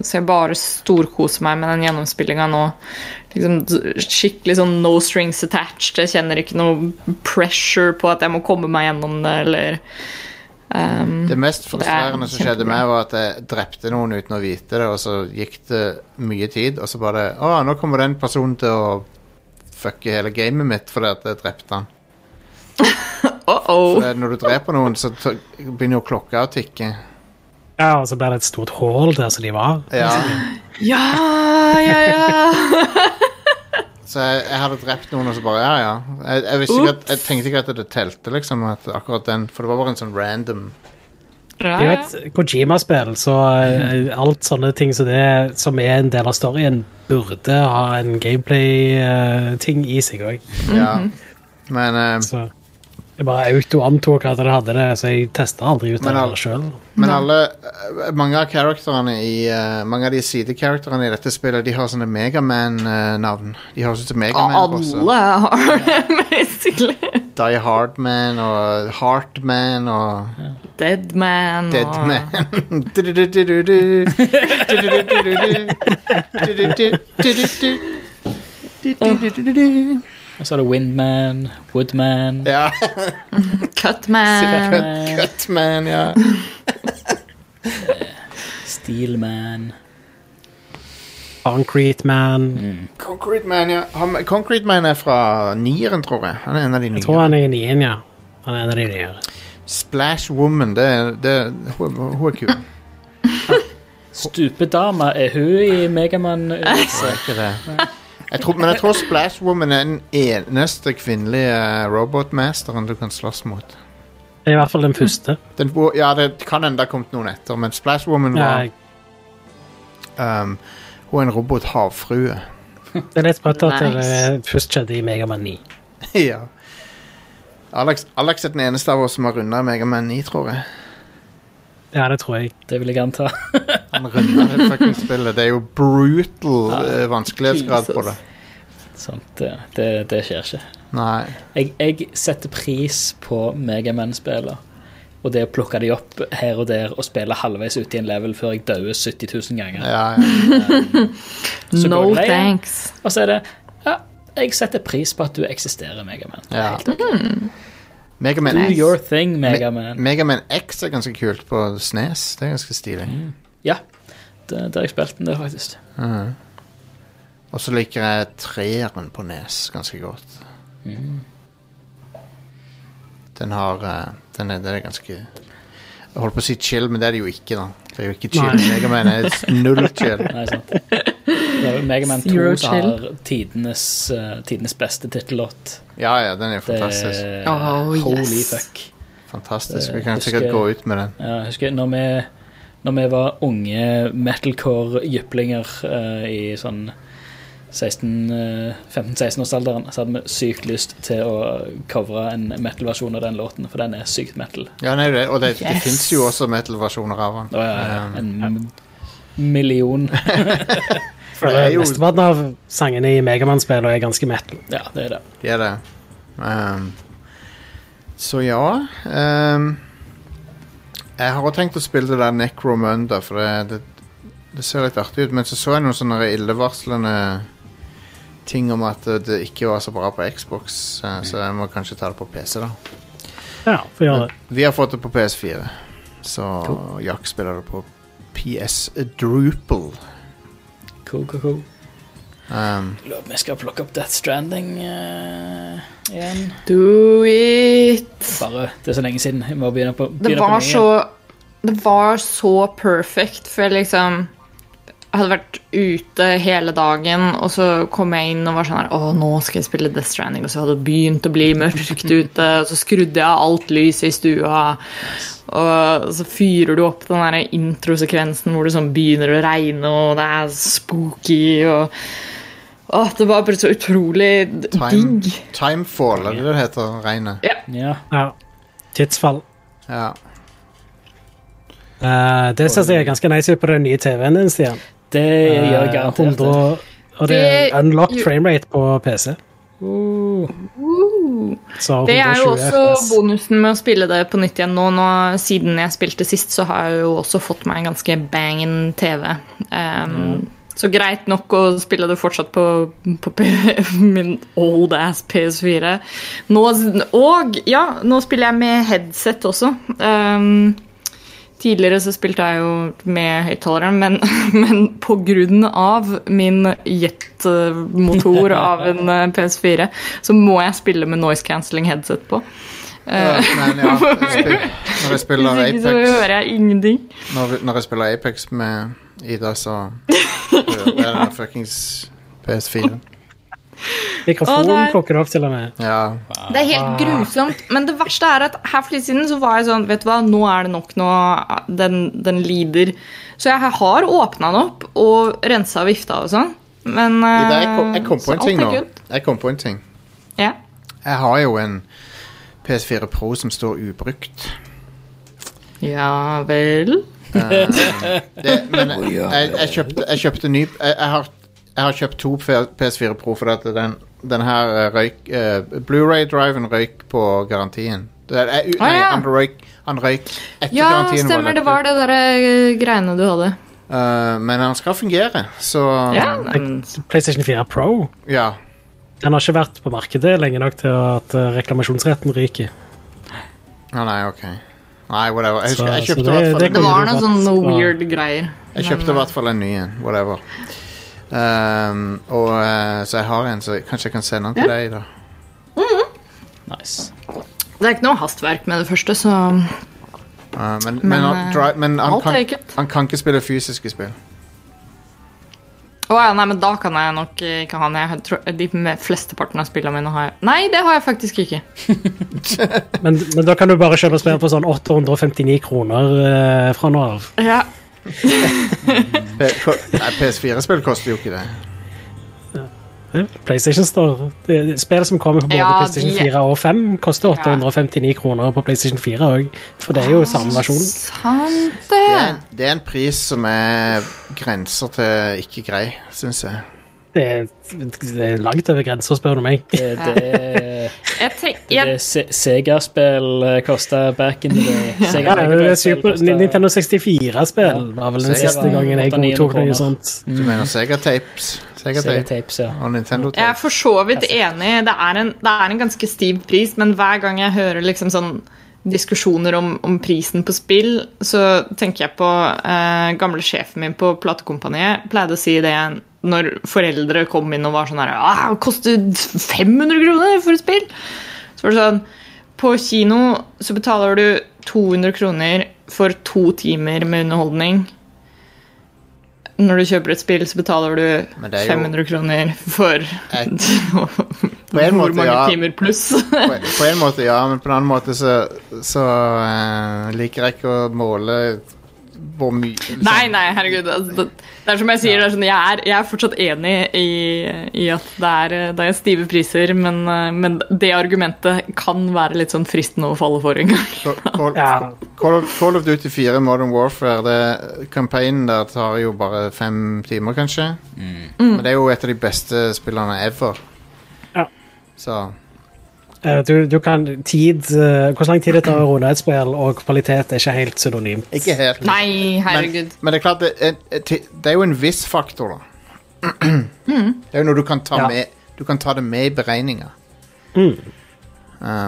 Speaker 6: så jeg bare storkoser meg med den gjennomspillinga nå. Liksom, skikkelig sånn no strings attached. Jeg kjenner ikke noe pressure på at jeg må komme meg gjennom det, eller ehm,
Speaker 1: Det mest frustrerende
Speaker 6: Det er
Speaker 1: som skjedde
Speaker 6: kjempebra.
Speaker 1: meg, var at jeg drepte noen uten å vite det, og så gikk det mye tid, og så bare Å, nå kommer den personen til å fucke hele gamet mitt fordi at jeg drepte han.
Speaker 6: Uh-oh!
Speaker 1: For når du dreper noen, så t- begynner jo klokka å tikke.
Speaker 3: Ja, og så ble det et stort hull der som de var.
Speaker 1: Ja.
Speaker 6: Ja, ja, ja!
Speaker 1: Så jeg, jeg hadde drept noen, og så bare Ja, ja. Jeg, jeg, visste ikke at, jeg tenkte ikke at det telte, liksom. At akkurat den, for det var bare en sånn random
Speaker 6: Ja,
Speaker 3: Det er jo
Speaker 6: ja.
Speaker 3: et Kojima-spill, så eh, alt sånne ting som, det, som er en del av storyen, burde ha en gameplay-ting i seg òg.
Speaker 1: Ja. Men, eh,
Speaker 3: Så jeg bare auto-antok at det hadde det, så jeg testa aldri ut
Speaker 1: Men al-
Speaker 3: det sjøl.
Speaker 1: men alle eh, Mange av karakterene i eh, Mange av de sidekarakterene i dette spillet, de har sånne Megaman-navn. De høres ut som Megaman.
Speaker 6: Alle har det, basically.
Speaker 1: Die Hardman og Heartman og
Speaker 6: Deadman og
Speaker 1: Deadman. Du-du-du-du-du-du. Du-du-du-du-du-du. Du-du-du-du-du-du. Du-du-du-du-du.
Speaker 2: Og så er det Windman, Woodman
Speaker 1: Ja.
Speaker 6: Cutman.
Speaker 1: Cutman, ja.
Speaker 2: Steelman
Speaker 3: Concrete Man.
Speaker 1: Concrete Man, ja. Han- Concrete Man er fra nieren, tror jeg. Han er en av de
Speaker 3: Jeg tror
Speaker 1: nye.
Speaker 3: han er i nien, ja. Han er en av de nyere.
Speaker 1: Splash Woman, det er, det er hun, hun er kul.
Speaker 2: Stupedama, er hun i Megaman?
Speaker 1: Så er ikke det. Jeg tror, men jeg tror Splash Woman er den eneste kvinnelige eh, robotmasteren du kan slåss mot.
Speaker 3: Det er i hvert fall den første.
Speaker 1: Den, bo- ja, det kan enda ha kommet noen etter, men Splash Woman var
Speaker 3: Ja,
Speaker 1: um, Hun er en robothavfrue.
Speaker 3: det er litt sprøtt at
Speaker 6: Nice.
Speaker 3: det først skjedde i Megaman 9.
Speaker 1: ja. Alex, Alex er den eneste av oss som har runda Megaman 9, tror jeg.
Speaker 3: Ja, det tror jeg.
Speaker 2: Det vil jeg anta.
Speaker 1: Han runda det fuckings spillet. Det er jo brutal eh, vanskelighetsgrad på det.
Speaker 2: Sånt, Sånn, det, det, det skjer ikke.
Speaker 1: Nei.
Speaker 2: Jeg, jeg setter pris på Megaman-spiller. Og det å plukke de opp her og der og spille halvveis ut i en level før jeg dør 70 000 ganger.
Speaker 1: Ja, ja.
Speaker 2: Så
Speaker 6: No
Speaker 2: går jeg ned,
Speaker 6: thanks.
Speaker 2: Og så er det ja, Jeg setter pris på at du eksisterer, Megaman.
Speaker 1: ja. Megaman
Speaker 2: Do your
Speaker 1: X,
Speaker 2: thing, Megaman.
Speaker 1: Megaman X er ganske kult på Snes. Det er ganske stilig.
Speaker 2: Mm. Ja, det, det har jeg spilt den der, faktisk.
Speaker 1: Og så liker jeg treeren på Nes ganske godt. Den har eh, Den er, den er ganske Jeg holdt på å si chill, men det er det jo ikke, da. Det er jo ikke chill.
Speaker 3: Nei.
Speaker 1: Megaman er s- null chill.
Speaker 2: Nei, sant. Det er jo Megaman 2
Speaker 6: Zero
Speaker 2: som har tidenes, eh, tidenes beste tittellåt.
Speaker 1: Ja, ja, den er jo
Speaker 2: Det
Speaker 1: fantastisk.
Speaker 2: er
Speaker 6: Oh, yes.
Speaker 2: Eh, Holy fuck.
Speaker 1: Fantastisk.
Speaker 2: det-
Speaker 1: Vi kan
Speaker 2: husker
Speaker 1: sikkert
Speaker 2: jeg-
Speaker 1: gå ut med den.
Speaker 2: Ja, jeg husker når vi, når vi var unge metalcore-jyplinger eh, i sånn 15-16-årsalderen, så hadde vi sykt lyst til å covre en metal-versjon av den låten, for den er sykt metal.
Speaker 1: Ja, nei, det, og det, det
Speaker 6: Yes.
Speaker 1: fins jo også metal-versjoner av den. Eh,
Speaker 2: Det var eh, en million
Speaker 1: Det er jo-
Speaker 3: Mesteparten av sangene i Megaman-spillene er ganske metal.
Speaker 2: Ja, det er det.
Speaker 1: De er det. Ehm, så ja ehm, Jeg har også tenkt å spille det der Necromunda, for det, det, det ser litt artig ut. Men så så jeg noen sånne illevarslende ting om at det- det ikke var så bra på Xbox, eh, så jeg må kanskje ta det på PC, da.
Speaker 3: Ja, for å gjøre det.
Speaker 1: Vi har fått det på PS4, så Jack spiller det på PS Drupal.
Speaker 2: Cool, cool, cool.
Speaker 1: Ehm,
Speaker 2: Jeg Lurer på om jeg skal plukke opp Death Stranding eh, igjen.
Speaker 6: Do it.
Speaker 2: Bare, det er så lenge siden. Jeg må begynne på,
Speaker 6: Det
Speaker 2: begynne på
Speaker 6: var
Speaker 2: ny
Speaker 6: så Det var så perfect, for jeg liksom hadde vært ute hele dagen, og så kom jeg inn og var sånn her Å, nå skal jeg spille Death Stranding, og så hadde det begynt å bli mørkt ute, og så skrudde jeg av alt lyset i stua, og så fyrer du opp den der introsekvensen hvor det sånn begynner å regne, og det er spooky, og Åh, det var bare så utrolig d-
Speaker 1: Time.
Speaker 6: digg.
Speaker 1: Timefall, er det det heter? Regnet.
Speaker 2: igjen. Ja.
Speaker 3: Ja. Tidsfall.
Speaker 1: Ja.
Speaker 3: Eh, det ser jeg ganske nice ut på den nye TV-en din, Stian.
Speaker 2: Det
Speaker 3: Eh,
Speaker 2: gjør jeg garantert.
Speaker 3: 100 Og det
Speaker 6: Det-
Speaker 3: er unlocked
Speaker 6: jo-
Speaker 3: framerate på PC.
Speaker 2: Uh.
Speaker 6: Woo.
Speaker 3: Så
Speaker 6: Det er jo
Speaker 3: 120
Speaker 6: også
Speaker 3: FPS.
Speaker 6: bonusen med å spille det på nytt igjen nå. nå. Siden jeg spilte sist, så har jeg jo også fått meg en ganske bangen TV. Um, Så greit nok å spille det fortsatt på, på P min old ass PS4. Nå, og ja, nå spiller jeg med headset også. Um, Tidligere så spilte jeg jo med høyttaleren, men, men på grunn av min jetmotor av en eh, PS4, så må jeg spille med noise cancelling headset på.
Speaker 1: Ja, men ja, spil- når jeg spiller
Speaker 6: Eh. Hvis ikke så
Speaker 1: Apex
Speaker 6: hører jeg ingenting.
Speaker 1: når, vi- når jeg spiller Apex med Ida, så hører jeg den fuckings PS4.
Speaker 3: Mikrofonen
Speaker 6: Å, nei.
Speaker 3: plukker det opp til og med.
Speaker 1: Ja.
Speaker 6: Det er helt grusomt. Men det verste er at her for litt siden så var jeg sånn Vet du hva, nå er det nok. Nå Den, den lider. Så jeg har åpna den opp og rensa vifta og sånn. Men eh,
Speaker 1: Ida, jeg kom, jeg kom på
Speaker 6: så
Speaker 1: en ting
Speaker 6: alt
Speaker 1: nå.
Speaker 6: er good.
Speaker 1: Jeg kom på en ting.
Speaker 6: Ja.
Speaker 1: Jeg har jo en PS4 Pro som står ubrukt.
Speaker 6: ja vel.
Speaker 1: Det, men jeg, jeg, jeg, kjøpte, jeg kjøpte ny jeg, jeg, har, jeg har kjøpt to PS4 Pro fordi at den, den her eh, røyk eh, Blu-ray-driven røyk på garantien. Det er, jeg,
Speaker 6: Å,
Speaker 1: nei,
Speaker 6: Ah, ja.
Speaker 1: han røyk, han røyk etter
Speaker 6: Ja,
Speaker 1: garantien.
Speaker 6: stemmer. Det var det derre eh, greiene du hadde.
Speaker 1: Eh, men han skal fungere, så
Speaker 6: Ja, nei, men
Speaker 3: PlayStation 4 Pro
Speaker 1: ja.
Speaker 3: Den har ikke vært på markedet lenge nok til at eh, reklamasjonsretten ryker.
Speaker 1: Å, nei, OK. Nei, whatever. Jeg,
Speaker 3: Så-
Speaker 1: husker- jeg
Speaker 3: så
Speaker 1: kjøpte i
Speaker 3: det-
Speaker 1: hvert fall
Speaker 3: det
Speaker 6: det var noen sånne
Speaker 3: Ja.
Speaker 6: weird greier.
Speaker 1: Jeg kjøpte i hvert fall en ny en. Whatever. Ehm, og, eh, så jeg har en, så jeg- kanskje jeg kan sende den til deg. da
Speaker 2: Nice.
Speaker 6: Det er ikke noe hastverk med det første, så
Speaker 1: Eh, men, men,
Speaker 6: Men,
Speaker 1: han,
Speaker 6: eh,
Speaker 1: dri- men han,
Speaker 6: alt er
Speaker 1: kan,
Speaker 6: ikke
Speaker 1: han kan ikke spille fysiske spill.
Speaker 6: Å ja, nei, men da kan jeg nok ikke ha den. Jeg tror, de me- flesteparten av spillene mine har jeg Nei, det har jeg faktisk ikke.
Speaker 3: Men, men da kan du bare kjøpe spill for sånn 859 kroner eh, fra nå av.
Speaker 6: Ja.
Speaker 1: P ko- nei, PS4-spill koster jo ikke det.
Speaker 3: Eh, PlayStation Store det- det- Spill som kommer på både
Speaker 6: Ja,
Speaker 3: PlayStation
Speaker 6: de-
Speaker 3: 4 og 5, koster
Speaker 6: Ja. Ah.
Speaker 3: 859 kroner på PlayStation 4 òg. For det er jo samme versjon.
Speaker 6: Sant
Speaker 1: Det
Speaker 6: det!
Speaker 1: er, det er en pris som er grenser til ikke grei, syns jeg.
Speaker 3: Det er, det er langt over grensa, spør du meg.
Speaker 2: Det, det,
Speaker 6: Jeg tenk,
Speaker 2: det,
Speaker 6: jeg,
Speaker 2: det Se- Sega-spill eh, kosta back in the day. Sega
Speaker 3: Ja, det er jo
Speaker 2: Mega-spill
Speaker 3: Super,
Speaker 2: kostet-
Speaker 3: Nintendo 64-spill var vel den
Speaker 1: Sega
Speaker 3: siste
Speaker 2: var
Speaker 3: gangen jeg
Speaker 2: 800
Speaker 3: godtok
Speaker 2: kroner.
Speaker 3: noe sånt.
Speaker 1: Du mener Sega-tapes?
Speaker 2: Sega
Speaker 1: Sega-tape
Speaker 2: Tapes, ja.
Speaker 1: og Nintendo
Speaker 6: jeg er
Speaker 1: Tape.
Speaker 6: for så vidt enig. Det er, en, det er en ganske stiv pris, men hver gang jeg hører liksom sånn diskusjoner om, om prisen på spill, så tenker jeg på eh, gamle sjefen min på platekompaniet. Pleide å si det når foreldre kom inn og var sånn her «Ah, det Koster 500 kroner for et spill? Så var det sånn På kino så betaler du 200 kroner for to timer med underholdning. Når du kjøper et spill, så betaler du
Speaker 1: Men det er jo-
Speaker 6: 500 kroner for
Speaker 1: På en
Speaker 6: hvor
Speaker 1: måte,
Speaker 6: mange
Speaker 1: ja.
Speaker 6: timer pluss.
Speaker 1: På, på en måte, ja, men på en annen måte så, så eh, liker jeg ikke å måle hvor mye liksom.
Speaker 6: Nei, nei, herregud. Altså, det, det er som jeg sier, det er sånn, jeg, er, jeg er fortsatt enig i, i at det er, eh, det er stive priser, men, eh, men det argumentet kan være litt sånn fristende å falle for en gang.
Speaker 1: Call,
Speaker 3: Ja.
Speaker 1: Call, of, Call of Duty 4 Modern Warfare det, Campaignen der tar jo bare fem timer kanskje
Speaker 6: Mm.
Speaker 1: Men det er jo et av de beste spillene ever
Speaker 3: Ja.
Speaker 1: Så
Speaker 3: Eh, Du, du kan tid eh, Hvor lang tid det tar å runde et spill, og kvalitet er ikke helt synonymt.
Speaker 1: Ikke helt
Speaker 6: Nei,
Speaker 1: men, men det er klart det, er- et- det er jo en viss faktor da Det er jo noe du kan ta
Speaker 3: Ja.
Speaker 1: med Du kan ta det med i beregninga Eh,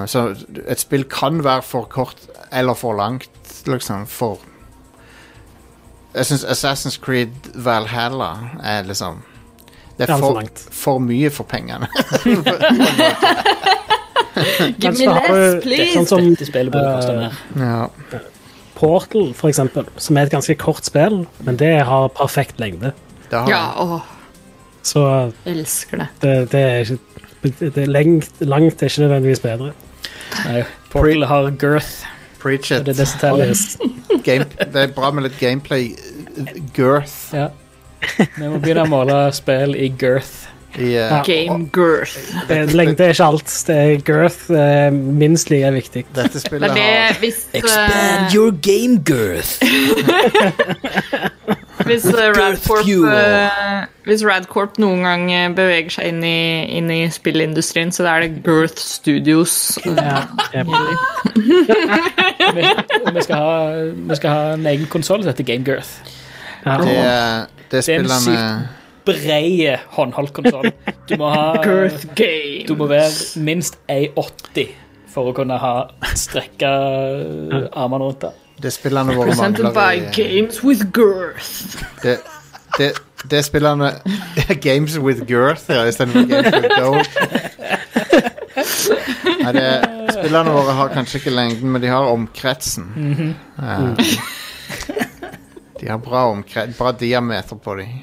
Speaker 1: Så et spill kan være for kort Eller for langt Liksom for Jeg synes Assassin's Creed Valhalla Er liksom Det
Speaker 3: Ja,
Speaker 1: er
Speaker 3: for
Speaker 1: for,
Speaker 3: langt.
Speaker 1: for mye for pengene
Speaker 6: Give
Speaker 3: Men
Speaker 6: me
Speaker 3: så har
Speaker 6: less,
Speaker 3: du-
Speaker 6: please!
Speaker 3: Sånn som
Speaker 2: Dette spillet burde kosta mer.
Speaker 1: Ja
Speaker 3: Portal, for eksempel, som er et ganske kort spill, men det har perfekt lengde.
Speaker 1: det har,
Speaker 6: Ja, åh,
Speaker 3: Så
Speaker 6: elsker det.
Speaker 3: det, det er ikke det er lengt, Langt er ikke nødvendigvis bedre.
Speaker 2: Nei, Portal har girth.
Speaker 1: Preach
Speaker 2: og
Speaker 1: it
Speaker 2: Det er det som teller.
Speaker 1: Game, Det er bra med litt gameplay eh, Girth
Speaker 2: Ja. Vi må begynne å måle spill i girth.
Speaker 1: i, eh,
Speaker 3: Ja.
Speaker 6: Game girth.
Speaker 3: Det- Lengde er ikke alt. Det er girth eh, minst like viktig.
Speaker 1: Dette
Speaker 6: Det
Speaker 1: spillet
Speaker 6: er
Speaker 1: har
Speaker 6: det hvis eh,
Speaker 5: Expand your game girth.
Speaker 6: Hvis eh, Radcorp,
Speaker 5: fuel.
Speaker 6: eh, hvis Radcorp noen gang eh, beveger seg inn i, inn i spillindustrien, så er det Girth Studios. eh,
Speaker 3: Ja, jep.
Speaker 2: Vi, og vi, skal ha, vi skal ha en egen konsoll som heter Game Girth.
Speaker 3: ja.
Speaker 1: Det, er- det
Speaker 2: Det er en
Speaker 1: spillene
Speaker 2: Breie håndholdt konsoll. Du må ha
Speaker 6: Girth
Speaker 2: Du
Speaker 6: Game.
Speaker 2: må være minst A80 for å kunne ha strekka eh, armene rundt det.
Speaker 1: Det spillene våre
Speaker 6: Presented by
Speaker 1: mangler i,
Speaker 6: Games with Girth.
Speaker 1: det, det, det spillene Games with girth ja, istedenfor games with gold. Nei, det, spillene våre har kanskje ikke lengden, men de har omkretsen.
Speaker 6: Mhm.
Speaker 1: Eh, de har bra, omkre bra diameter på dem.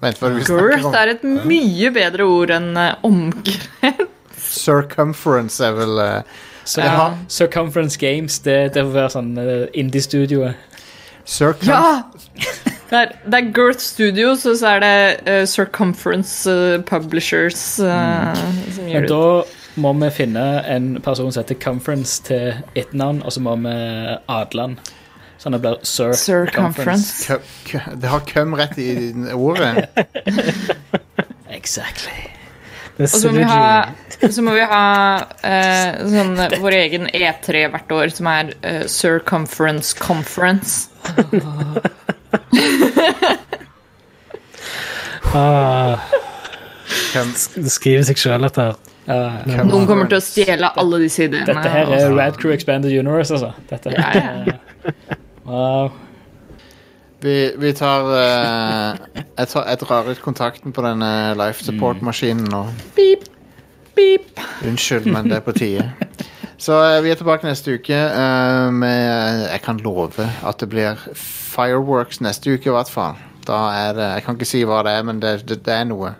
Speaker 1: Vent, hva er det vi snakker
Speaker 6: Girth
Speaker 1: om?
Speaker 6: er et mye bedre ord enn eh, omkrets.
Speaker 1: Circumference er vel eh,
Speaker 2: Så,
Speaker 1: Jeg har-
Speaker 2: Circumference Games, det, det får være sånn eh, indie-studioet.
Speaker 1: circum
Speaker 6: Ja! Det er, det er Girth Studios, og så er det eh, Circumference eh, Publishers eh,
Speaker 2: Men
Speaker 6: som gir det ut.
Speaker 2: da må vi finne en person som heter Conference til etternavn, og så må vi adle han. Sånn at det blir Sir Conference.
Speaker 6: Circumference.
Speaker 1: Kø- kø- Det har køm rett i ordet.
Speaker 2: Exactly.
Speaker 3: Det er
Speaker 6: Og så må vi
Speaker 3: synergy.
Speaker 6: ha, så må vi ha eh, sånn, eh, vår egen E3 hvert år, som er eh, Circumference Conference.
Speaker 3: ah,
Speaker 1: Køm,
Speaker 3: Det skriver seg sjøl, dette her.
Speaker 2: Ja, ja.
Speaker 1: køm-
Speaker 6: Noen kommer til å stjele alle disse ideene.
Speaker 2: dette her er
Speaker 3: altså.
Speaker 2: Rad Crew Expanded Universe, altså. Dette.
Speaker 6: Ja, ja.
Speaker 2: Wow.
Speaker 1: Vi, vi tar, eh, jeg tar Jeg drar ut kontakten på denne life support-maskinen nå.
Speaker 6: Beep, beep.
Speaker 1: Unnskyld, men det er på tide. Så eh, vi er tilbake neste uke eh, med Jeg kan love at det blir fireworks neste uke, i hvert fall. Da er det Jeg kan ikke si hva det er, men det, det, det er noe.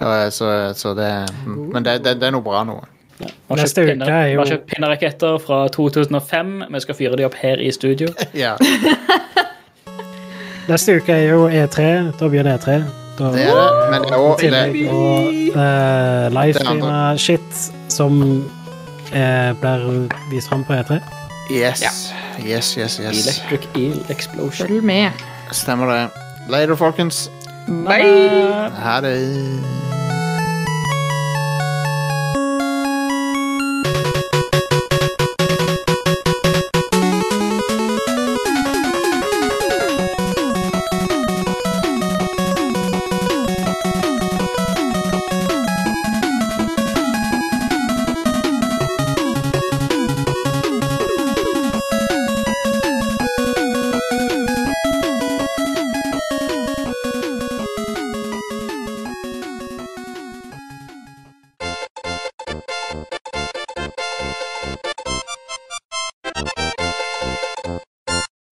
Speaker 1: Eh, så, så det Men det, det, det er noe bra noe.
Speaker 2: Vi har
Speaker 3: Neste
Speaker 2: kjøpt
Speaker 3: uke
Speaker 2: pinner-
Speaker 3: er
Speaker 2: vi
Speaker 3: jo-
Speaker 2: har kjøpt pinneraketter fra 2005. Vi skal fyre de opp her i studio.
Speaker 1: Ja.
Speaker 3: Neste uke er jo E3. Da begynner E3. Da,
Speaker 1: Det er det, men det er
Speaker 3: I
Speaker 1: også-
Speaker 3: tillegg
Speaker 1: det-
Speaker 3: og uh, livestreama shit som eh, blir vist fram på E3.
Speaker 1: Yes. Yes, yes, yes.
Speaker 2: Electric Eel Explosion.
Speaker 6: Følg med.
Speaker 1: Stemmer det. Later, folkens.
Speaker 6: Bye.
Speaker 1: Ha det.